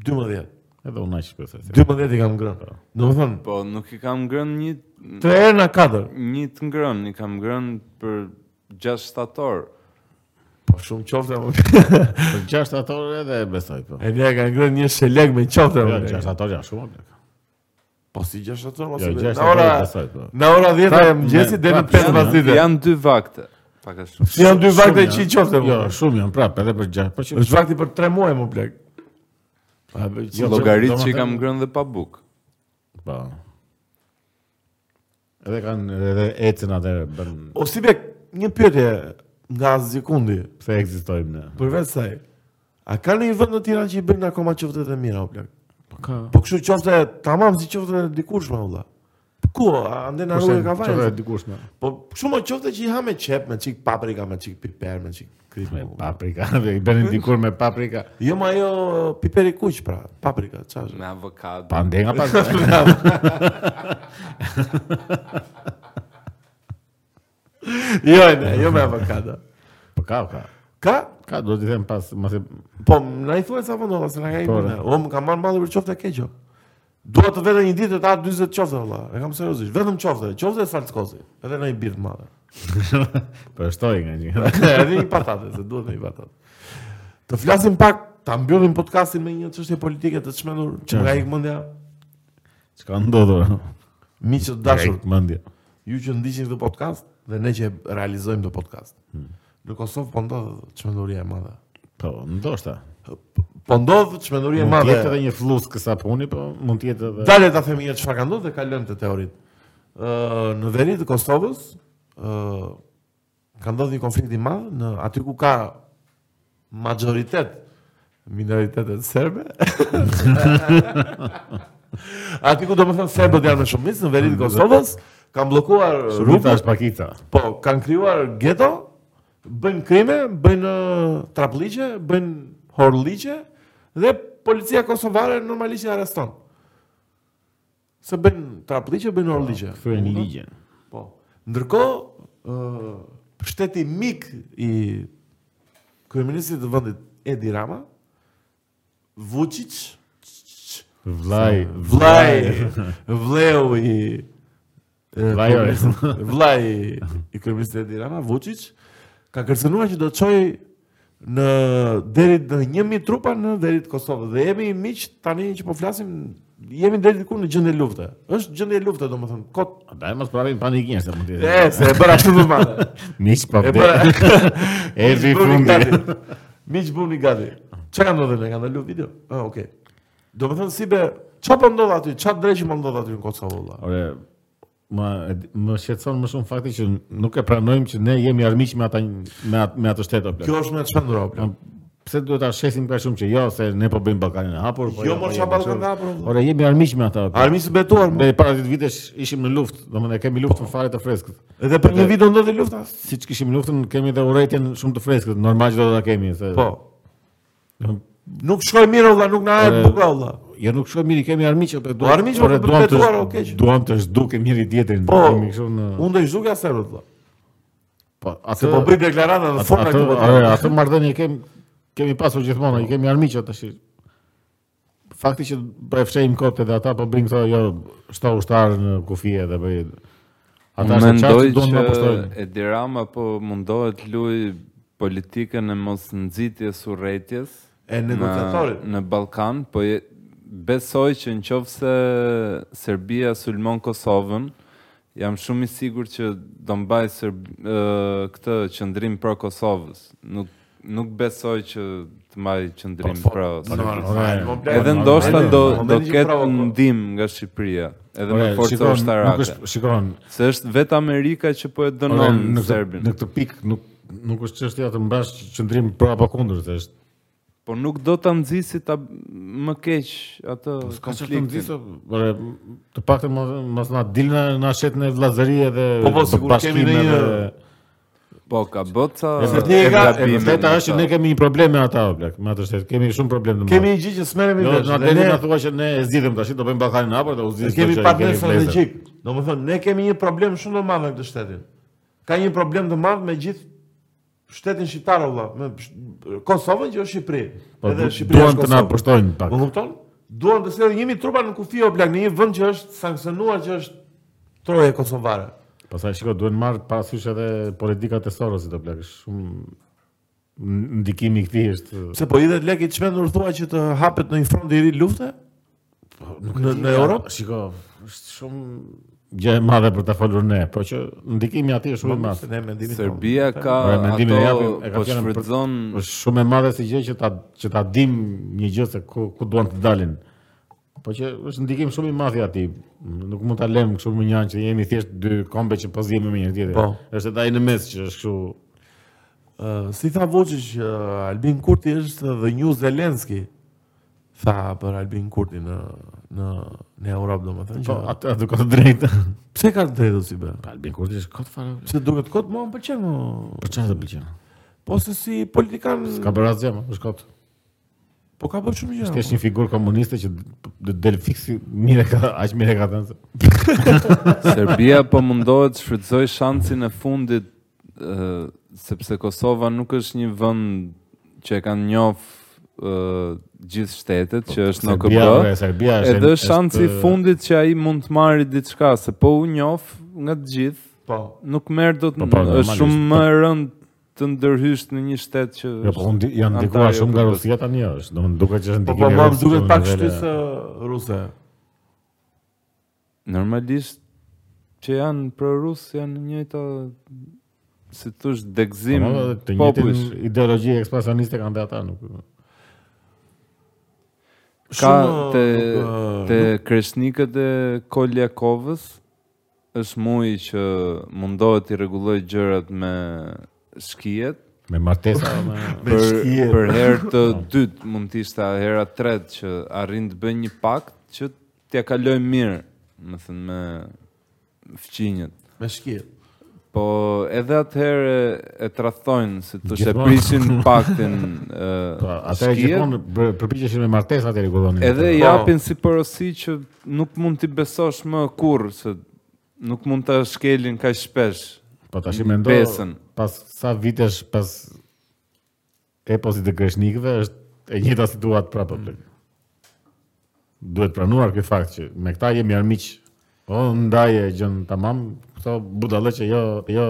A: 12.
B: Edhe unë aq shpresoj.
A: 12 i kam ngrënë. Domethënë
C: Po nuk i kam ngrënë një
A: 3 herë na 4.
C: një të ngrënë, i kam ngrënë për 6 shtator.
A: Po shumë qofte. mo.
B: Për 6 atore edhe e besoj po.
A: Renea ka ngrënë një shelek me qofte. mo,
B: Jo,
A: ne.
B: 6 atore janë shumë. plak.
A: Po si 6 atë mos
B: Jo,
A: e be.
B: 6
A: Në
B: atore e
A: ora
B: besoj po.
A: Në ora 10 e mëngjesit deri në
B: prap,
A: 5
B: janë-
A: pasdite.
C: Janë dy vakte. Pak a shumë.
A: Janë dy
B: Shumë
A: vakte
B: janë.
A: që i qofte. po.
B: Jo,
A: mo.
B: shumë janë prapë edhe për 6. Po që
A: Është vakti për 3 muaj më plak. Pa bëj
B: Jo,
A: çdo.
C: Llogarit që i
B: domethënë-
C: kam ngrënë dhe pa buk.
B: po. Edhe kanë edhe ecën atëherë bën
A: O si bek një pyetje nga sekundi
B: pse ekzistojmë ne.
A: përveç saj. A ka në një vend në Tiranë që i bëjnë akoma qoftet e mira o plak?
B: Po ka.
A: Po kështu qofte tamam si qofte dikush më valla. Ku, a ande na rrugë ka
B: Çfarë
A: vajë?
B: dikush më?
A: Po kështu më qofte që i ha me qep, me çik paprika, me çik piper, me çik
B: Me
A: krimë.
B: paprika, [LAUGHS] dhe i bënin dikur me paprika.
A: Jo ma jo piperi kuq pra, paprika, çfarë? është?
C: Me avokado.
B: Pa ndenga pas. [LAUGHS]
A: [LAUGHS] Jo, ne, jo me avokado.
B: Po ka, ka.
A: Ka?
B: Ka, do t'i them pas, mos e [LAUGHS]
A: Po, na i thuaj sa vendova se na ka i
B: Po,
A: vënë. O, më kam marrë malli për qofte keqo. Dua të vete një ditë të ta 40 qofte valla. E kam seriozisht, vetëm qofte, qofte e salskozi. Edhe në i birë të madhe.
B: Po shtoj nga një. [LAUGHS]
A: [LAUGHS] Edhe një patate, se duhet në i patate. Të flasim pak, ta mbyllim podcastin me një çështje politike të çmendur që më ka ikë mendja.
B: Çka ndodhur?
A: Miqtë dashur,
B: Krejt mendje.
A: ju që ndiqni këtë podcast dhe ne që e realizojmë këtë podcast. Në Kosovë po ndodh çmenduria e madhe.
B: Po, ndoshta.
A: Po ndodh çmenduria e
B: Mund të
A: madhe.
B: jetë edhe një fllus kësa puni, po mund të jetë edhe
A: Dale ta themi një çfarë ka ndodhur dhe kalojmë te teoritë. Ë në veri të Kosovës ë ka ndodhur një konflikt i madh në aty ku ka majoritet minoritetet serbe. aty ku domethënë serbët janë më shumicë në veri të Kosovës, kanë bllokuar
B: Ruta
A: rrugët,
B: është pakica.
A: po kanë krijuar geto, bëjnë krime, bëjnë ë, trapliqe, bëjnë horliqe dhe policia kosovare normalisht i arreston. Se bëjnë trapliqe, bëjnë orliqe.
B: Kthyen ligjen.
A: Po. Ndërkohë, ë shteti mik i kryeministit të vendit Edi Rama, Vučić,
B: Vllai,
A: vllai, vleu i e,
B: Vllai
A: [LAUGHS]
B: ore.
A: kryeministit- vllai i- i kryeministit Edi Rama, Vučić, ka kërcënuar që do të çojë në deri në 1000 trupa në deri të Kosovës dhe jemi miq tani që po flasim jemi deri diku në gjendje lufte. Është gjendje lufte domethënë kot
B: Daj mos pravin panik njerëz se mund të
A: E, se e bëra kështu të madhe.
B: Miq po pa
A: E pra-
B: vdek.
A: bëra.
B: Erdhi i
A: [LAUGHS] Miq buni
B: fundi.
A: gati. Miq buni gati. Çka ka ndodhur ne? Ka ndalu video? Ah, okay. Do të thënë si be Çfarë po ndodh aty? Çfarë dreqi po ndodh aty në Kosovë valla?
B: Ore, më më shqetëson më shumë fakti që nuk e pranojmë që ne jemi armiq me ata me atë, me atë shtet o plot.
A: Kjo është më çmenduro plan.
B: Kam- Pse duhet ta shesim ka shumë që jo se ne po bëjmë Ballkanin e hapur, po
A: Jo
B: ja, po
A: më
B: jemi
A: çfarë ballkon
B: ashtu.
A: ka për.
B: Ore, jemi armiq me ata. o plot.
A: Armiqtë betuar. mo.
B: Ne para 10 vitesh ishim në luftë, domethënë e kemi luftën fare të freskët.
A: Edhe për një vit do ndodhi lufta.
B: Siç kishim luftën, kemi edhe urrëtitjen shumë të freskët, normal që do ta kemi, se.
A: Po. Nuk shkoj mirë valla, nuk na ardh
B: Ore-
A: bukur valla.
B: Jo nuk shkoj mirë, kemi armiq apo
A: Po, armiq, po,
B: ore,
A: po,
B: duam të
A: betuar, o, keq.
B: duam të zhduke mirë tjetrin.
A: Po.
B: Kemi kështu në
A: Unë do i zhduka serbët valla.
B: po
A: Se
B: atë
A: po bëj deklarata dhe forma
B: atë
A: këtu po.
B: ore, atë marrëdhënie kemi kemi pasur gjithmonë, i kemi armiq tash. Fakti që po e fshehim kot edhe ata po bëjnë këto jo shto ushtar në kufi edhe bëj ata
C: Unë
B: është
C: mendoj
B: çfarë duan të na
C: që
B: poshtojnë.
C: Edi Rama po mundohet luj politikën e mos nxitjes urrëties
A: E negociatorit.
C: në Ballkan, po je, besoj që nëse Serbia sulmon Kosovën, jam shumë i sigurt që do mbaj Serb ë, këtë qëndrim pro Kosovës. Nuk nuk besoj që të mbaj qëndrim
A: Po,
C: pro.
A: po,
C: Serbisë.
B: ore,
A: komplet.
C: Edhe
B: po,
C: ndoshta
B: po,
C: do
A: po,
C: do
A: po,
C: ketë
A: po, po.
C: ndihmë nga Shqipëria, edhe me
B: Ore,
C: forca
B: shikon, nuk
C: ushtarake.
B: është shikon,
C: Se është vetë Amerika që po e
B: Ore,
C: dënon
B: në këtë,
C: Serbin.
B: në këtë pikë nuk nuk është çështja të mbash qendrim për apo kundër, se është
C: Po nuk do ta nxjisi ta më keq atë
B: Po
C: konfliktin.
B: konfliktin. Ore, të paktën mos mos na dilna na shetën e vllazërie dhe
A: Po, po, sigur
B: bashkime
A: kemi ndonjë-
B: dhe-
C: Po ka boca.
B: E
A: ne e
B: vërteta,
A: ka-
B: e vërteta është që ne kemi një problem me ata, o blek, me atë shtet. Kemi shumë problem të
A: Kemi një gjë që smerremi
B: Jo,
A: vesh.
B: na
A: dhe
B: deli
A: ne-
B: na thua që ne e zgjidhim tash, do bëjmë Ballkanin apo do u
A: Ne
B: zgjidhim.
A: kemi
B: çdo gjë,
A: partner
B: kemi vlezër.
A: strategjik. Do më thënë, ne kemi një problem shumë të madh me këtë shtetin. Ka një problem të madh me gjithë shtetin shqiptar valla, me sh- Kosovën që është Shqipëri.
B: Po du- duan të na
A: Kosovë.
B: pushtojnë pak.
A: Më kupton? Duan të sjellin jemi trupa në kufi o plak, në një vend që është sanksionuar që është troje kosovare.
B: Pastaj shiko, duhen marrë parasysh edhe politikat e Sorosit, o blek, është shumë n- ndikimi i këtij është
A: Pse po i dhe lek i çmendur thua që të hapet në një front i ri lufte? Po, Në, në Europë?
B: Shiko, është shumë gjë e madhe për ta folur ne, po që ndikimi aty është shumë i madh.
A: Se Ne mendimin tonë.
C: Serbia ka
B: Ore, mendimin e
C: ato
B: japim, e ka
C: po
B: fjalën për-
C: shfrytëzon
B: Mm. Është shumë e madhe si gjë që ta që ta dim një gjë se ku ku duan të dalin. Po që është ndikim shumë i madh i aty. Nuk mund ta lëmë kështu më njanë që jemi thjesht dy kombe që pas jemi me njëri tjetrin.
A: Po.
B: Është edhe ai në mes që është kështu
A: Ë, si tha Vučić, ë, Albin Kurti është the new Zelenski. Tha për Albin Kurti në në në Europë domethënë
B: po
A: që
B: atë atë ka të drejtë.
A: pse ka të drejtë si bë?
B: Albin Kurti është kot fare.
A: Pse duket kot mua më pëlqen më.
B: Po çfarë të pëlqen?
A: Po se si politikan
B: Ka bërë asgjë, mo, është kot.
A: po ka bërë shumë
B: Ti
A: gjëra.
B: është një figurë komuniste që do del fiksi mirë ka, aq mirë ka thënë. se-
C: Serbia po mundohet të shfrytëzoj shansin e fundit ë, sepse Kosova nuk është një vend që e kanë njohë ë, gjithë shtetet që është në
B: Serbia,
C: OKB.
B: ore, Serbia është
C: Edhe shansi i fundit që ai mund të marrë diçka, se po u njoh nga të gjithë,
A: Po.
C: nuk merr dot
B: Po, po,
C: është
B: normalisht,
C: shumë
B: po.
C: më e rënd të ndërhysh në një shtet që
B: Jo, po unë di- janë ndikuar
C: Antarja,
B: shumë nga
C: po, po.
B: Rusia tani është, domethënë duket që është
A: Po
B: ndikim.
A: po
B: i
A: mua
B: Rusisë
A: më duket
B: në
A: pak
B: nivele-
A: kështu se ruse.
C: normalisht që janë pro-rus janë një të si thosh degzim
B: Po, po, Të
C: popujsh.
B: njëjtin ideologji ekspansioniste kanë dhe ata nuk.
C: Ka
A: Shumë,
C: te
A: nuk, ë,
C: te kreshnikët e Koljakovës është muj që mundohet i rregulloj gjërat me shkijet
B: Me martesa
A: [LAUGHS]
B: me Ah.
A: Me
C: për
A: shkije.
C: për herë
B: [LAUGHS]
C: të dytë mund të ishte hera të tretë që arrin të bëjnë një pakt që t'ja kaloj mirë, më thënë me fqinjët.
A: me shkjet.
C: Po edhe atëherë e- e tradhtojnë, si të shë
B: Gjithmonë.
C: prishin
B: [LAUGHS]
C: paktin e,
B: Po, ata
C: shkijet,
B: gjithmonë bër- përpiqeshin me martesa atë rregullonin.
C: edhe
A: Po.
C: japin si porosi që nuk mund t'i besosh më kurrë, se nuk mund të shkelin ka shpesh.
B: po tash i mendo
C: besën.
B: pas sa vitesh pas eposit të kreshnikëve është e njëjta situatë prapë.
A: Mm.
B: plak. Duhet pranuar ky fakt që me këta jemi armiq. Po ndaje gjën tamam, këto budallëqe jo jo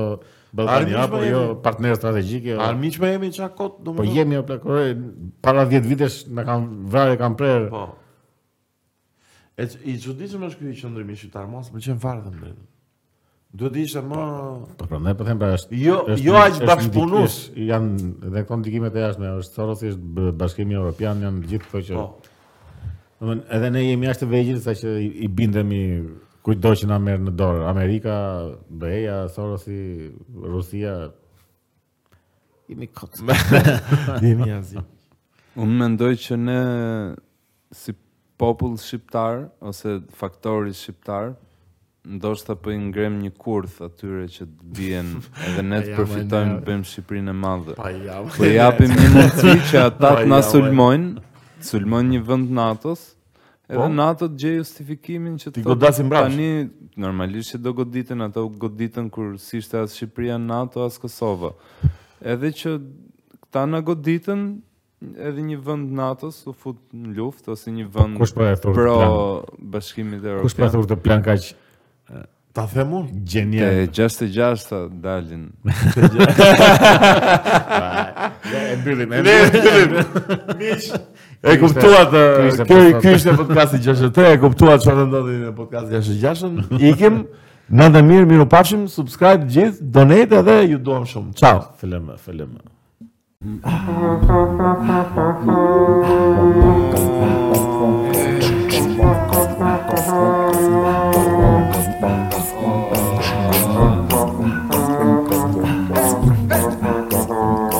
B: Ballkani
A: Armiq,
B: apo
A: po,
B: jo
A: jemi.
B: partner strategjik. Jo.
A: Armiq me jemi çka kot
B: Po
A: domethënë.
B: jemi o plak, ore, para 10 vitesh na kanë vrarë, kanë prerë.
A: Po. E ç- i çuditshëm është ky qendrimi shqiptar, mos më pëlqen fare të drejtën. Duhet të ishte më
B: Po prandaj po them pra është.
A: Jo- jo aq
B: është
A: bashkëpunues.
B: ndikish, Janë edhe këto ndikimet e jashtme, është Sorosi është b- Bashkimi Evropian, janë gjithë këto që.
A: po.
B: Domethënë Domethënë edhe ne jemi jashtë vegjël saqë i, i bindemi kujdo që na merr në dorë. Amerika, Beja, Sorosi, Rusia. Jemi kot.
A: [LAUGHS] Jemi asgjë.
C: Unë mendoj që ne si popull shqiptar ose faktori shqiptar ndoshta po i ngrem një kurth atyre që të bien
B: [LAUGHS]
C: edhe ne të
B: Ja,
C: përfitojmë
B: ma,
C: të bëjmë Shqipërinë e madhe.
A: Pa jam.
C: Po i japim
A: [LAUGHS]
C: një mundësi që ata
A: Po,
C: të
A: ja,
C: na
A: ma.
C: sulmojnë, të sulmojnë një vend NATO-s, edhe
A: Po.
C: NATO të gjej justifikimin që
A: Ti
C: thotë,
A: godasin mbrapsht."
C: Tani normalisht që do goditen ato u goditen kur s'ishte as Shqipëria në NATO as Kosova. Edhe që këta na goditen edhe një vend NATO-s u fut në luftë ose një vend
B: Kush po e thurë
C: pro
B: plan?
C: bashkimit
B: Kush po e
C: evropian.
B: thurë të plan kaq
A: Ta them unë.
C: Te
B: genial?
C: 66 dalin.
B: E mbyllim. e
A: Ne
B: mbyllim.
A: miq. E kuptuat ë,
B: ky ishte
A: ky
B: podcast.
A: ky ishte podcasti 63, e kuptuat çfarë ndodhi në podcast 66-ën. Ikim. Në dhe mirë, miru pafshim, subscribe gjithë, donate edhe ju duam shumë. Ciao!
B: Film, film.
D: Bye.